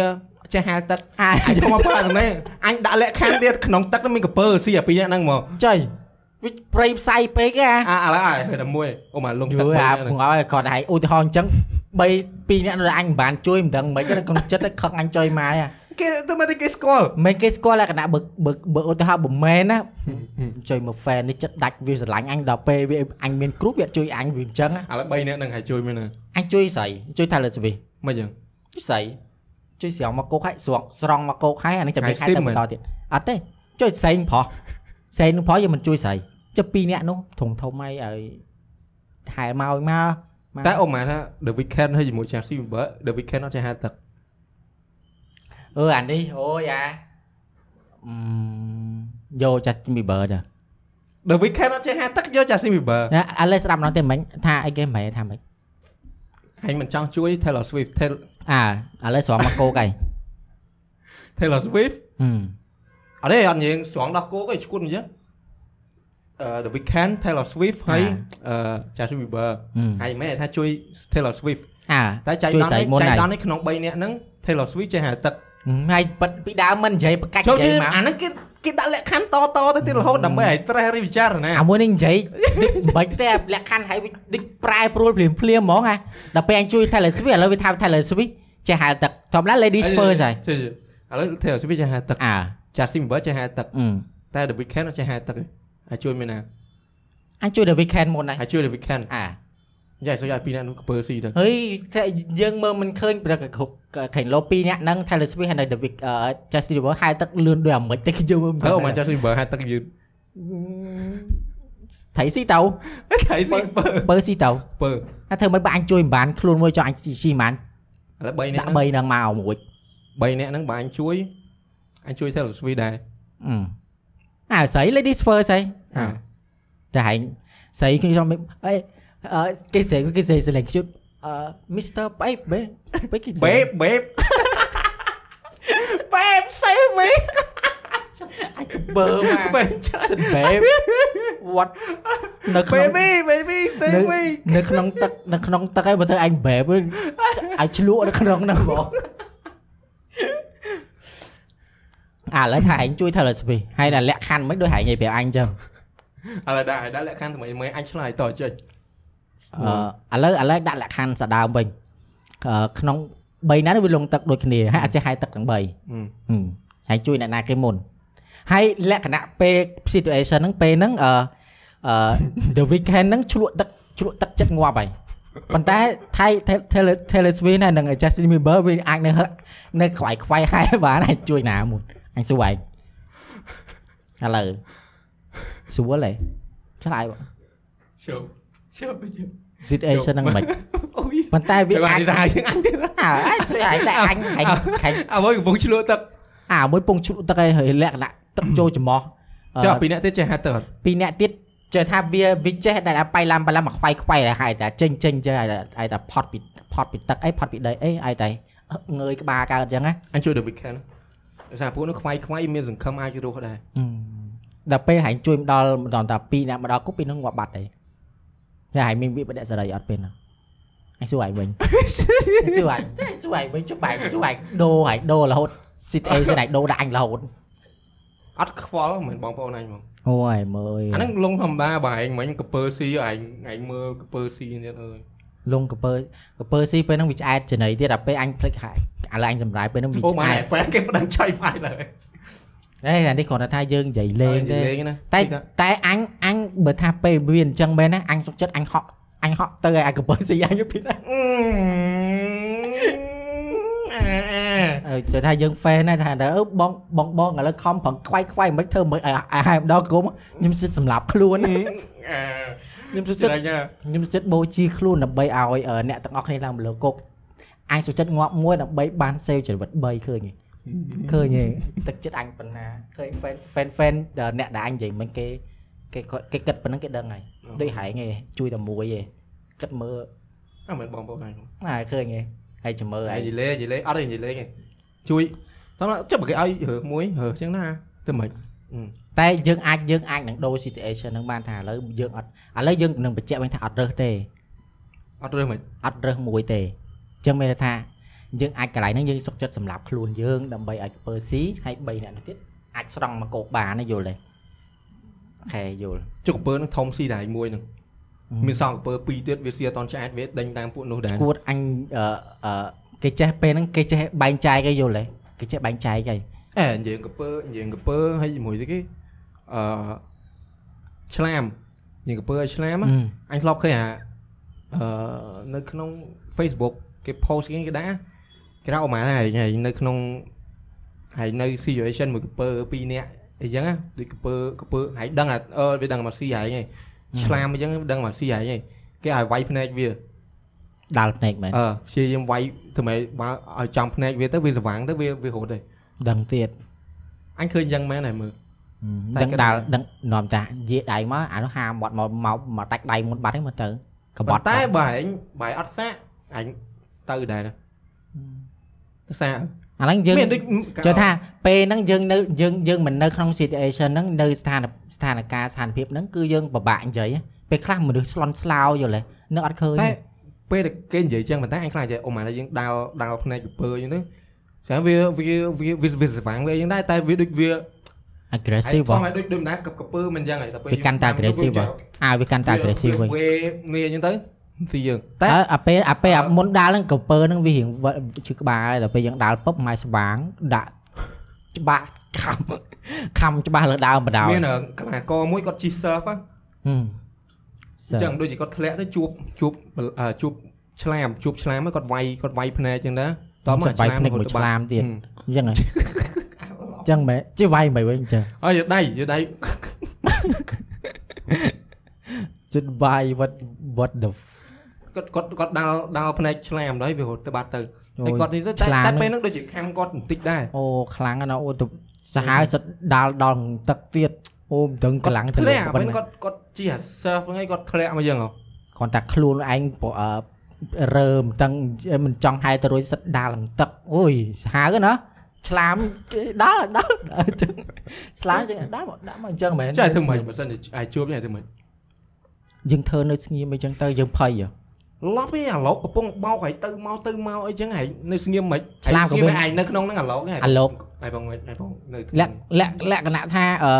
[SPEAKER 1] ចេះហែលទឹក
[SPEAKER 2] អើ
[SPEAKER 1] អញយកមកប្រើទាំងនេះអញដាក់លក្ខខណ្ឌទៀតក្នុងទឹកហ្នឹងមានកពើស៊ីអាពីរនាក់ហ្នឹងមក
[SPEAKER 2] ចៃវិប្រៃផ្សៃពេកហ៎
[SPEAKER 1] អាឥឡូវអាហឺតែមួយអូមកលង
[SPEAKER 2] យ
[SPEAKER 1] ទឹកបី
[SPEAKER 2] ល់
[SPEAKER 1] នាក់
[SPEAKER 2] អា
[SPEAKER 1] ហ្នឹង
[SPEAKER 2] ព្រោះឲ្យគាត់ហែងឧទាហរណ៍អញ្ចឹង3 2នាក់នៅអញមិនបានជួយមិនដឹងមិនទេក្នុងចិត្តតែខឹងអញជួយម៉ែហ៎
[SPEAKER 1] គេទៅមកតែគេស្គាល់
[SPEAKER 2] មិនគេស្គាល់លក្ខណៈបើបើបើឧទាហរណ៍បើមែនណាជួយមក fan នេះចិត្តដាច់វាស្រឡាញ់អញដល់ពេលវាអញមានគ្រូវាអត់ជួយអញវាអញ្ចឹងណា
[SPEAKER 1] ឥឡូវ3នាក់ហ្នឹងហើយជួយមែនណា
[SPEAKER 2] អញជួយស្រីជួយថាលើសវិ
[SPEAKER 1] មិនយ៉ាង
[SPEAKER 2] ជួយស្រីជួយស្រង់មកគោកហើយស្រង់ស្រង់មកគោកហើយអានេះចាំមានខែ
[SPEAKER 1] ហើយស៊ី
[SPEAKER 2] ទៅ
[SPEAKER 1] ម
[SPEAKER 2] បន្តទៀតអត់ទេជួយសេងប្រុសសេងនឹងប្រុសយើងមិនជួយស្រីចុះពីរអ្នកនោះធំធំហើយឲ្យថែមកឲ្យមកមក
[SPEAKER 1] តែអូមកថា The Weeknd ហើយជាមួយ Justin Bieber The Weeknd អត់ចេះហែលទឹក
[SPEAKER 2] អឺអានេះអូយអាអឺយក Justin Bieber ដែរ
[SPEAKER 1] The Weeknd អត់ចេះហែលទឹកយក Justin Bieber
[SPEAKER 2] ណាឥឡូវស្ដាប់ម្ដងទេមិញថាអីគេមិនថាមិញ
[SPEAKER 1] ហើយមិនចង់ជួយ Taylor Swift Taylor-
[SPEAKER 2] អើឥឡូវស្រង់មកគោកហើយ
[SPEAKER 1] Taylor Swift អ
[SPEAKER 2] ហឹម
[SPEAKER 1] ត់ទេអត់យើងស្រងដល់គោកឯងឈួតអញ្ចឹងអឺ The Weeknd Taylor Swift ហើយអឺ Justin Bieber ហើយមិនមែនថាជួយ Taylor Swift
[SPEAKER 2] អើ
[SPEAKER 1] តែចៃ
[SPEAKER 2] ជួយ
[SPEAKER 1] ដន្យ
[SPEAKER 2] ស្រី
[SPEAKER 1] នេះ
[SPEAKER 2] មុន
[SPEAKER 1] ចៃ
[SPEAKER 2] ហើយ
[SPEAKER 1] ដន្យនេះក្នុង3នាក់ហ្នឹង Taylor Swift ចេះហែលទឹក
[SPEAKER 2] ហឹមហើយប៉ិតពីដើមមិននិយាយប្រកាច់
[SPEAKER 1] ចូល
[SPEAKER 2] និ
[SPEAKER 1] ជឿ
[SPEAKER 2] យាយមក
[SPEAKER 1] អាហ្នឹងគេគេដាក់លក្ខខណ្ឌតតទៅទៀតរហូតដើម្បីឲ្យ stress រីវិចារណា
[SPEAKER 2] អាមួយនេះនិយាយតិចមិនបាច់ទេលក្ខខណ្ឌហើយវាតិចប្រែប្រួលភ្លាមភ្លាមៗហ្មងហ่ะដល់ពេលអញជួយ Taylor Swift ឥឡូវវាថា Taylor Swift ចេះហៅទឹកធម្មតា Ladies First ហើយ
[SPEAKER 1] ជឿឥឡូវ Taylor Swift ចេះហែលទឹក
[SPEAKER 2] អើ
[SPEAKER 1] Justin Bieber ចេះហែលទឹក
[SPEAKER 2] អឺ
[SPEAKER 1] តែ The Weeknd អត់ចេះហែលទឹកទេហើយជួយមានណា
[SPEAKER 2] អញជួយ The Weeknd មុនហើយ
[SPEAKER 1] ហើយជួយ The Weeknd
[SPEAKER 2] អើ
[SPEAKER 1] យ៉ាយសុយឲ្យពីរនាក់នោះក្ពើស៊ីទៅ
[SPEAKER 2] ហេតែយើងមើលមិនឃើញប្រកគ្រប់ខេងលោពីរអ្នកហ្នឹង Taylor Swift ហើយនៅ The Week អឺ Justin Bieber ហៅទឹកលឿនដូចអា មិនតែខ្ញុំមើល
[SPEAKER 1] ទៅ
[SPEAKER 2] ដឹង
[SPEAKER 1] អូមក Justin Bieber ហែលទឹកយឺត
[SPEAKER 2] ថៃស៊ីទៅ
[SPEAKER 1] ថៃស៊ីក្ពើ
[SPEAKER 2] បើស៊ីទៅ
[SPEAKER 1] ក្ពើ
[SPEAKER 2] ថាធ្វើមិនបើអញជួយមិនបានខ្លួនមួយចុះអញស៊ីស៊ីមិនបាន
[SPEAKER 1] ឥឡូវ3នាក់
[SPEAKER 2] ដាក់
[SPEAKER 1] ហ្នឹង
[SPEAKER 2] 3នឹងមកមួយ
[SPEAKER 1] 3នាក់ហ្នឹងបើអញជួយអញជួយ Taylor Swift ដែរ
[SPEAKER 2] អឺអើស្រី ladies first ស្អី
[SPEAKER 1] អ่า
[SPEAKER 2] តែហែងស្រីខ្ញុំចង់មិនអេអឺគេស្រីគេស្រីស្រីខ្ជុតអឺ Mr. Babe បេបេគេស្រី
[SPEAKER 1] Babe Babe Babe save me
[SPEAKER 2] អាយបើមក
[SPEAKER 1] Babe ច
[SPEAKER 2] Babe what នៅក្នុង
[SPEAKER 1] Baby baby
[SPEAKER 2] នៅ
[SPEAKER 1] save me
[SPEAKER 2] នៅក្នុងទឹកនៅក្នុងទឹកឯងបើធ្វើអញ Babe វិញអាចឆ្លក់នៅក្នុងហ្នឹងហ្មងអាឥឡូវថាឯងជួយ Taylor Swift ហើយដល់លក្ខខណ្ឌមិនដូចហែងនិយាយប្រាប់អញចឹង
[SPEAKER 1] ឥឡូវដាក់ឲ្យដាក់លក្ខខណ្ឌថ្មីមួយអញឆ្លើយតចុច
[SPEAKER 2] អឺឥឡូវឥឡូវដាក់លក្ខខណ្ឌស្ដើមវិញអឺក្នុង3ណានេះវាលងទឹកដូចគ្នាហើយអាចចេះហាយទឹកទាំង3ហ
[SPEAKER 1] ហឹម
[SPEAKER 2] ឹមហើយជួយអ្នកណាគេមុនហើយលក្ខណៈពេល situation ហ្នឹងពេលហ្នឹងអឺអឺ the weekend ហ្នឹងឆ្លក់ទឹកឆ្លក់ទឹកចិត្តងាប់ហើយប៉ុន្តែ Thai Taylor Taylor Swift ហើយនិង Justin Bieber វាអាចនៅហឹកនៅខ្វាយខ្វាយ ហើយបានហើយជួយណាមុនអញសួរឯងឥឡូវសួរលេឆ្លើយបង
[SPEAKER 1] ជប់ជប់ជប់
[SPEAKER 2] situation ហ្នឹងមិន
[SPEAKER 1] អូយ
[SPEAKER 2] ប៉ុន្តែវា
[SPEAKER 1] វា
[SPEAKER 2] អា
[SPEAKER 1] អា
[SPEAKER 2] ច
[SPEAKER 1] ចសា យជាងអញទៀត
[SPEAKER 2] អើអាចជួយឲ្យតែអញអញខាញ់
[SPEAKER 1] អ្វីកំពុងឆ្លក់ទឹក
[SPEAKER 2] អាមួយពងឈុតទឹកឯងហើយលក្ខណៈទឹកចូលច្រមុះអឺ
[SPEAKER 1] ចុះពីអ្នកទៀតចេះហាត់ទឹកអត់
[SPEAKER 2] ពីរអ្នកទៀតចេះថាវាវាចេះតែប៉ៃឡាំប៉ៃឡាំមកខ្វាយខ្វាយតែហើយតែចេញចេញចេះហើយតែឲ្យតែផត់ពីផត់ពីទឹកអីផត់ពីដីអីឲ្យតែងើយក្បាលកើតអញ្ចឹងណា
[SPEAKER 1] អញជួយ The Weekend ដោយសារពួកនោះខ្វាយខ្វាយមានសង្ឃឹមអាចរស់ដែរ
[SPEAKER 2] ដល់ពេលហែងជួយមកដល់មិនដល់តែពីរអ្នកមកដល់គប់ពីរហ្នឹងងាប់បាត់ឯងតែហែងមានវាបដិសេរីអត់ពេលហ្នឹងអញសួរឯងវិញ អញសួរឯងចេះសួរឯងវិញចុះបែកសួរឯងដូរឯងដូររហូត situation ឯងដូរដាក់អញរហូត
[SPEAKER 1] អត់ខ្វល់មិនបងប្អូនអញហ្មង
[SPEAKER 2] អូយមើល
[SPEAKER 1] អាហ្នឹងលងធម្មតាបើឯងមិញកពើស៊ីឯងឯងមើលកពើស៊ីទៀតអើយ
[SPEAKER 2] លងកពើកពើស៊ីពេលហ្នឹងវាឆ្អែតច្នៃទៀតដល់ពេលអញភ្លេចហើយឥឡូវអញសម្រាយពេលហ្នឹងវា
[SPEAKER 1] អូម៉ែ
[SPEAKER 2] ឆ្អែត
[SPEAKER 1] fan គេផ្ដឹងឆៃផៃឡើយ
[SPEAKER 2] ហេអានេះគ្រាន់តែថាយើងនិយាយលេងទេ
[SPEAKER 1] លេងណា
[SPEAKER 2] តែតែអញអញបើថាពេលវាអញ្ចឹងមែនណាអញសុខចិត្តអញហក់អញហក់ទៅឲ្យអាកពើស៊ីអញពីណា
[SPEAKER 1] អឺអាអា
[SPEAKER 2] អើចូលថាយើង fan ណាថាទៅអឺបងបងបងឥឡូវខំប្រឹងខ្វាយខ្វាយមិនធ្វើមិនឲ្យអាហែម្ដងគុំខ្ញុំសិតសម្លាប់ខ្លួន
[SPEAKER 1] អា
[SPEAKER 2] ខ្ញុំសុខចិត្ត
[SPEAKER 1] ស្រេចណា
[SPEAKER 2] ខ្ញុំសុខចិត្តបូជាខ្លួនដើម្បីឲ្យអឺអ្នកទាំងអស់គ្នាឡើងមកលើគុកអញសុខចិត្តងាប់មួយដើម្បីបានសេវជីវិត3ឃើញទេឃើញទេទឹកចិត្តអញប៉ុណ្ណាឃើញ fan fan fan ដល់អ្នកដែលអញនិយាយមិញគេគេគាត់គេគិតប៉ុណ្ណឹងគេដឹងហើយដូចហែងឯងជួយតែមួយឯងគិតមើល
[SPEAKER 1] អត់មែនបងប្អូនអញហ្មង
[SPEAKER 2] អើឃើញឯងហើយចាំមើលឯ
[SPEAKER 1] អា
[SPEAKER 2] ង
[SPEAKER 1] យនិយាយលេងនិយាយលេងអត់ទេនិយាយលេងឯងជួយតាមចាប់គេឲ្យរើមួយរើចឹងណាទៅមិន
[SPEAKER 2] តែយើងអាចយើងអាចនឹងដូរ situation ហ្នឹងបានថាឥឡូវយើងអត់ឥឡូវយើងនឹងបញ្ជាក់វិញថាអត់រើសទេ
[SPEAKER 1] អត់រើមិន
[SPEAKER 2] អត់រើសមួយទេអញ្ចឹងមានន័យថាយើងអាចកន្លែងហ្នឹងយើងសុខចិត្តសម្រាប់ខ្លួនយើងដើម្បីឲ្យកពើស៊ីហើយ3នាក់នោះទៀតអាចស្រង់មកកោកបានណាយល់ទេអូខេយល់
[SPEAKER 1] ចុកកពើនឹងធំស៊ីដែរមួយនឹងមានសងកពើពីរទៀតវាស៊ីអត់តន់ឆ្អែតវាដេញតាមពួកនោះដែរ
[SPEAKER 2] គួតអញអឺអឺគេចេះពេលហ្នឹងគេចេះបែងចែកគេយល់ទេគេចេះបែងចែកគេ
[SPEAKER 1] អេញៀងកពើញៀងកពើហើយជាមួយទៀតគេអឺឆ្លាមញៀងកពើឲ្យឆ្លាមអញធ្លាប់ឃើញអាអឺនៅក្នុង Facebook គេ post គេគេដាក់គេដាក់អមណាហើយនៅក្នុងហើយនៅ situation មួយកពើពីរនាក់អីចឹងណាដូចកពើកពើហើយដឹងអាអឺវាដឹងមកស៊ីហើយហ្នឹងឆ្លាមអីចឹងវាដឹងមកស៊ីហើយហ្នឹងគេឲ្យវាយភ្នែកវា
[SPEAKER 2] ដាល់ភ្នែកមែន
[SPEAKER 1] អឺព្យាយាមវាយធ្វើម៉េចបើឲ្យចំភ្នែកវាទៅវាស្វាងទៅវាវារត់ទេ
[SPEAKER 2] ដឹងទៀត
[SPEAKER 1] អញឃើញចឹងមែនហើយមើល តែ
[SPEAKER 2] ដឹង
[SPEAKER 1] គិត
[SPEAKER 2] ដាល់ដឹងនាំចាស់យាយដៃមកអានោះហាមាត់មកមកមកដាច់ដៃមុនបាត់ហ្នឹងមើលទៅកប
[SPEAKER 1] ប៉ុ
[SPEAKER 2] ត់
[SPEAKER 1] ន្តែបើឯងបើឯងអត់សាកអញទៅដែរណាទៅសាក
[SPEAKER 2] អាហ្នឹងយើង
[SPEAKER 1] មានដូច
[SPEAKER 2] ចូលថាពេលហ្នឹងយើងនៅយើងយើងមិននៅក្នុង situation ហ្នឹងនៅស្ថានស្ថានភាពស្ថានភាពហ្នឹងគឺយើងពិបាកនិយាយហ៎ពេលខ្លះមនុស្សស្លន់ស្លោយល់ទេនឹងអត់ឃើញ
[SPEAKER 1] តែ
[SPEAKER 2] ទេ
[SPEAKER 1] ពេលដែលគេនិយាយចឹងប៉ុន្តែអញខ្លាចចេះអូម៉ាតែយើងដាល់ដាល់ភ្នែកកពើអញ្ចឹងទៅចាំវាវាវាវាវាស្វាងវាអីចឹងដែរតែវាដូចវា
[SPEAKER 2] aggressive ហ៎
[SPEAKER 1] ហ្មងដូចដូចណាកពើមិនចឹងហើយដល់ពេល
[SPEAKER 2] វាកាន់តែ aggressive ហ៎ អាវាកាន់តែ aggressive វិញ
[SPEAKER 1] វាងាយអញ្ចឹងទៅទីយើងតែ
[SPEAKER 2] តែអាពេលអាពេលអាមុនដាល់ហ្នឹងកពើហ្នឹងវារៀងវ៉ឈឺក្បាលហើយដល់ពេលយើងដាល់ពឹបម៉ៃស្វាងដាក់ច្បាស់ ខំខំច្បាស់លើដើមបណ្ដោយ
[SPEAKER 1] មានកលាករមួយគាត់ជិះ surf ហ្នឹង
[SPEAKER 2] ហឹម
[SPEAKER 1] អញ្ចឹ
[SPEAKER 2] ចឹ
[SPEAKER 1] ង
[SPEAKER 2] ង
[SPEAKER 1] ដូចជាគាត់ធ្លាក់ទៅជួបជួបអឺជួបឆ្លាមជួបឆ្លាមហ្នឹងគាត់វាយគាត់វាយភ្នែកអញ្ចឹងដែរតោះមក
[SPEAKER 2] វាយ
[SPEAKER 1] ឆ្លាម
[SPEAKER 2] ភ្នែកមួយឆ្លាមទៀតអ ញ្ចឹងហ៎អញ្ចឹងមែនជិះវាយមិនវិញអញ្ចឹង
[SPEAKER 1] អើយដៃយដៃ
[SPEAKER 2] ចិត្តវាយ what what the
[SPEAKER 1] គាត់គាត់គាត់ដាល់ដាល់ផ្នែកឆ្លាមដល់ហើយវារត់ទៅបាត់ទៅហើយគាត់នេះទៅតែ
[SPEAKER 2] ឆ្លាម
[SPEAKER 1] តែពេលហ្នឹងដូចជាខាំគាត់បន្តិចដែរ
[SPEAKER 2] អូខ្លាំងណាស់អូទៅសាហាវសិតដាល់ដល់ទឹកទៀតអូមិនដឹងកម្លាំងទៅ
[SPEAKER 1] ធ្លា
[SPEAKER 2] លើ
[SPEAKER 1] ក់អា
[SPEAKER 2] ប៉ុ
[SPEAKER 1] ពេល
[SPEAKER 2] ណ្ណា
[SPEAKER 1] គាត់គាត់ជា surf ហ្នឹងហើយគាត់ធ្លាក់មកយ៉ាងហ៎
[SPEAKER 2] គ្រាន់តែខ្លួនឯងប្រអឺរើមទាំងមិនចង់ហែទៅរួចសិតដាល់នឹងទឹកអូយសាហាវណាស់ឆ្លាមគេដល់ ដល់ដល់ចឹងឆ្លាមចឹង ដល់មកដាក់មកអញ្ចឹងមែន
[SPEAKER 1] ចែធ្វើមិនបើសិនជាអាយជួបចែធ្វើមិន
[SPEAKER 2] យើងធ្វើនៅស្ងៀមអីចឹងទៅយើងភ័យហ៎
[SPEAKER 1] ឡប់ឯងអាឡុកកំពុងបោកហើយទៅមកទៅមកអីចឹងហើយនៅស្ងៀមមិន
[SPEAKER 2] ឆ្លាម
[SPEAKER 1] ស្ងៀម
[SPEAKER 2] កំពុង
[SPEAKER 1] ឯងនៅក្នុងហ្នឹងអាឡុកហ្នឹង
[SPEAKER 2] អាលោក
[SPEAKER 1] ហើយបងមិនហើយបងនៅ
[SPEAKER 2] លក្ខលក្ខលក្ខណៈថាអឺ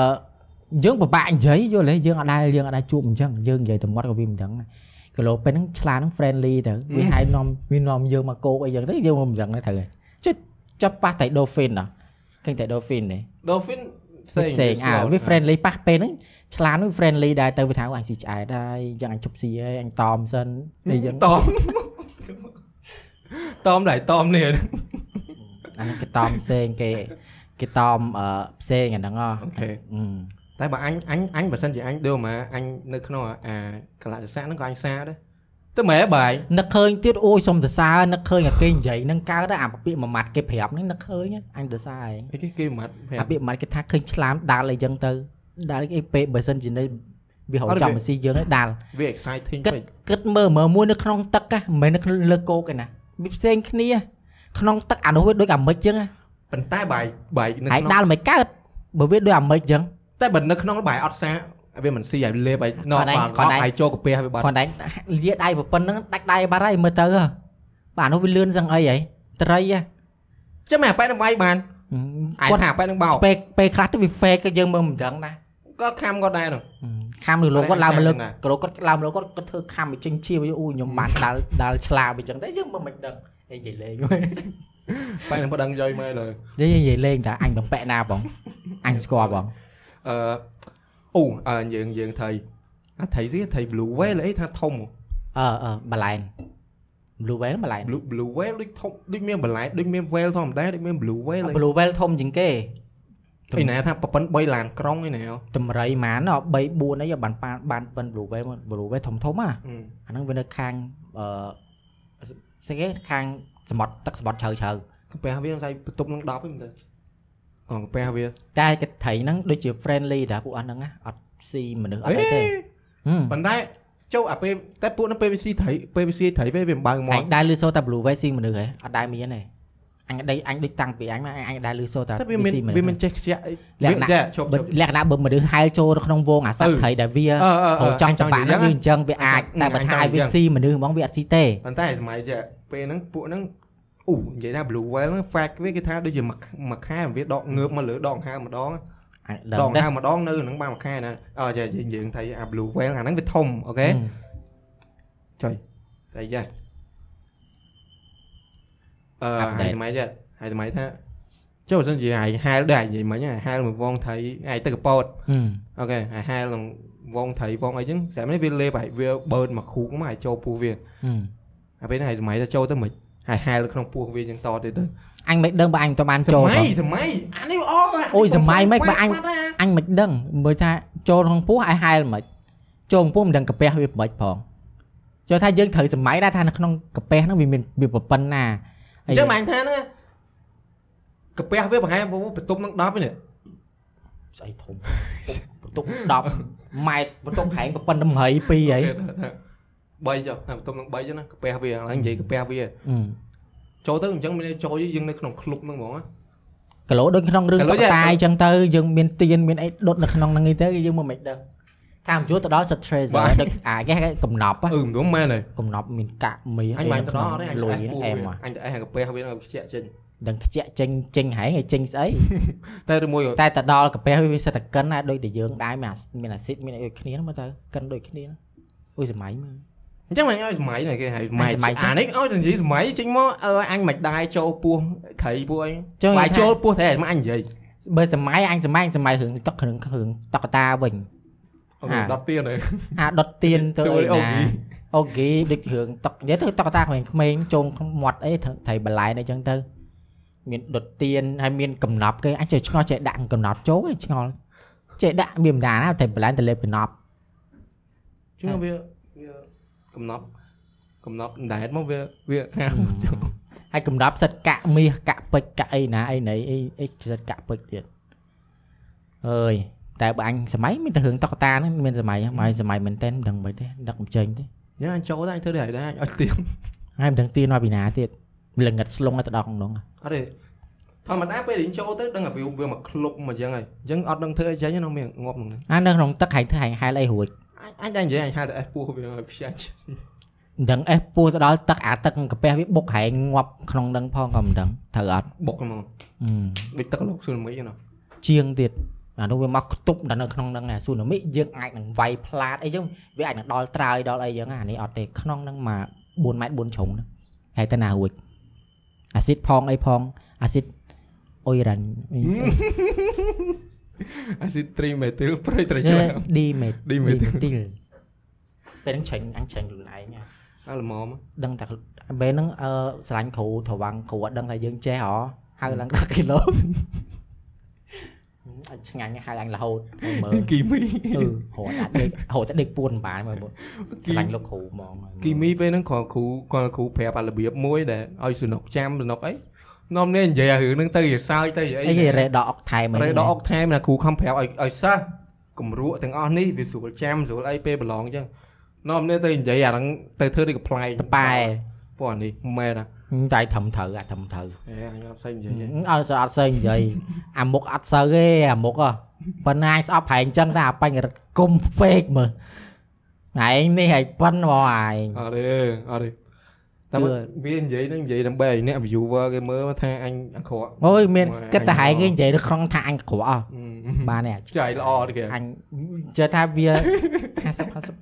[SPEAKER 2] យើងពិបាកនិយាយយល់ទេយើងអត់ដែលយើងអត់ដែលជួបអញ្ចឹងយើងនិយាយទៅមាត់ក៏វាមិនដឹងដែរគីឡូពេលហ្នឹងឆ្លាតហ្នឹង friendly ទៅវាហាយនាំវានាំយើងមកគោកអីយ៉ាងទៅយើងមិនដឹងដែរត្រូវហើយចុចចាប់ប៉ះតែ dolphin ហ៎ឃើញតែ dolphin ទេ
[SPEAKER 1] Dolphin ផ្
[SPEAKER 2] ផ្សេ
[SPEAKER 1] សេ
[SPEAKER 2] ង
[SPEAKER 1] ង
[SPEAKER 2] អើវា friendly ប៉ះពេលហ្នឹងឆ្លាតហ្នឹង friendly ដែរទៅវាថាអូអញស៊ីឆ្អែតហើយយ៉ាងអញជប់ស៊ីហើយអញតមសិនអីយ៉ាង
[SPEAKER 1] តមតមដែរតមនេះ
[SPEAKER 2] អាហ្នឹងគេតមផ្សេងគេគេតមអឺផ្សេងអាហ្នឹងហ៎
[SPEAKER 1] អូខេ
[SPEAKER 2] អឺ
[SPEAKER 1] តែបើអញអញអញបើសិនជាអញដូរមកអញនៅក្នុងអាកលៈទេសៈហ្នឹងក៏អញសារដែរទៅមែនបាយ
[SPEAKER 2] នឹកឃើញទៀតអូយសុំសរសើរនឹកឃើញអាគេនិយាយហ្នឹងកើតទៅអាពាក្យមួយម៉ាត់គេប្រាប់ហ្នឹងនឹកឃើញហ៎អញសរសើរឯង
[SPEAKER 1] អីគេគេមាត់
[SPEAKER 2] អា
[SPEAKER 1] ប្រាប់
[SPEAKER 2] ពាក្យមួយម៉ាត់គេថាឃើញឆ្លាមដាល់អីចឹងទៅដាល់អីពេលបើសិនជានៅវាហៅ
[SPEAKER 1] អត់ទេ
[SPEAKER 2] ចំស៊ីយើងឯងដាល់
[SPEAKER 1] វា exciting
[SPEAKER 2] គិត
[SPEAKER 1] ពេក
[SPEAKER 2] គិតមើលមើលមួយនៅក្នុងទឹកហ៎មិនមែននៅក្នុងលើគោកឯណាវាផ្សេងគ្នាក្នុងទឹកអានោះវាដូចអាមិចចឹងហ៎
[SPEAKER 1] ប៉ុន្តែបាយបាយនៅ
[SPEAKER 2] ឯង
[SPEAKER 1] ក្នុង
[SPEAKER 2] ដាល់មិនកើតបើវាដូចអាមិចចឹង
[SPEAKER 1] តែបើនៅក្នុងបាយអត់សារវាមិនស៊ីឲ្យលេបឲ្យណោ
[SPEAKER 2] គាត់ឯង
[SPEAKER 1] បាល់
[SPEAKER 2] គាត់ឯង
[SPEAKER 1] ឲ្យចូលកាពះវាបាត់
[SPEAKER 2] គាត់ឯងលាដៃប្រពន្ធហ្នឹងដាច់ដៃបាត់ហើយមើលទៅហ៎បាទអានោះវាលឿនសឹងអីហ៎ត្រីហ៎
[SPEAKER 1] ចាំមែនប៉ែនឹងវាយបានអាច
[SPEAKER 2] គាត់
[SPEAKER 1] ថាប៉ែនឹងបោក
[SPEAKER 2] ពេលពេលខ្លះទៅវា fake ទៅយើងមើលមិនដឹងណា
[SPEAKER 1] ក៏ខំក៏ដែរនោះ
[SPEAKER 2] ខាំលើលោកគាត់ឡើងមកលើ
[SPEAKER 1] តែ
[SPEAKER 2] ក្រូគាត់ឡើងមកលើគាត់គាត់ធ្វើខាំអញ្ចឹងជាវាអូខ្ញុំ បានដាល់ដាល់ឆ្លាមអញ្ចឹងតែយើងមិនមិនដឹងឯងនិយាយលេង ហ៎
[SPEAKER 1] ប៉ែនឹងប៉ដឹងយយមើលលើ
[SPEAKER 2] និយាយនិយាយលេងតាអញបំពាក់ណា បងអញស្គាល់បង
[SPEAKER 1] អឺអូអើយើងយើងថៃអាថៃស៊ីថៃ blue whale អីថាធំហ៎
[SPEAKER 2] អឺអឺបលែន Blue Whale បលែន
[SPEAKER 1] blue blue whale ដូចធំដូចមានបន្លែដូចមាន whale ធម្មតាដូចមាន blue whale អី
[SPEAKER 2] Blue Whale ធំជាងគេ
[SPEAKER 1] អីណាថាប្រពន្ធ3ឡានក្រុងឯណាហ៎
[SPEAKER 2] តម្រៃម៉ាន3 4អីបានបានបានប៉ុន Blue Whale មក Blue Whale ធំធំហ៎
[SPEAKER 1] អឺ
[SPEAKER 2] អាហ្នឹងវានៅខាងអឺស្អីគេខាងសមុទ្រទឹកសមុទ្រជ្រៅជ្រៅ
[SPEAKER 1] កំពះវាមិនស្អីបន្ទប់នឹង10ទេមើលទៅអងកំពះវា
[SPEAKER 2] តែគេត្រីហ្នឹងដូចជា friendly តាពួកអស់ហ្នឹងណាអត់ស៊ីមនុស្សអត់អីទេហឹម
[SPEAKER 1] ប៉ុន្តែចូលអាពេលតែពួកនឹងពេលវាស៊ីត្រីពេលវាស៊ីត្រីពេលវាមិនបើកមា
[SPEAKER 2] អញ
[SPEAKER 1] ត់
[SPEAKER 2] ដែរលឺសូរតែ Blue Wave ស៊ីមនុស្សហ៎អត់ដែរមានទេអញដែរអញដូចតាំងពីអញមកអញដែរលឺសូរតែ
[SPEAKER 1] តែវាមិន
[SPEAKER 2] ស៊ី
[SPEAKER 1] វា
[SPEAKER 2] មនុ
[SPEAKER 1] មិន
[SPEAKER 2] ស្ស
[SPEAKER 1] ចេះខ្ជាក់អី
[SPEAKER 2] ល
[SPEAKER 1] វា
[SPEAKER 2] ក្ខណៈ
[SPEAKER 1] ចេះឈប់
[SPEAKER 2] បើ
[SPEAKER 1] ឈប់
[SPEAKER 2] លក្ខណៈបើមនុស្សហែលចូលទៅក្នុងវងអាសត្វ
[SPEAKER 1] អឺ
[SPEAKER 2] ត្រីដែលវា
[SPEAKER 1] អឺអឺអឺ
[SPEAKER 2] ហូរច
[SPEAKER 1] អ
[SPEAKER 2] ង់
[SPEAKER 1] ញចង់
[SPEAKER 2] ច្បាស់
[SPEAKER 1] និយាយ
[SPEAKER 2] ហ្នឹងវាអញ្ចឹងវា
[SPEAKER 1] អញចង់
[SPEAKER 2] អាចតែបើ
[SPEAKER 1] អញចង់អ
[SPEAKER 2] ថាឲ្យវា
[SPEAKER 1] ញ្ចឹង
[SPEAKER 2] ស៊ីមនុស្សហ្មងវាអត់ស៊ីទេ
[SPEAKER 1] ប៉ុន្តែសម័យចេះពេលហ្នឹងពួកហ្នឹងអូនិយាយថា blue whale ហ្នឹង fact វាគេថាដូចជាមួយមួយខែវាដកងើបមកលើដងហើម្ដង
[SPEAKER 2] អញដឹង
[SPEAKER 1] ដង
[SPEAKER 2] ដែរ
[SPEAKER 1] ហើម្ដងនៅហ្នឹងបានមួយខែណាអើចេះយើងយើងថៃអា blue whale អាហ្នឹងវាធំអូខេចុយតែចេះអឺហើយសម័យចេះហើយសម័យថាចូលបើសិនជាឯងហែលដែរនិយាយមិញហ៎ហែលមួយវងថៃឯងទៅកប៉ោត
[SPEAKER 2] ហឹម
[SPEAKER 1] អូខេអាហែលនឹងវងត្រីវងអីចឹងស្រាប់នេះវាលេបហើយវាបឺនមកគ្រូកមកហើយចូលពោះវា
[SPEAKER 2] ហឹម
[SPEAKER 1] អាពេលហ្នឹងហើយសម័យទៅចូលទៅមិនហើយហែលនៅក្នុងពោះវាចឹងតទៀតទៅ
[SPEAKER 2] អញមិនដឹងបើអញមិនទៅបានចូ
[SPEAKER 1] ស
[SPEAKER 2] ល
[SPEAKER 1] ម័
[SPEAKER 2] ផង
[SPEAKER 1] យសម័យអានេះអស់
[SPEAKER 2] អូយសម័យម៉េចបើអញ អញមិនដឹងមើលថាចូលក្នុងពោះឲ្យហែលមិនចូលក្នុងពោះមិនដឹងកាពះវាមិនផងចូលថាយើងត្រូវសម័យដែរថានៅក្នុងកាពះហ្នឹងវាមានវាប្រពន្ធណា
[SPEAKER 1] អញ្ចឹងមិនថាហ្នឹងកាពះវាប្រហែលបន្ទប់នឹង10ហ្នឹង
[SPEAKER 2] ស្អីធំ បន្ទុក10ម៉ែត្របន្ទុកហែងប៉ុណ្ណឹងហើយ2ហើយ
[SPEAKER 1] 3ចុះបន្ទប់នឹង3ចឹងណាកាពះវាឥឡូវនិយាយកាពះវា
[SPEAKER 2] ហឹម
[SPEAKER 1] ចូលទៅអញ្ចឹងមានចូលយើងនៅក្នុងក្លុបហ្នឹងហ្មង
[SPEAKER 2] គីឡូដូចក្នុងរឿង
[SPEAKER 1] គីឡូ
[SPEAKER 2] តក
[SPEAKER 1] យ៉ា
[SPEAKER 2] តាយអញ្ចឹងទៅយើងមានទៀនមានអីដុតនៅក្នុងហ្នឹងឯងទៅយើងមើលមិនដឹងថាមនជួរទៅដល់ stress
[SPEAKER 1] បាទ
[SPEAKER 2] ដូចអាគេហៅកំណប់ហ៎
[SPEAKER 1] អឺមិនមែនទេ
[SPEAKER 2] កំណប់មានកាក់មី
[SPEAKER 1] អញបាញ់ទៅដល់ទេអញ
[SPEAKER 2] លុយ
[SPEAKER 1] អេសពោះ
[SPEAKER 2] អែម
[SPEAKER 1] វា
[SPEAKER 2] ហ៎
[SPEAKER 1] អញទៅអេសកាពះវានឹងខ្ជាក់ចេញ
[SPEAKER 2] ដឹងខ្ជាក់ចេញចេញហែងឲ្យចេញស្អី
[SPEAKER 1] តែមួយ
[SPEAKER 2] តែទៅដល់កាពះវាវាសិតតែកិនណាដូចតែយើងដែរមានអាមានអាស៊ីតមានអីដូចគ្នាហ្នឹងមើលទៅកិនដូចគ្នាហ្នឹងអុយសម័យមើល
[SPEAKER 1] អញ្ចឹងមិនឲ្យសម័យនេះគេហៅសម័យ
[SPEAKER 2] សម័យ
[SPEAKER 1] អានេះឲ្យតែនិយាយសម័យចេញមកអើអញមិនដែរចូលពោះត្រីពោះអី
[SPEAKER 2] ចុះ
[SPEAKER 1] បាយចូលពោះត្រីមិនអញនិយាយ
[SPEAKER 2] បើសម័យអញសម័យអញសម័យរឿងតកគ្រឿងគ្រឿងតកតាវិញ
[SPEAKER 1] អត់មាន
[SPEAKER 2] អា
[SPEAKER 1] ដល់ទៀតទេ
[SPEAKER 2] អាដុតទៀនទៅ
[SPEAKER 1] ទៅ
[SPEAKER 2] អី
[SPEAKER 1] អូ
[SPEAKER 2] ណា
[SPEAKER 1] ហ្គី
[SPEAKER 2] អូហ្គីដូចរឿងតកនិយាយទៅតកតាក្មេងក្មេងៗចូលមាត់អីថថៃបលាយអីចឹងទៅ មានដុតទៀនហើយមានកំណប់គេអញចេះឆ្ងល់ចេះដាក់កំណប់ចូលឯងឆ្ងល់ចេះដាក់មានម្ដាណាថៃបលាយទៅលេបកំណប់
[SPEAKER 1] ជឿវាវាកំណប់ កំណត់ដែតមកវាវាហាម
[SPEAKER 2] ហើយកំដប់សិតកាក់មាសកាក់ពេជ្រកាក់អីណាអីណីអីអីសិតកាក់ពេជ្រទៀតអើយតែបើអញសម័យមានតែរឿងតុក្កតាហ្នឹងមានសម័យហ្នឹងហើយសម័យមែនតែនមិនដឹងបីទេដឹកមិនចេញទេ
[SPEAKER 1] យ៉ាងអញចូលតែអញធ្វើដែរដែរអញអត់ទៀង
[SPEAKER 2] ហើយមិនដឹងទីមកពីណាទៀតលងិតស្លុងឲ្យទៅដល់ក្នុងនោះ
[SPEAKER 1] អត់ទេធម្មតាពេលដែលអញចូលទៅដឹងតែវាវាមកក្លុបមកអញ្ចឹងហើយអញ្ចឹងអត់ដឹងធ្វើអីចេញទេនៅមានងាប់ហ្នឹងអញ
[SPEAKER 2] អានៅក្នុងទឹកហែងធ្វើហែងហែលអីរួច
[SPEAKER 1] អញតែនិយាយអញហៅតែអេសពោះវាឲ្យខ្ចាច់
[SPEAKER 2] មិនដឹងអេះពូទៅដល់ទឹកអាទឹកកាពះវាបុកហែងងាប់ក្នុងនឹងផងក៏មិនដឹងត្រូវអត់
[SPEAKER 1] បុកហ្មង
[SPEAKER 2] អឺ
[SPEAKER 1] ដូចទឹកលោកស៊ូណាមីហ្នឹង
[SPEAKER 2] ជាងទៀតអានោះវាមកខ្ទប់ដល់នៅក្នុងហ្នឹងណាស៊ូណាមិយើងអាចនឹងវាយផ្លាតអីចឹងវាអាចនឹងដល់ត្រើយដល់អីចឹងណាអានេះអត់ទេក្នុងហ្នឹងមក4ម៉ែត្រ4ជ្រុងហ្នឹងហើយទៅណារួចអាស៊ីតផងអីផងអាស៊ីតអុយរ៉ាញ់
[SPEAKER 1] អាស៊ីតត្រីមេទិលប្រៃត្រ ជាក់
[SPEAKER 2] ឌីមេ
[SPEAKER 1] ឌីមេទ
[SPEAKER 2] ទីលពេលហ្នឹងច្រាញ់អញច្រាញ់ខ្លួនឯងណា
[SPEAKER 1] អាល្មម
[SPEAKER 2] ដឹងតែខ្លួនពេលហ្នឹងអឺស្រឡាញ់គ្រូត្រវាំងគ្រូអត់ដឹងថាយើងចេះហ៎ហៅឡើង10គីឡូអញឆ្ងាញ់ហៅអញរហូត មើល
[SPEAKER 1] គីមី
[SPEAKER 2] អឺរហូតអាចដេករហូតតែដេកពួនបានមើលបង
[SPEAKER 1] គី
[SPEAKER 2] ស្រឡាញ់លោកគ្រូហ្មងមើល
[SPEAKER 1] គីមីពេលហ្នឹងគ្រាន់គ្រូគ្រាន់គ្រូប្រាប់អារបៀបមួយដែលឲ្យសុនុកចាំសុនុកអីនាំនេះនិយាយអារឿងហ្នឹងទៅវាសើចទៅវា
[SPEAKER 2] អីគេ
[SPEAKER 1] អី
[SPEAKER 2] រ៉េដកអុកថែម
[SPEAKER 1] រ៉េដកអុកថែមណាគ្រូខំប្រាប់ឲ្យឲ្យសិស្សគម្រក់ទាំងអស់នេះវាស្រួលចាំស្រួលអីពេលប្រឡងអញ្ចឹងនាំនេះទៅនិយាយអាហ្នឹងទៅធ្វើដូចកំ pl ែង
[SPEAKER 2] តប៉ែ
[SPEAKER 1] ព្រោះអានេះមែនណា
[SPEAKER 2] តែត្រឹមត្រូវអាត្រឹមត្រូវ
[SPEAKER 1] អេខ្ញុំអត់ផ្សេងនិយាយទេ
[SPEAKER 2] អត់សើអត់សើនិយាយអាមុខអត់សើទេអាមុខហ៎ប៉ុណ្ណាឯងស្អប់ហែងចឹងតែអាបញ្ញរត់គុំហ្វេកមើលឯងនេះឯងប៉ុនហ្មងឯង
[SPEAKER 1] អត់ទេអត់ទេតែ
[SPEAKER 2] ជឿ
[SPEAKER 1] មកវានិយាយហ្នឹងនិយាយដើម្បីឲ្យអ្នក viewer គេមើលថាអញអាក្រក់
[SPEAKER 2] អូយមានគិតតែហែងគេនិយាយនៅក្នុងថាអញក្រក់អស់
[SPEAKER 1] អឺ
[SPEAKER 2] បានទេអា
[SPEAKER 1] ចៃល្អទេគេ
[SPEAKER 2] អញជឿថាវា 50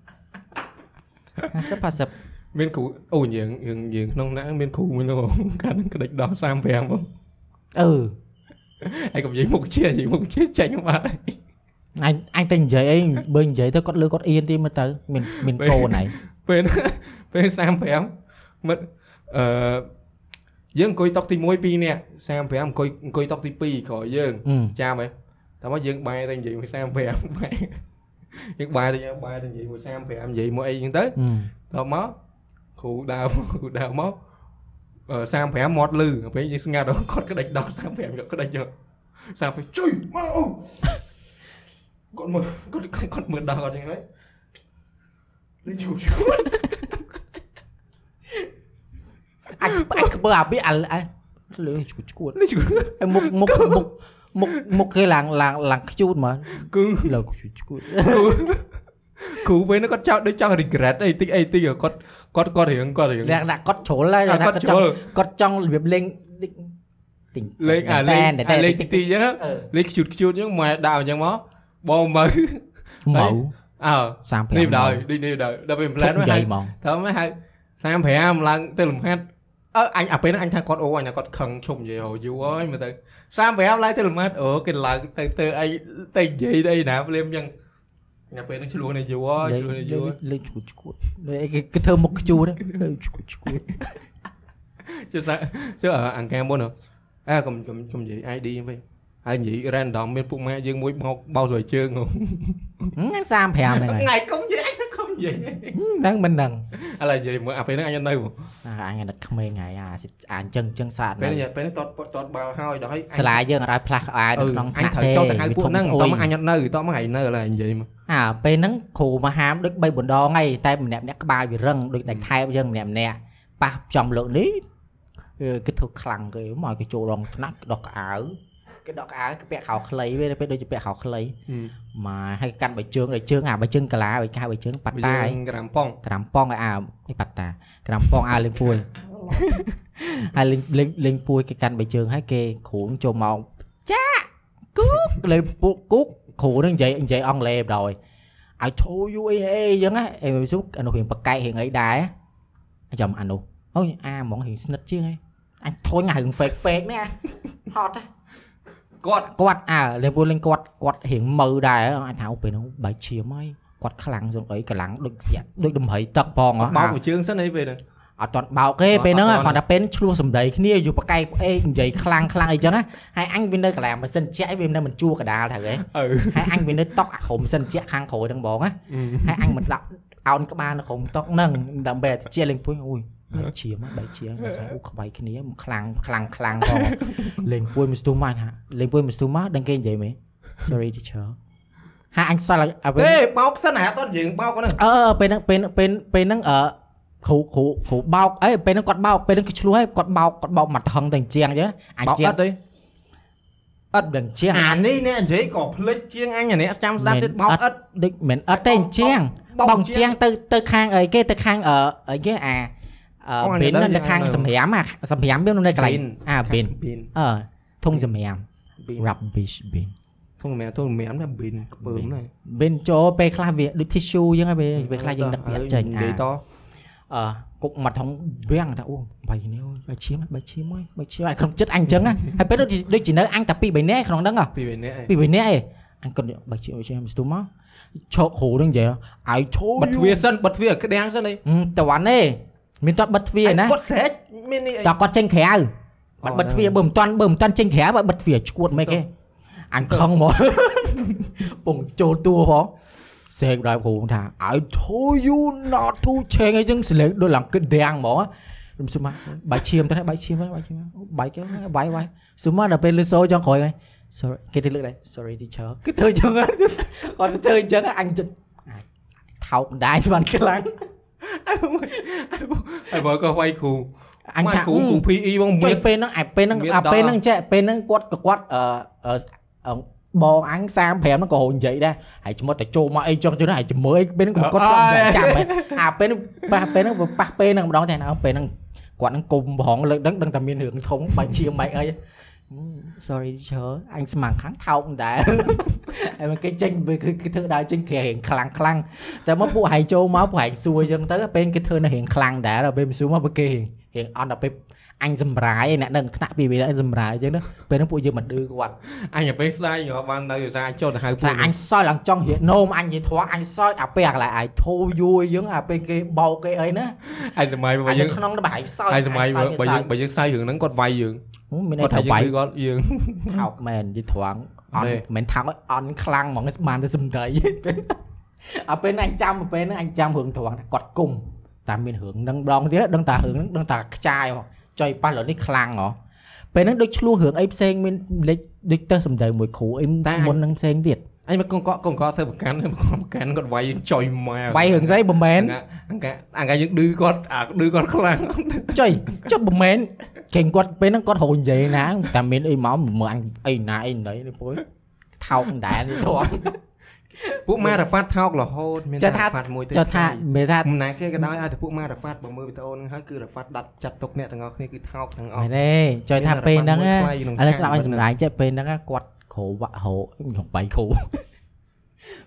[SPEAKER 2] 50 50 50
[SPEAKER 1] មានគ្រូអូយើងយើងយើងក្នុងហ្នឹងមានគ្រូមួយនោះកាត់ហ្នឹងក្តិចដោះ35បង
[SPEAKER 2] អឺ
[SPEAKER 1] ហើយកុំនិយាយមុខជានិយាយមុខជាចេញបាត់ហើយ
[SPEAKER 2] អញអញតែនិយាយអីបើនិយាយទៅគាត់លើគាត់អៀនទីមើលទៅមានមានកូនហើយ
[SPEAKER 1] ពេល ហ្នឹងពេល35មិត្តអឺយើងអង្គុយតុកទី1 2នាក់35អង្គុយអង្គុយតុកទី2ក្រោយយើង
[SPEAKER 2] អឺ
[SPEAKER 1] ចាំហ៎តែមកយើងបាយតែនិយាយមួយ35បាយយើងបាយតែយើងបាយតែនិយាយមួយ35និយាយមួយអីហ្នឹងទៅ
[SPEAKER 2] អឺ
[SPEAKER 1] តបមកគ្រូដើ រមកគ្រូដើរមកអឺ35មាត់លឺពេលយើងស្ងាត់ដល់គាត់ក្តិចដោះ35យកក្តិចយក សាប់ជួយមកអូគាត់មើលគាត់គាត់គាត់មើលដល់គាត់យ៉ាងហ្នឹងលេងជួយ ជួយ
[SPEAKER 2] អញអញក្បើអាពីអាអាលឺឈួតឈួត
[SPEAKER 1] លេងជួយ
[SPEAKER 2] ហើយមុខមុខមុខមុខមុខគេឡើងឡើងឡើងខ្ជូតហ្មក
[SPEAKER 1] គឺ
[SPEAKER 2] លើឈួតឈួត
[SPEAKER 1] គ្រូពេលហ្នឹងគាត់ចោលដូចចង់ regret អីតិចអីតិចគាត់គាត់គាត់រៀងគាត់រៀង
[SPEAKER 2] លក្ខណៈគាត់ជ្រុលហើយលក្ខណៈគាត់ចង់គាត់ចង់របៀបលេងទិញ
[SPEAKER 1] លេងអាលេង
[SPEAKER 2] តែ
[SPEAKER 1] អាលេ
[SPEAKER 2] លេ
[SPEAKER 1] ង
[SPEAKER 2] ង
[SPEAKER 1] តិចតិចអញ្ចឹងលេងខ្ជូតខ្ជូតអញ្ចឹងម៉ែដាក់អញ្ចឹងមកបងមើល
[SPEAKER 2] ម៉ៅ
[SPEAKER 1] អើ
[SPEAKER 2] 35
[SPEAKER 1] នេះបដោយនេះនេះបដោយដល់ពេល plan
[SPEAKER 2] និ
[SPEAKER 1] ហៅ
[SPEAKER 2] យាយហ្មង
[SPEAKER 1] ធ្វើមិនហៅ35ឡើងទៅលំហាត់អើអញអាពេលហ្នឹងអញថាគាត់អូអញថាគាត់ខឹងឈប់និយាយហៅយូរហើយមើលទៅ35ឡើងទៅលំហាត់អូគេឡើងទៅទៅអីទៅនិយាយទៅអីណាព្រលឹមអញ្ចឹងអញអាពេលហ្នឹងឆ្លោះនេះយូរហើយឆ្លោះនេះយូរ
[SPEAKER 2] លេងឈួតឈួតលេងអីគេគេធ្វើមុខខ្ជូតលើឈួតឈួត
[SPEAKER 1] ចុះសាចុះអ่าអង្ការមុនហ៎អើកុំកុំកុំនិយាយ ID វិញហើយនិយាយ random មានពួកម៉ែយើងមួយបោកបោកស្រួយជើងហ៎
[SPEAKER 2] ហ្នឹង35ហ្នឹង ហើយ
[SPEAKER 1] ថ្ងៃកុំនិយាយអញកុំនិយាយ
[SPEAKER 2] ហ្នឹងមិនដឹង
[SPEAKER 1] ឥឡូវនិយាយមើលអាពេលហ្នឹងអញអត់នៅ
[SPEAKER 2] អាអញអាណិតក្មេងហើយអាសិតអាអញ្ចឹងអញ្ចឹងសាទ
[SPEAKER 1] ពេលហ្នឹងពេលហ្នឹងតតតតបាល់ហើយដល់ហើយអញ
[SPEAKER 2] សាលាយើងអត់ឲ្យផ្លាស់ក្បាលនៅក្នុង
[SPEAKER 1] អញ
[SPEAKER 2] ថ្នាក់
[SPEAKER 1] ត្រូវចូល
[SPEAKER 2] ទេ
[SPEAKER 1] ទៅហៅពួក
[SPEAKER 2] វាធំ
[SPEAKER 1] ហ្នឹងត
[SPEAKER 2] ស្អុយ
[SPEAKER 1] មកអញអត់នៅតមកឯងនៅឥឡូវឯងនិយាយមក
[SPEAKER 2] អាពេលហ្នឹងគ្រូមកហាមដូច3 4ដងហើយតែម្នាក់ម្នាក់ក្បាលវារឹងដូចដាច់ថែបយើងម្នាក់ម្នាក់ប៉ះចំលោកនេះអឺគេធ្វើខ្លាំងគេមកឲ្យគេចូលរងថ្នាក់ដកក្អៅគេដកក្អៅគេពាក់ខោខ្លីវាពេលដូចជាពាក់ខោខ្លីមកឲ្យកាន់បើជើងដល់ជើងអាបើជើងកាឡាបើកៅបើជើងប៉ាត់
[SPEAKER 1] បើ
[SPEAKER 2] តា
[SPEAKER 1] យើ
[SPEAKER 2] ហើយ
[SPEAKER 1] ងក្រាំប៉ង
[SPEAKER 2] ក្រាំប៉ងឲ្យអាអីប៉ាត់តាក្រាំប៉ងអាលេងពួយ ហើយលេងលេងលេងពួយគេកាន់បីជើងហើយគេគ្រូនចូលមកចាគូកលេងពួកគូកគ្រូនឹងនិយាយនិយាយអង់គ្លេសបណ្ដោយឲ្យ show you អីអីអញ្ចឹងណាអីសុខអានោះរៀងបកកែករៀងអីដែរហើយចាំអានោះអូយអាហ្មងរៀងស្និទ្ធជាងហីអញធុញអារឿង fake fake នេះអា ហត់ហ៎
[SPEAKER 1] គាត់
[SPEAKER 2] គាត់អើលេងពួនលេងគាត់គាត់រៀងមើលដែរអញថាអូពេលហ្នឹងបែកឈាមហើយគាត់ខ្លាំងសងអីកម្លាំងដូចស្រាក់ដូចដំរីទឹកផងហ៎
[SPEAKER 1] បោ
[SPEAKER 2] អា
[SPEAKER 1] កមួយជើងសិនអីពេលហ្នឹង
[SPEAKER 2] អត់តន់បោកទេពេលហ្នឹង
[SPEAKER 1] អត់
[SPEAKER 2] ហ៎
[SPEAKER 1] ទាន់
[SPEAKER 2] គ្រាន់តែពេលឆ្លោះសម្ដីគ្នាយូរប្រកែកអេនិយាយខ្លាំងខ្លាំងអីចឹងណាហើយអញវានៅកន្លែងមិនសិនជាក់ឯងវានៅមិនជួកដាលទៅ
[SPEAKER 1] អ
[SPEAKER 2] ហ៎
[SPEAKER 1] ឺ
[SPEAKER 2] ហើយអញវានៅតុកអាក្រុមសិនជាក់ខាងក្រោយហ្នឹងបងណាហើយអញមិនដាក់ អោនក្បាលនៅក្រុមតុកហ្នឹងដើម្បីតែជាលេងពុយអូយបែកជាមកបែកជាភាសាអូខ្វាយគ្នាមកខ្លាំងខ្លាំងខ្លាំងផងលេងពុយមិនស្ទុះមកហាលេងពុយមិនស្ទុះមកដឹងគេនិយាយមែន Sorry teacher ហាអញសល់ឲ្យឲ្យ
[SPEAKER 1] ទេបោកសិនអាអត់យើងបោកហ្នឹង
[SPEAKER 2] អឺពេលហ្នឹងពេលពេលពេលហ្នឹងអឺគ្រូគ្រូគ្រូបោកអីពេលហ្នឹងគាត់បោកពេលហ្នឹងគឺឆ្លោះហើយគាត់បោកគាត់បោកមកថងតែជាងអញ្ចឹងអា
[SPEAKER 1] បោក
[SPEAKER 2] ជា
[SPEAKER 1] អ
[SPEAKER 2] ង
[SPEAKER 1] ត់ទេ
[SPEAKER 2] អត់ដឹងជាង
[SPEAKER 1] អានេះអ្នកនិយាយក៏ភ្លេចជាងអញអានេះចាំស្ដាប់ទៀតបោកអត់
[SPEAKER 2] ដូចមិនអត់ទេជាង
[SPEAKER 1] បោក
[SPEAKER 2] បោកជាងទៅទៅខាងអីគេទៅខាងអឺអីគេអា
[SPEAKER 1] អូ
[SPEAKER 2] អឺ
[SPEAKER 1] អានេះ
[SPEAKER 2] បិន
[SPEAKER 1] ដឹង
[SPEAKER 2] ទៅខាង
[SPEAKER 1] យ៉ាង
[SPEAKER 2] សម្រាមអាសម្រាមវានៅកន្លែង
[SPEAKER 1] Bin
[SPEAKER 2] អាបិន
[SPEAKER 1] ប៊ីន
[SPEAKER 2] អឺធុងសម្រាម
[SPEAKER 1] ប៊ីន
[SPEAKER 2] rubbish bin
[SPEAKER 1] ធំមែនធំមែនណាប៊ីនក្ពើមណា
[SPEAKER 2] បិនចូលពេលខ្លះវាដូច tissue អញ្ចឹងហើយពេលពេលខ្លះយើងដឹកវាចេញ
[SPEAKER 1] និ
[SPEAKER 2] អា
[SPEAKER 1] យាយត
[SPEAKER 2] អឺគុកមាត់ថងវាំងថាអូបាយនេះអូយបាយឈាមហើយបាយឈាមហើយបាយឈាមហើយក្នុងចិត្តអញអញ្ចឹងណា ហើយពេលដូចជាដូចជានៅអញតែពីរបីនាក់ឯងក្នុងហ្នឹងហ៎
[SPEAKER 1] ពីវិញនេះឯង
[SPEAKER 2] ពីរបីនាក់ឯងអញគាត់បាយឈាមបាយឈាមស្ទុំមកឈោកគ្រូហ្នឹងនិយាយឲ្យឈោ
[SPEAKER 1] បិទទ្វារសិនបិទទ្វារឲ្យក្ដាំងសិនឯង
[SPEAKER 2] តវ៉ាន់ទេមានតាត់បិទទ្វារណា
[SPEAKER 1] គាត់ស្រែកមាននេះឯ
[SPEAKER 2] តែ
[SPEAKER 1] ង
[SPEAKER 2] គាត់ចេញក្រៅបាត់
[SPEAKER 1] អូ
[SPEAKER 2] បិទទ្វារបើមិនតាន់បើមិនតាន់ចេញក្រៅបើបិទទ្វារឈួតមិនគេអញខឹងមក ពងចូលតួផងសេកដល់គ្រូថា I told you not to change អីចឹងសលេងដូចឡើងគិតដាំងហ្មងខ្ញុំសុំមកបាយឈាមទៅហើយបាយឈាមទៅហើយបាយឈាមទៅហើយបាយគេហើយបាយបាយសុំមកដល់ពេលលឺសូរចង់ក្រោយហើយ sorry គេទៅលើកដែរ sorry teacher គឺធ្វើចឹង ហ៎គាត់ទៅធ្វើចឹងហ៎អញចិត្តថោកមិនដែរស្មានខ្លាំង
[SPEAKER 1] ហើយបើក៏វាយគ្រូ
[SPEAKER 2] អញ
[SPEAKER 1] ម៉ែ
[SPEAKER 2] ថា
[SPEAKER 1] គ្រូគ្រូ PE បង
[SPEAKER 2] ចុ
[SPEAKER 1] មើ
[SPEAKER 2] យ
[SPEAKER 1] ល
[SPEAKER 2] ពេលហ្នឹងអាពេលហ្នឹង
[SPEAKER 1] មានដ
[SPEAKER 2] អា
[SPEAKER 1] ល់
[SPEAKER 2] ពេលហ្នឹងចេះពេលហ្នឹងគាត់ក៏គាត់អឺអឺបងអញ35ហ្នឹងក៏ហូរនិយាយដែរហើយឈ្មោះតែចូលមកអីចុះទៅណាហើយជំរឿយពេលហ្នឹងក៏គាត់គាត់មិនចាំហ៎អាពេលហ្នឹងប៉ះពេលហ្នឹងវាប៉ះពេលហ្នឹងម្ដងតែណាពេលហ្នឹងគាត់ហ្នឹងគុំប្រហងលើកដឹងដឹងតែមានរឿងធំបាច់ជាបាច់អី sorry teacher អញស្មាំងខាងថោកមិន ដែរហើយមកគេចេញវាគឺគេធ្វើដើរចេញគេរៀងខ្លាំងខ្លាំងតែមកពួកហែងចូលមកពួកហែងសួរអញ្ចឹងទៅពេលគេធ្វើនៅរៀងខ្លាំងដែរដល់ពេលមិនសួរមកពួកគេរៀងរៀងអត់ដល់ពេលអញសម្រាយឯអ្នកនឹងថ្នាក់ពីវាអញសម្រាយអញ្ចឹងណាពេលហ្នឹងពួកយើងមិនឌឺគាត់
[SPEAKER 1] អញទៅពេលស្ដាយញ៉ាំបាននៅឧស្សាហ៍ចុះទៅហៅពួក
[SPEAKER 2] ថាអញសោយឡើងចង់រៀងនោមអញនិយាយធំអញសោយអាពេលអាកន្លែងអាយធូរយូរអញ្ចឹងអាពេលគេបោកគេអីណា
[SPEAKER 1] ឯងសម័យបើ
[SPEAKER 2] អាយ
[SPEAKER 1] យើ
[SPEAKER 2] នៅ
[SPEAKER 1] ង
[SPEAKER 2] ក្នុងរបស់ហែងសោ
[SPEAKER 1] ឯ
[SPEAKER 2] យ
[SPEAKER 1] ងសម័យ
[SPEAKER 2] អញ
[SPEAKER 1] បើ
[SPEAKER 2] សោយ
[SPEAKER 1] បើ
[SPEAKER 2] គេ
[SPEAKER 1] យើងបើយើង
[SPEAKER 2] សោយ
[SPEAKER 1] ស្ដាយរឿងហ្នឹងគាត់វាយយើង
[SPEAKER 2] ហ៊ឹមមាន
[SPEAKER 1] គាត់ថាយើងគឺគាត់យើង
[SPEAKER 2] អីថាបាយថោកមែននិយាយត្រង់អត់
[SPEAKER 1] ទេ
[SPEAKER 2] មិនថោកឲ្យអន់ខ្លាំងហ្មងបានតែសំ ដីអាពេលហ្នឹងអញចាំពេលហ្នឹងអញចាំរឿងត្រង់ថាគាត់គុំតាមមានរឿងហ្នឹងម្ដងទៀតដឹងតារឿងហ្នឹងដឹងតាខ្ចាយហ៎ចុយប៉ះលើនេះខ្លាំងហ៎ពេលហ្នឹងដូចឆ្លោះរឿងអីផ្សេងមានលេខដូចទៅសំដីមួយគ្រូអី
[SPEAKER 1] តែ
[SPEAKER 2] មុនហ្នឹងផ្សេងទៀត
[SPEAKER 1] អញមកកងកក់កងកក់ធ្វើប្រកាន់ប្រកាន់គាត់វាយយើងចុយម៉ែ
[SPEAKER 2] វាយរឿងស្អីបំមែន
[SPEAKER 1] អង្កាអង្កាយើងឌឺគាត់អាឌឺ គាត់ខ្លាំង
[SPEAKER 2] ចុយចុះបំមែនគេងគាត់ពេលហ្នឹងគាត់រហូតនិយាយណាតែមានអីមកមើលអញអីណាអីណីនេះពុយថោកមិនដែរនេះត្រង់
[SPEAKER 1] ពួកម៉ារ៉ាហ្វាត់ថោករហូតមាន
[SPEAKER 2] ចុះថា
[SPEAKER 1] រ៉ាហ្វាត់មួយទៅ
[SPEAKER 2] ចុះថាមេថា
[SPEAKER 1] មិនណាគេក៏ដោយឲ្យតែពួកម៉ារ៉ាហ្វាត់បើមើលវីដេអូហ្នឹងហើយគឺរ៉ាហ្វាត់ដាច់ចាត់ទុកអ្នកទាំងអស់គ្នាគឺថោកទាំងអស់
[SPEAKER 2] មែនទេចុយ
[SPEAKER 1] មាន
[SPEAKER 2] ថា
[SPEAKER 1] របាំ
[SPEAKER 2] ពេលហ្នឹង
[SPEAKER 1] មួយ
[SPEAKER 2] ណា
[SPEAKER 1] ថ្លៃក្នុងឆាក
[SPEAKER 2] ឥឡូវស្ដាប់អញ
[SPEAKER 1] ប៉ុណ្ណឹង
[SPEAKER 2] សម្ដែងចេះពេលហ្នឹងណាគាត់គ្រូវាក់ហោខ្ញុំបៃ គ្រូ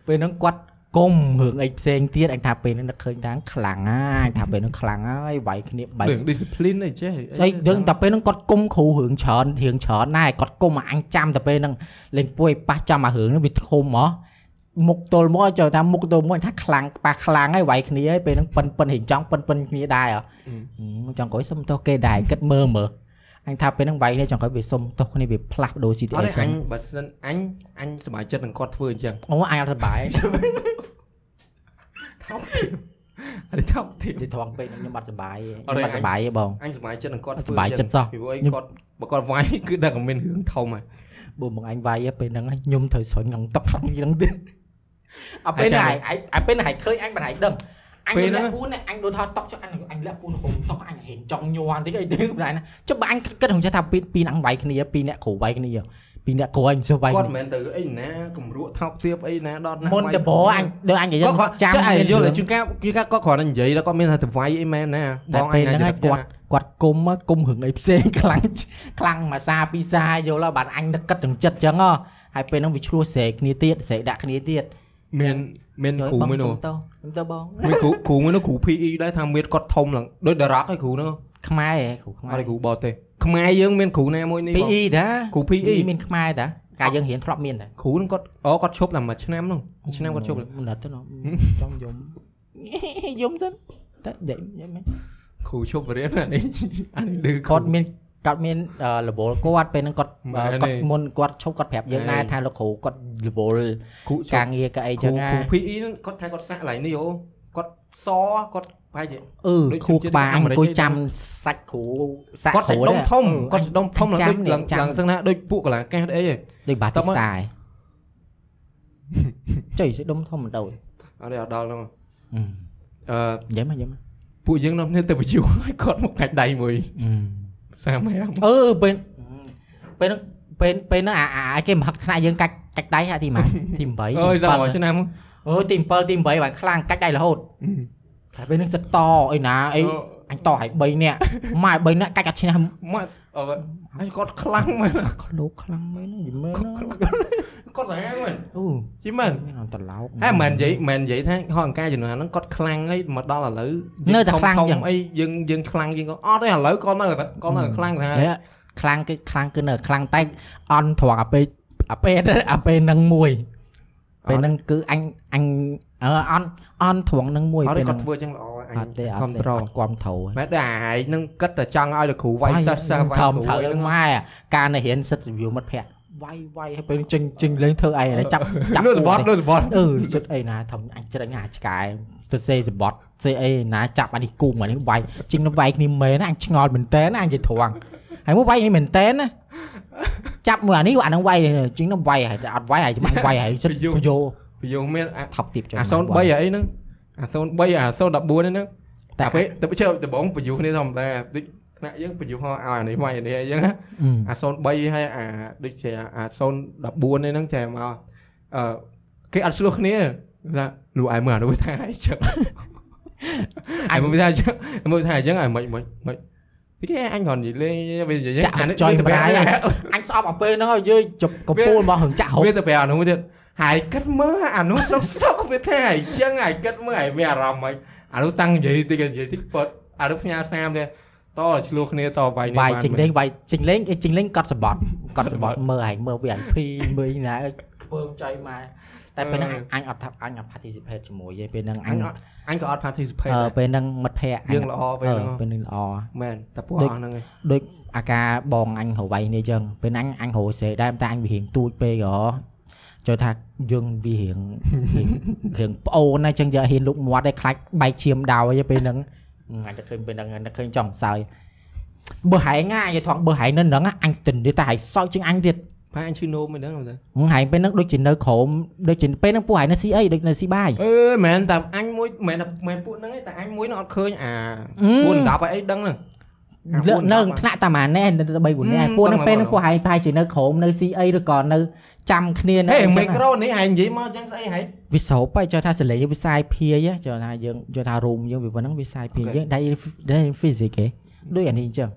[SPEAKER 2] ពេលហ្នឹងគាត់គុំរឿងអីផ្សេងទៀតអញថាពេលហ្នឹងនឹកឃើញថាខ្លាំងណាស់អញថាពេលហ្នឹងខ្លាំងហើយវាយគ្នាបៃ
[SPEAKER 1] រឿង discipline អីចេះ
[SPEAKER 2] ស្អីយើងតែពេលហ្នឹងគាត់គុំគ្រូរឿងច្រើនរឿងច្រើនណាស់គាត់គុំអញចាំតែពេលហ្នឹងលេងពួយប៉ះចាំអារឿងហ្នឹងវាធំហ៎មុខទល់មកចុះថាមុខទល់មកអញថាខ្លាំងប៉ះខ្លាំងហើយវាយគ្នាហើយពេលហ្នឹងប៉ិនប៉ិនរៀងចង់ប៉ិនប៉ិនគ្នាដែរហ៎ អឺចង់ក្រោយសុំទោសគេដែរគិតមើលមើលអញថាពេលហ្នឹងវាយនេះចង់ក្រោយវាសុំទោសគ្នាវាផ្លាស់ប្ដូរ
[SPEAKER 1] អត់ទេអ
[SPEAKER 2] situation
[SPEAKER 1] ញបើសិនអញអញសប្បាយចិត្តនឹងគាត់ធ្វើអញ្ចឹង
[SPEAKER 2] អូអញអត់សប្បាយ
[SPEAKER 1] ថោកទៀតអានេះថោកទៀត
[SPEAKER 2] និយាយត្រង់ពេកខ្ញុំអត់សប្បាយ
[SPEAKER 1] អត់ទេ
[SPEAKER 2] ខ្ញុំអត់សប្បាយទេបង
[SPEAKER 1] អញសប្បាយចិត្តនឹងគាត់
[SPEAKER 2] អត់សប្បាយចិត្តសោះ
[SPEAKER 1] ពីព្រោះអីគាត់បើគាត់ វាយគឺដឹងតែមានរឿងធំហើយ
[SPEAKER 2] បើមកអញវាយពេលហ្នឹងខ្ញុំត្រូវស្រញ់ក្នុង តុកខាងនេះហ្នឹងទៀតអាពេលហ្នឹងឯងឯងពេលហ្នឹងឯងឃើញអញមិនឯងដឹងអញលះពូនអញដូចថតតុកចុះអញអញលះពូនហុំតុកអញហេងចង់ញ័រតិចអីទៀតមិនឯណាចុះបើអញគិតក្នុងចិត្តថាពីពីអញវាយគ្នាពីអ្នកគ្រូវាយគ្នាពីអ្នកគ្រូអញសវាយ
[SPEAKER 1] គាត់មិនមែនទៅអីណាគំរក់ថោកទៀបអីណាដល់ណា
[SPEAKER 2] មុនតបអញដូចអញនិយាយ
[SPEAKER 1] គាត់ចាំ
[SPEAKER 2] ចាំ
[SPEAKER 1] អី
[SPEAKER 2] មាន
[SPEAKER 1] យល់
[SPEAKER 2] រឿង
[SPEAKER 1] តែជួនកាលជួនកាលគាត់គ្រាន់តែនិយាយដល់គាត់មានថាទៅវាយអីមែនណា
[SPEAKER 2] តែពេលហ្នឹងឯងគាត់គាត់គុំហ៎គុំ រឿងអីផ្សេងខ្លាំងខ្លាំងមួយសារពីរសារយល់ហ៎បាទអញនឹកគិតទាំងចិត្តអញ្ចឹងហ៎ហើយពេលហ្នឹងវាឆ្លោះស្រែកគ្នាទៀតស្រែកដាក់គ្នាទៀត
[SPEAKER 1] មានមានគ្រូមួយ
[SPEAKER 2] យល់
[SPEAKER 1] នោះ
[SPEAKER 2] បងសុំទោសខ្ញុំទៅបង
[SPEAKER 1] មានគ្រូគ្រូមួយនោះគ្រូ PE ដែរថាមានគាត់ធំឡើងដូចតារ៉ាក់ឲ្យគ្រូហ្នឹង
[SPEAKER 2] ខ្មែរហ៎គ្រូខ្មា
[SPEAKER 1] អត់
[SPEAKER 2] រ
[SPEAKER 1] ឲ្យគ្រូបតទេខ្មែរយើងមានគ្រូណាមួយនេះ
[SPEAKER 2] ពី
[SPEAKER 1] បង
[SPEAKER 2] អ៊ីតា
[SPEAKER 1] គ្រូ PE
[SPEAKER 2] មានខ្មែរតាកាលយើងរៀនធ្លាប់មានតា
[SPEAKER 1] គ្រូហ្នឹងគាត់អូគាត់ឈប់តែមួយឆ្នាំហ្នឹងមួយឆ្នាំគាត់ឈប់
[SPEAKER 2] មិនដឹងទៅណោះចង់យំ យំទៅតែនិយាយយំមែន
[SPEAKER 1] គ្រូឈប់បរៀនអា នេះអានេះឌឺគា
[SPEAKER 2] គា
[SPEAKER 1] ត់
[SPEAKER 2] ត់មានគាត់មានអឺលវលគាត់ពេលហ្នឹងគាត់
[SPEAKER 1] មែ
[SPEAKER 2] គាត់ ន
[SPEAKER 1] ទេ
[SPEAKER 2] គាត់មុនគាត់ឈប់គាត់ប្រាប់យើង
[SPEAKER 1] មែន
[SPEAKER 2] ដែរថាលោកគ្រូគាត់លវល
[SPEAKER 1] គ្រូឈប់
[SPEAKER 2] ការងារក៏អី
[SPEAKER 1] គ្រូ
[SPEAKER 2] ចឹងណា
[SPEAKER 1] គ្រូ PE ហ្នឹងគាត់ថាគាត់សាក់កន្លែងនេះអូ គាត់សគាត់ប្រហែលជា
[SPEAKER 2] អឺ
[SPEAKER 1] ដូច
[SPEAKER 2] ខួរក្បាល
[SPEAKER 1] អាមេរិក
[SPEAKER 2] អង្គុយ
[SPEAKER 1] ទេ
[SPEAKER 2] ចាំសាច់គ្រូសាច់
[SPEAKER 1] គាត់សាច់ដុំធំ
[SPEAKER 2] Ừ,
[SPEAKER 1] គាត់សាច់ដុំធំឡើង
[SPEAKER 2] ចាំ
[SPEAKER 1] ដូចឡើង
[SPEAKER 2] ចាំ
[SPEAKER 1] ឡើងស្ងណាដូចពួកកលាកាសអីហ៎
[SPEAKER 2] ដូចបា
[SPEAKER 1] តើ
[SPEAKER 2] ទី
[SPEAKER 1] មើល
[SPEAKER 2] ស្តាចុយសាច់ដុំធំមិនដូច
[SPEAKER 1] អត់ទេអត់ដល់ហ្នឹង
[SPEAKER 2] អឺ
[SPEAKER 1] អឺ
[SPEAKER 2] យ៉ាមកយ៉ាមក
[SPEAKER 1] ពួកយើងនាំគ្នាទៅ បញ្ជូរឲ្យគាត់មកកាច់ដៃមួយ
[SPEAKER 2] Ừ.
[SPEAKER 1] សាមែម
[SPEAKER 2] អឺពេលពេលហ្នឹងពេលពេលហ្នឹងអាអាអាគេមកហឹកថ្នាក់យើងកាច់កាច់ដៃហាក់ទីម៉ាទី8
[SPEAKER 1] អើយសាម
[SPEAKER 2] ទី
[SPEAKER 1] ឲ្យ
[SPEAKER 2] 7
[SPEAKER 1] ឆ្នាំ
[SPEAKER 2] អូយទី7ទី8បានខ្លាំងកាច់ដៃរហូតតែពេលហ្នឹងសិតតអីណាអី
[SPEAKER 1] អឺ
[SPEAKER 2] អញតឲ្យ3នាក់ម៉ែ3នាក់កាច់អត់ឆ្នាំ
[SPEAKER 1] មកអើយហើយគាត់ខ្លាំង មែន
[SPEAKER 2] ក្លោកខ្លាំងមែនហ្នឹងយីមើលហ្នឹង
[SPEAKER 1] គាត់សាហាវមែន
[SPEAKER 2] អូ
[SPEAKER 1] យីមែន
[SPEAKER 2] មានអត់ត្រឡោក
[SPEAKER 1] ហែមិននិយាយមិននិយាយថាហោះអង្ការជំនាន់ហ្នឹងគាត់ខ្លាំងហើយមកដល់ឥឡូវ
[SPEAKER 2] នៅតែខ្លាំងចឹ
[SPEAKER 1] យើង ងធំៗអីយើងយើងខ្លាំងយើងក៏អត់ទេឥឡូវគាត់នៅតែគាត់នៅតែខ្លាំងថា
[SPEAKER 2] នេះខ្លាំងគឺខ្លាំងគឺនៅខ្លាំងតែអន់ត្រង់អាពេលអាពេលទៅអាពេលនឹងមួយពេលនឹងគឺអញអញអឺអន់អន់ត្រង់នឹងមួយ
[SPEAKER 1] អត់ទេ
[SPEAKER 2] ពេល
[SPEAKER 1] គា
[SPEAKER 2] នឹង
[SPEAKER 1] ត់ធ្វើចឹងល្អអ
[SPEAKER 2] អ
[SPEAKER 1] ញ
[SPEAKER 2] ត់ទេអត់
[SPEAKER 1] គ្រប់
[SPEAKER 2] ទេ
[SPEAKER 1] ត្រ
[SPEAKER 2] អត់គ្រប់ត្រូល
[SPEAKER 1] មែនតែអាយនឹងគិតតែចង់ឲ្យលោកគ្រូវាយសិស្សសិស្សវាយ
[SPEAKER 2] ធំ
[SPEAKER 1] គ្រូ
[SPEAKER 2] ធៅ
[SPEAKER 1] អី
[SPEAKER 2] នឹ
[SPEAKER 1] ហ្នឹង
[SPEAKER 2] ងម៉ែការនៅរៀនសិទ្ធិវិវមិត្តភ័ក្ដិវាយវាយហើយពេលចេញចេញលេងធ្វើអីហើយ ចាប់ចាប់
[SPEAKER 1] លឺសបត់លឺសបត់
[SPEAKER 2] អឺជិតអីណាធំអញច្រឹងអាឆ្កែទៅសេសបត់សេអីណាចាប់អានេះគូអានេះវាយចេញនឹងវាយគ្នាមែនអញឆ្ងល់មែនតើអញនិយាយត្រង់ហើយមកវាយនេះមែនតើណាចាប់មួយអានេះអានឹងវាយចេញនឹងវាយហើយអត់វាយហើយច្បាស់វាយហើយសិតពយោ
[SPEAKER 1] ពីយើងមានអា
[SPEAKER 2] ថប់ទៀតចុះ
[SPEAKER 1] អា03អីហ្នឹងអា03អា014ហ្នឹងតែ
[SPEAKER 2] តែ
[SPEAKER 1] ពេលទៅជើដំបងបញ្យុគ្នាធម្មតាដូចថ្នាក់យើងបញ្យុហោឲ្យអានេះវាយអានេះអីចឹងណាអា03ហើយអាដូចជាអា014ហ្នឹងចែមកអឺគេអត់ឆ្លោះគ្នាថាលូឯងមើលអានោះថាអីចឹង អញមើលថាចឹងមើលថាចឹងអាមិនមិនមិនគេអញគ្រាន់និយាយលេងវានិយាយចឹង
[SPEAKER 2] ចាក់
[SPEAKER 1] អានេះ
[SPEAKER 2] ចុយ
[SPEAKER 1] វាទៅ
[SPEAKER 2] ប្រៃ
[SPEAKER 1] ប្រា
[SPEAKER 2] អញស្អប់អាពេលហ្នឹងហើយយើយជប់កំពូលមករឿងចាក់ហូប
[SPEAKER 1] វាទៅប្រាប់អានោះទៀតហើយគិតមើលអានោះ សុកសុកវាថាអីចឹងហើយគិតមើលហើយមានអារម្មណ៍ហ្មងអានោះតាំងនិយាយតិចនិយាយតិចពត់អានោះផ្ញើសាមទេតឲ្យឆ្លោះគ្នាតវាយនេះ
[SPEAKER 2] វាយ
[SPEAKER 1] បាន
[SPEAKER 2] ចេញ
[SPEAKER 1] មែ
[SPEAKER 2] លេ
[SPEAKER 1] ន
[SPEAKER 2] ងវាយចេញលេងអីចេញលេងកត់សបត់កត់សបត់
[SPEAKER 1] កត់សបត់
[SPEAKER 2] មើលហែងមើល VIP មើលណាខ្ពើមចៃម៉ែតែពេលហ្នឹង
[SPEAKER 1] អឺ
[SPEAKER 2] អញអត់ថាអញអត់ participate ជាមួយទេពេលហ្នឹងអ
[SPEAKER 1] អញ
[SPEAKER 2] ញ
[SPEAKER 1] អត់អញក៏អត់ participate
[SPEAKER 2] អឺ
[SPEAKER 1] ដែរ
[SPEAKER 2] ពេលហ្នឹងមិត្តភ័ក្តិអញ
[SPEAKER 1] យើងល្អពេលហ្នឹង
[SPEAKER 2] អឺពេលហ្នឹងល្អ
[SPEAKER 1] មែនតែពួកអស់ហ្នឹងឯង
[SPEAKER 2] ដូចអាការបងអញរវៃនេះអញ្ចឹងពេលហ្នឹងអញរវៃសេដែរតែអញវារៀងទូចពេកហ៎ចូលថាយើងវារៀង រៀងរឿងប្អូនណាអញ្ចឹងយកហ៊ានលុកមាត់ឯខ្លាច់បែកឈាមដោយឯពេលហ្នឹងអញតែឃើញពេលហ្នឹងអញតែឃើញចង់សើចបើហែងណាអញថងបើហែងនៅហ្នឹងណាអញទៅនេះតែហែងសើចជាងអញទៀត
[SPEAKER 1] ផែអញឈឺនោមឯហ្នឹងទៅ
[SPEAKER 2] ហែងពេលហ្នឹងដូចជានៅក្រុមដូចជាពេលហ្នឹងពួកហែងនៅ ស៊ីអីដូចនៅស៊ីបាយ
[SPEAKER 1] អឺមែនតែអញមួយមែនតែមែនពួកហ្នឹងឯងតែអញមួយហ្នឹងអត់ឃើញអា410ឲ្យអីដឹងហ្នឹង
[SPEAKER 2] លើកនៅថ្នាក់តាម៉ាណែនៅ3 4នាក់
[SPEAKER 1] ហឹម
[SPEAKER 2] ពួកហ្នឹង
[SPEAKER 1] ដឹង
[SPEAKER 2] ពេលហ្នឹ
[SPEAKER 1] ដឹ
[SPEAKER 2] ង
[SPEAKER 1] ង
[SPEAKER 2] ពួកហែងប្រហែលជានៅក្រុមនៅស៊ីអីឬក៏នៅចាំគ្នានៅ
[SPEAKER 1] ហេ
[SPEAKER 2] អីចឹង
[SPEAKER 1] មីក្រូនេះឯងនិយាយមកចឹងស្អីហេ
[SPEAKER 2] វាសោបហើយចូលថាសលេងវាសាយភាយហ៎ចូលថាយើងចូលថារូមយើងវាប៉ុណ្ណឹងវាសាយភាយ
[SPEAKER 1] Okay.
[SPEAKER 2] យើងដៃដៃ physics ហ៎ដូចអានេះអញ្ចឹង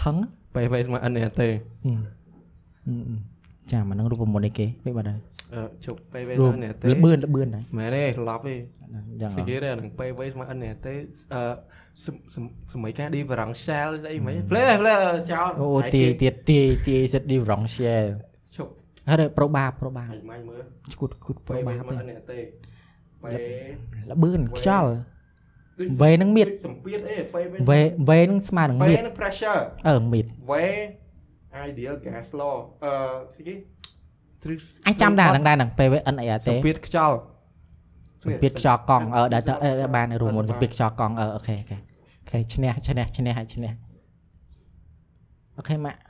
[SPEAKER 2] ខឹង
[SPEAKER 1] បែបស្មើអិនទេ
[SPEAKER 2] ចាំអាហ្នឹងរូបមន្តអីគេដូចបាត់ហើយ
[SPEAKER 1] អឺជប់បែប
[SPEAKER 2] រូ
[SPEAKER 1] ស្មើ
[SPEAKER 2] ប
[SPEAKER 1] អិនទេ
[SPEAKER 2] លបឿនលបឿនដែរ
[SPEAKER 1] មែនទេឡប់ទេ
[SPEAKER 2] យ៉ាងហ៎
[SPEAKER 1] សេចក្ដីរឿងពេលវេសមកអិននេះទេអឺសសសម័យកាលឌីវរ៉ង់សែលស្អីមិនផ្លែផ្លែចោល
[SPEAKER 2] អូទាយទៀតទាយទាយសិតឌីរងឈែ
[SPEAKER 1] ឈប់
[SPEAKER 2] ហើយប្រូបាប្រូបា
[SPEAKER 1] ហើយមិនមើល
[SPEAKER 2] ឈួតឈួតប្រូ
[SPEAKER 1] ពេលវេ
[SPEAKER 2] បា
[SPEAKER 1] សមកអិ
[SPEAKER 2] ទេ
[SPEAKER 1] ននេះទេពេល
[SPEAKER 2] ល្បឿនខ្យល់វេនឹងមៀត
[SPEAKER 1] សម្ពាធអីពេលវេស
[SPEAKER 2] វេវេនឹងស្មើនឹង
[SPEAKER 1] ពេ
[SPEAKER 2] មៀ
[SPEAKER 1] ល
[SPEAKER 2] ត
[SPEAKER 1] នឹង pressure
[SPEAKER 2] អឺមៀត
[SPEAKER 1] វេ ideal gas law អឺស្អីគេទ្រឹស្
[SPEAKER 2] អញចាំដែរហ្នឹងដែរហ្នឹង PVN អី
[SPEAKER 1] ស
[SPEAKER 2] ទេ
[SPEAKER 1] ម្ពាធខ្យល់
[SPEAKER 2] សម្ពាធខ្យល់កង់អឺដែលទៅអឺបានរួមមុនសម្ពាធខ្យល់កង់អឺអូខេអូខេអូខេឈ្នះឈ្នះឈ្នះហើយឈ្នះអូខេម៉ាក់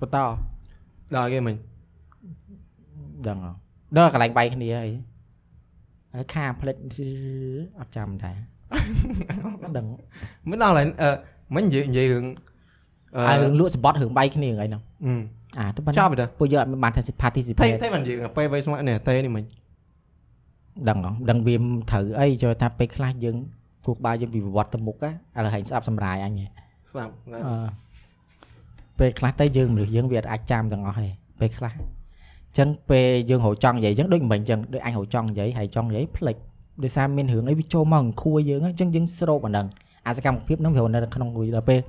[SPEAKER 2] បន្ត
[SPEAKER 1] ដល់គេមិញ
[SPEAKER 2] ដឹងអត់ដល់កន្លែងវាយគ្នាហើយឥឡូវខាផ្លិតអត់ចាំដែរអត់ដឹង
[SPEAKER 1] មិនដល់ឡើយអឺមិញនិយាយនិយាយរឿងអ
[SPEAKER 2] ហើយ
[SPEAKER 1] ឺ
[SPEAKER 2] រឿងលក់សបត់រឿងវាយគ្នាហ្នឹងឯងហ្នឹង
[SPEAKER 1] អឺ
[SPEAKER 2] អាទៅប៉ុ
[SPEAKER 1] ច
[SPEAKER 2] ណ្ណា
[SPEAKER 1] ប់ទៅ
[SPEAKER 2] ពួកយើងអត់មានបានថា
[SPEAKER 1] ថៃ
[SPEAKER 2] participate
[SPEAKER 1] ថៃមិននិយាយពេលវេសមកអិននេះទេនេះមិញ
[SPEAKER 2] ដឹងហ៎ដឹងវាមិនត្រូវអីចូលថាពេលខ្លះយើងគូក្បាលយើងវិវត្តទៅមុខណាឥឡូវហែងស្អប់សម្រាយអញហ៎
[SPEAKER 1] ស្ដាប់ណា
[SPEAKER 2] អឺពេលខ្លះទៅយើងមនុស្សយើងវាអត់អាចចាំទាំងអស់ទេពេលខ្លះអញ្ចឹងពេលយើងរកចង់និយាយអញ្ចឹងដូចមិញអញ្ចឹងដូចអញរកចង់និយាយហើយចង់និយាយភ្លេចដោយសារមានរឿងអីវាចូលមកអង្គួយយើងហ៎អញ្ចឹងយើងស្រូបអាហ្នឹងអាសកម្មភាពហ្នឹងវារនៅក្នុងរួយដល់ពេល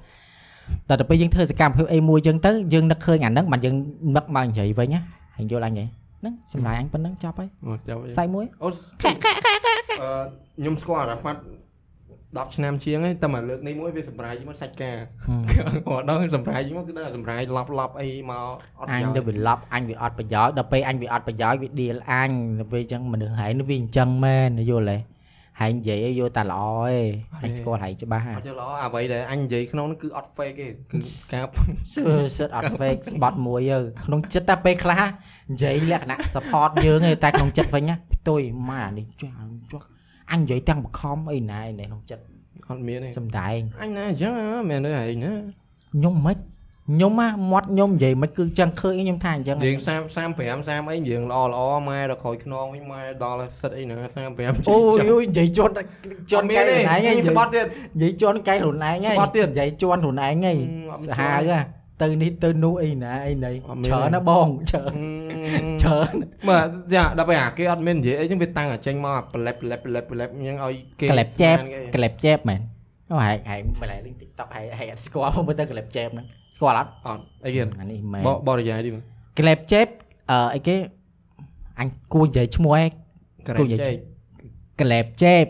[SPEAKER 2] តែដល់ពេលយើងធ្វើសកម្មភាពអីមួយអញ្ចឹងទៅយើងនឹកឃើញអាហ្នឹងបានយើងនឹកមកនិយាយវិញណាហើយយល់អញហ៎ហ្នឹងសម្រាយអញប៉ុណ្ណឹងចប់ហើយ
[SPEAKER 1] អូចាប់
[SPEAKER 2] សាច់មួយ
[SPEAKER 1] អូអឺខ្ញុំស្គាល់អារ៉ាហ្វាត់ 10ឆ្នាំជាងហើយតែមកលើកនេះមួយវាសម្រាយមកសាច់ការ អត់ដល់សម្រាយមកគឺដល់សម្រាយឡប់ឡប់អីមកអត់
[SPEAKER 2] អញ
[SPEAKER 1] យ៉ាង
[SPEAKER 2] ទៅវាឡប់អញវាអត់ប្រយោជន៍ដល់ពេលអញវាអត់ប្រយោជន៍វាដៀលអញដល់ពេលអញ្ចឹងមនុស្សហែងនោះវាអញ្ចឹងមែនយល់ទេហែងនិយាយអីយល់តែល្អទេអញស្គាល់ហែងច្បាស់ហ่ะ
[SPEAKER 1] អត់យល់ល្អអ្វីដែលអញនិយាយក្នុងនោះគឺអត់ fake ទេគឺការ
[SPEAKER 2] គឺសិតអត់ fake ស្បត់មួយយើក្នុងចិត្តតែពេលខ្លះនិយាយលក្ខណៈ support យើងទេតែក្នុងចិត្តវិញណាផ្ទុយម៉ានេះចាចុះអញនិយាយទាំងបខំអីណែនេះក្នុងចិត្ត
[SPEAKER 1] អត់មានទេ
[SPEAKER 2] សំដែង
[SPEAKER 1] អញណាអញ្ចឹងអ្ហ៎មែនទេឯងណា
[SPEAKER 2] ញុំមិនញុំហ่ะមាត់ញុំនិយាយមិនគឺចឹងឃើញខ្ញុំថាអញ្ចឹង
[SPEAKER 1] យើង30 35 30អីយើងល្អល្អម៉ែដល់ក្រោយខ្នងវិញម៉ែដល់សិតអីណា35
[SPEAKER 2] អូយអូយនិយាយជន់ជ
[SPEAKER 1] ច
[SPEAKER 2] ន់
[SPEAKER 1] ន់មា
[SPEAKER 2] កែ
[SPEAKER 1] នទេ
[SPEAKER 2] ខ្លួនឯងហ៎និ
[SPEAKER 1] ខ្ញុំ
[SPEAKER 2] យាយ
[SPEAKER 1] ស្បត់ទៀត
[SPEAKER 2] និយាយជន់កែខ្លួនឯងហ៎
[SPEAKER 1] ស្បត់ទៀត
[SPEAKER 2] និយាយជន់ខ្លួនឯង
[SPEAKER 1] អត់
[SPEAKER 2] ហ៎
[SPEAKER 1] មាន
[SPEAKER 2] សាហាវហ៎ទៅនេះទៅនោះអីណាអីណី
[SPEAKER 1] អត់មាន
[SPEAKER 2] ច្រើនណាបងច្រើនច្រើន
[SPEAKER 1] បាទចាដល់ពេលអាគេអត់មាននិយាយអីចឹងវាតាំងអាចេញមកប្លែបប្លែបប្លែបប្លែបអញ្ចឹងឲ្យគេ
[SPEAKER 2] ក្លែបចែប
[SPEAKER 1] ស្មានគេ
[SPEAKER 2] ក្លែបចែបមែនអូហែកហែកម្លេះលេង TikTok ហែកហែកអត់ស្គាល់មកមើលទៅក្លែបចែបហ្នឹងស្គាល់អត់
[SPEAKER 1] អត់អីគេ
[SPEAKER 2] អានេះមែន
[SPEAKER 1] បបរិយាយទីមើល
[SPEAKER 2] ក្លែបចែបអឺអីគេអញគួរនិយាយឈ្មោះឯង
[SPEAKER 1] ក្រែ
[SPEAKER 2] គូ
[SPEAKER 1] ង
[SPEAKER 2] និយាយ
[SPEAKER 1] ចេក
[SPEAKER 2] ក្លែបចែប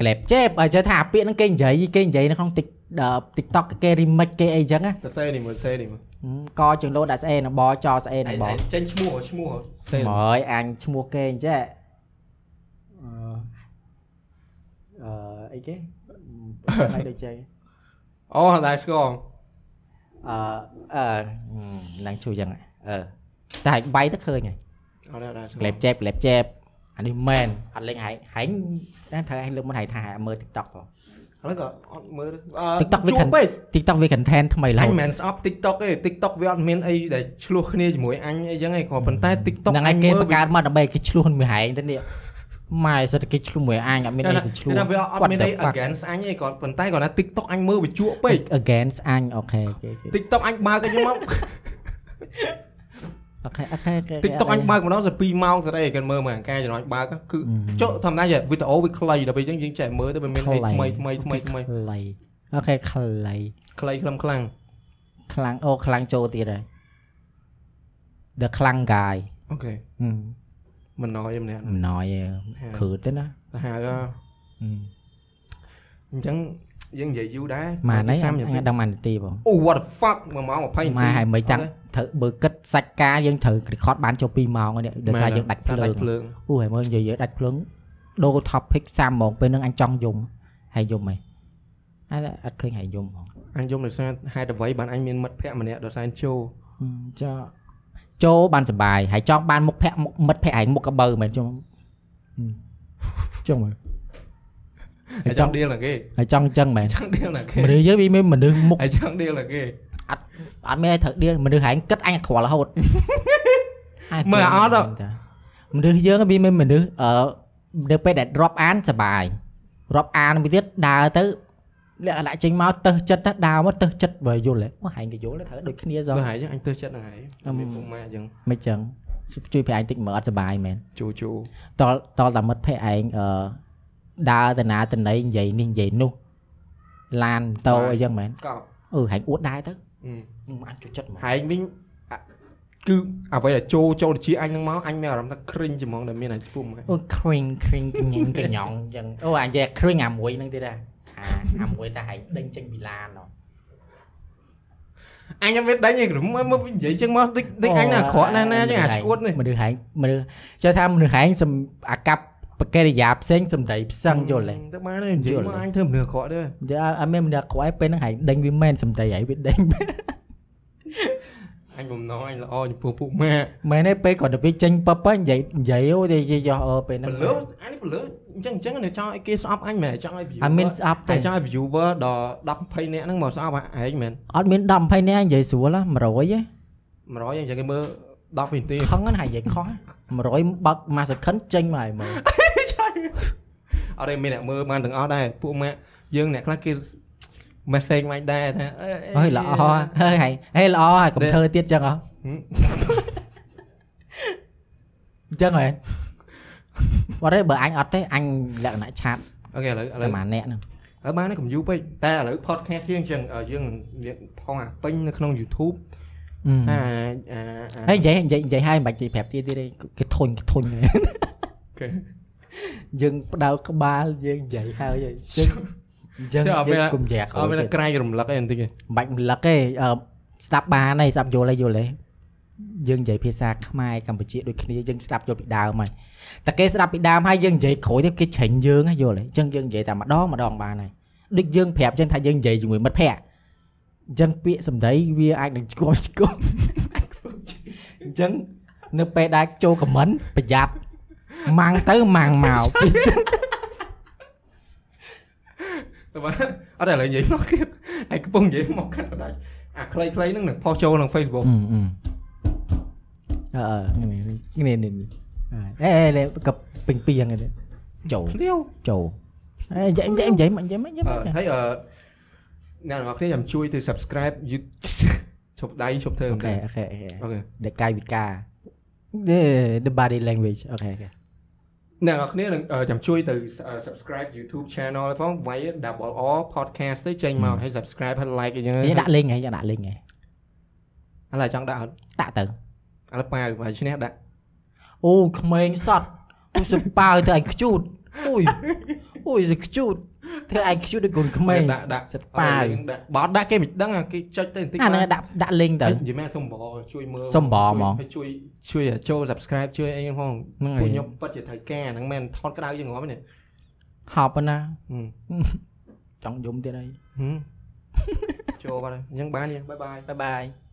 [SPEAKER 2] ក្លែបចែបអើចេះថាពាក្យហ្នឹងគេនិយាយគេនិយាយនៅក្នុង Tik អឺ TikTok គេ remix គេអីចឹងណា
[SPEAKER 1] តែសេនេះមើលសេនេះមើល
[SPEAKER 2] ហឹមកជើងលោដាក់ស្អេនៅបចស្អេ
[SPEAKER 1] ឯ
[SPEAKER 2] នៅ
[SPEAKER 1] ង
[SPEAKER 2] ប
[SPEAKER 1] ឯងចេញឈ្មោះឈ្មោះសេ
[SPEAKER 2] ហ្ម
[SPEAKER 1] នេះ
[SPEAKER 2] ងអញឈ្មោះគេអញ្ចេះអឺ
[SPEAKER 1] Ờ,
[SPEAKER 2] អឺអីគេ មិនដូចចេះ
[SPEAKER 1] អូតែស្គាល់
[SPEAKER 2] អឺអឺឡើងជួយយ៉ាងអឺតែហែកបាយទៅឃើញហើយ
[SPEAKER 1] អត់ដែរស្គា
[SPEAKER 2] ក្លែ
[SPEAKER 1] ល់
[SPEAKER 2] បចែបក្លែបចែបអានេះមែនអត់លេងហែកហែងតែត្រូវហែងលើកមុនហែកថាហែកមើល TikTok ផង
[SPEAKER 1] ឥឡូវក៏អត់មើលទេអឺ
[SPEAKER 2] TikTok វា
[SPEAKER 1] ជួ
[SPEAKER 2] ខា
[SPEAKER 1] ប
[SPEAKER 2] ង
[SPEAKER 1] ពេក
[SPEAKER 2] TikTok វា content ថ្មីរ
[SPEAKER 1] អ
[SPEAKER 2] ហូ
[SPEAKER 1] ញ
[SPEAKER 2] ត
[SPEAKER 1] មិនមែនស្អប់ TikTok ទេ TikTok វាអត់មានអីដែលឆ្លោះគ្នាជាមួយអញអីចឹងឯងគ្រាន់ប៉ុន្តែ TikTok
[SPEAKER 2] ហ្នឹងឯងគេបង្កើតមកដើម្បីគេឆ្លោះមួយហែងទៅនេះម៉ែសេដ្ឋកិច្ចឆ្លោះមួយអញអត់មានអីទៅឆ្លោះ
[SPEAKER 1] តែវាអត់
[SPEAKER 2] What
[SPEAKER 1] មាន
[SPEAKER 2] the
[SPEAKER 1] អី
[SPEAKER 2] fuck?
[SPEAKER 1] against អញទេគ្រាន់ប៉ុន្តែគ្រាន់តែ TikTok អញមើលវាជក់ពេក
[SPEAKER 2] against អញអូខេអូខេ
[SPEAKER 1] TikTok អញបើកអញ្ចឹងមក
[SPEAKER 2] អូខេអូខេ
[SPEAKER 1] TikTok អញបើកម្ដងទៅ2ម៉ោងស្អីគេមើលមើលអាការចំណុចបើកគឺចុះធម្មតាជាវីដេអូវាខ្លីដល់ពេលអញ្ចឹងយើងចេះមើលទៅវាមានអីថ្មីថ្មីថ្មីថ្មី
[SPEAKER 2] ខ្លីអូខេខ្លី
[SPEAKER 1] ខ្លីខ្លឹមខ្លាំង
[SPEAKER 2] ខ្លាំងអូខ្លាំងចូលទៀតហើយ the ខ្លាំង guy
[SPEAKER 1] អូខេ
[SPEAKER 2] ហឹម
[SPEAKER 1] មិនណយទេម្នាក់
[SPEAKER 2] អំណយគ្រឺទៅណា
[SPEAKER 1] ទៅហៅក៏អញ្ចឹងយើងនិយាយយូរដែរ
[SPEAKER 2] ម៉ានហ្នឹង
[SPEAKER 1] 30នា
[SPEAKER 2] អញ
[SPEAKER 1] ទី
[SPEAKER 2] ដឹងម៉ាននាទីបង
[SPEAKER 1] អូ what the fuck មួយម៉ោង20នាទី
[SPEAKER 2] ម៉ាហើយមិនចាំងត្រូវបើគិតសាច់ការយើងត្រូវ record បានចូល2ម៉ោងហើយនេះដោយសារយើងដាច់ភ្លើ
[SPEAKER 1] ដា
[SPEAKER 2] ង
[SPEAKER 1] ច់ភ្លើង
[SPEAKER 2] អូហើយមើលនិយាយៗដាច់ភ្លើងដូរ topic 3ម៉ោងពេលហ្នឹងអញចង់យំហើយយំហីអញអត់ឃើញហើយយំហង
[SPEAKER 1] អញយំដោយសារហេតុអ្វីបានអញមានមិត្តភក្តិម្នាក់ដោយសារជោ
[SPEAKER 2] ហឹមចោចូលបានសុបាយហើយចង់បានមុខភ័ក្រមុខមិត្តភ័ក្រឯងមុខកបើមែនចុះហឹមចុះមើ ល
[SPEAKER 1] អញចង់ដៀលណាគេ
[SPEAKER 2] ហើយចង់ចឹងមែន
[SPEAKER 1] ចង់ដៀលណាគេ
[SPEAKER 2] មនុស្សយើងវាមានមនុស្សមុខ
[SPEAKER 1] អញចង់ដៀលណាគេ
[SPEAKER 2] អត់អត់មានឲ្យត្រូវដៀលមនុស្សហែងគិតអញក្រល់រហូត អាច
[SPEAKER 1] មើលអត់
[SPEAKER 2] ចាមនុស្សយើងវាមានមនុស្សអឺនៅពេលដែលរាប់អានសប្បាយរាប់អានមួយទៀតដើរទៅលក្ខណៈចេញមកទៅចិត្តទៅដើរមកទៅចិត្តបើយល់ហ៎អូហែងក៏យល់ដែរត្រូវដូចគ្នាសោះ
[SPEAKER 1] ដល់ហើយអញទើសចិត្តហ្នឹងហើយ
[SPEAKER 2] អឺម
[SPEAKER 1] មានពុកម៉ែអញ្ចឹង
[SPEAKER 2] មិនចឹងជួយប្រែឯងតិចមើលអត់សប្បាយមែន
[SPEAKER 1] ជោជោ
[SPEAKER 2] តលតលតាមិត្តភ័ក្ដិឯងអឺដើរទៅណាទៅណីនិយាយនេះនិយាយនោះឡានម៉ូតូអីចឹងមែនក
[SPEAKER 1] ប់
[SPEAKER 2] អឺហែងអួតដែរទៅ
[SPEAKER 1] អឺ
[SPEAKER 2] អឺអញជួយចិត្តហ្មង
[SPEAKER 1] ហែងវិញអាគឺអ្វីដែលចូលចូលទៅជាអញហ្នឹងមកអញមានអារម្មណ៍ថាក្រេញជាហ្មងដែលមានអាជីពហ្មង
[SPEAKER 2] អូគ្រីងគ្រីងកញ៉ងកញ៉ងចឹង អូអញនិយាយគ្រីងអាមួយហ្នឹងទៀតដែរអាអាមួយតែហែងដេញចេញពីឡានហ៎
[SPEAKER 1] អញអត់មានដេញឯងមើលមើលនិយាយចឹងមកតិចតិចអញណាក្រក់ណាស់ណាចឹងអាឈួតនេះ
[SPEAKER 2] មនុស្សហែងមនុស្សចេះថាមនុស្សហែងសំអាកប្បកិរិយាផ្សេងសំដីផ្សឹងយល់ទេ
[SPEAKER 1] ទៅបានទេនិយាយ
[SPEAKER 2] យល់
[SPEAKER 1] មក
[SPEAKER 2] ទេ
[SPEAKER 1] អញធ្វើមនុស្សក្រក់ទេ
[SPEAKER 2] យើអត់មានមនុស្សខ្វាយពេលហ្នឹងហែងដេញវាមែនសំដីហែងវាដេញ
[SPEAKER 1] អញបំណងអញល្អចំពោះពុកម៉ែ
[SPEAKER 2] មែនទេពេលគាត់ទៅវាចេញប៉ប៉និយាយនិយាយអូនិយាយយោអើពេលហ្នឹង
[SPEAKER 1] ពលឺអញពលឺអញ្ចឹងអញ្ចឹងនៅចង់ឲ្យគេស្អប់អញមែនចង់ឲ្យ viewer
[SPEAKER 2] អត់មានស្អប់
[SPEAKER 1] តែ
[SPEAKER 2] ទេ
[SPEAKER 1] ចង់ឲ្យ viewer ដល់10 20នាក់ហ្នឹងមកស្អប់ហែងមែន
[SPEAKER 2] អត់មាន10 20នាក់និយាយស្រួលហ៎100ទេ
[SPEAKER 1] 100អញ្ចឹងគេមើល10នាទី
[SPEAKER 2] ខឹងហ្នឹងហែងនិយាយខុស100បើកមួយសេខិនចេញមកហើយមើល
[SPEAKER 1] អត់ទេមានអ្នកមើលបានទាំងអស់ដែរពួកម៉ាក់យើងអ្នកខ្លះគេ message មកដែរថាអេ
[SPEAKER 2] អើយល្អហើយហែងហេល្អហើយកុំធ្វើទៀតចឹងអោះ
[SPEAKER 1] ហឹ ម
[SPEAKER 2] ចឹងហែងអត់ទេបើអញអត់ទេអញលក្ខណៈឆាត
[SPEAKER 1] អូខេឥឡូវឥឡូ
[SPEAKER 2] តែ
[SPEAKER 1] វឥ
[SPEAKER 2] ម៉ាអ្នកហ្នឹង
[SPEAKER 1] ឡូវបានហើយកុំយូរពេកតែឥឡូវ podcast យើងអញ្ចឹងអឺយើងនឹងលាកផងអាពេញនៅក្នុង YouTube ថាអាអា Ừ.
[SPEAKER 2] ហើយនិយាយនិយាយនិយាយហើយមិនបាច់និយាយប្រាប់ទៀតទេទេគេធុញគេធុញ
[SPEAKER 1] អូខេ
[SPEAKER 2] យើងផ្ដៅក្បាលយើងនិយាយហើយហើយយើងយើង
[SPEAKER 1] ចុះអត់មាន
[SPEAKER 2] យើង
[SPEAKER 1] អ
[SPEAKER 2] កុំយ៉ាក់
[SPEAKER 1] ត់មានក្រែងរំលឹកអីបន្តិចទេ
[SPEAKER 2] មិនបាច់មិនលឹកទេអឺស្ដាប់បានហើយស្ដាប់យល់ហើយយល់ហើយយើងនិយាយភាសាខ្មែរកម្ពុជាដូចគ្នាយើងស្ដាប់យល់ពីដើមហើយតែគេស្ដាប់ពីដើមហើយយើងនិយាយក្រោយទៅគេច្រេញយើងហើយយល់ហើយអញ្ចឹងយើងនិយាយតែម្ដងម្ដងបានហើយដូចយើងប្រាប់អញ្ចឹងថាយើងនិយាយជាមួយមិត្តភ័ក្តិអញ្ចឹងពាក្យសម្ដីវាអាចនឹងស្គមស្គម អញ្ចឹងនៅពេលដែលចូលខមមិនប្រយ័ត្នម៉ាំងទៅម៉ាំងមកពី
[SPEAKER 1] តែបាទអត់តែឥឡូវនិយាយមកទៀត ឯងកំពុងនិយាយមកកាត់ដាច់អាខ្លីៗហ្នឹងនឹងផុសចូលក្នុង Facebook
[SPEAKER 2] អឺអឺនេះនេះនេះអេអេកັບពេញពីយ៉ាងនេះចូល
[SPEAKER 1] ភ្លាវ
[SPEAKER 2] ចូលអេនិយាយនិយាយនិយាយនិយាយ
[SPEAKER 1] អឺហើយអឺអ្នកនរគ្នាចាំជួយទៅ subscribe YouTube ឈប់ដៃឈប់ធ្វើ
[SPEAKER 2] អូខេអូខេ
[SPEAKER 1] អូខេ
[SPEAKER 2] ដែលកាយវិការ the body language អូខេអូខេ
[SPEAKER 1] អ្នកនរគ្នានឹងអឺចាំជួយទៅ subscribe YouTube channel ផងវាយ double R podcast ទៅចេញមកហើយ subscribe ហើយ like អីចឹង
[SPEAKER 2] យើងដាក់ link ហើយយើងដាក់ link ហើ
[SPEAKER 1] ឥ
[SPEAKER 2] យ
[SPEAKER 1] ឡូវចង់ដាក់អត់
[SPEAKER 2] ដាក់ទៅ
[SPEAKER 1] ឥឡូវប៉ាវបើឈ្នះដាក់
[SPEAKER 2] អូក្មេងសតអូសុប៉ៅធ្វើឲ្យខ្ជូតអូយអូយខ្ជូតធ្វើឲ្យខ្ជូតដូចកូនក្មេង
[SPEAKER 1] ដាក់ដាក់
[SPEAKER 2] សតប៉ៅ
[SPEAKER 1] ដាក់បើដាក់គេមិនដឹងគេចុចទៅបន្តិច
[SPEAKER 2] អានឹងដាក់ដាក់ link ទៅ
[SPEAKER 1] និយាយមែនសុំបងជួយមើលជួយជួយចូល subscribe ជួយអីផងពួកខ្ញុំពិតជាត្រូវការហ្នឹងមែនថតក្តៅយើងងាប់នេះ
[SPEAKER 2] ហប់ណាចង់យំទៀតហើយ
[SPEAKER 1] ចូលបាទអញ្ចឹងបានយើងបាយបាយ
[SPEAKER 2] bye bye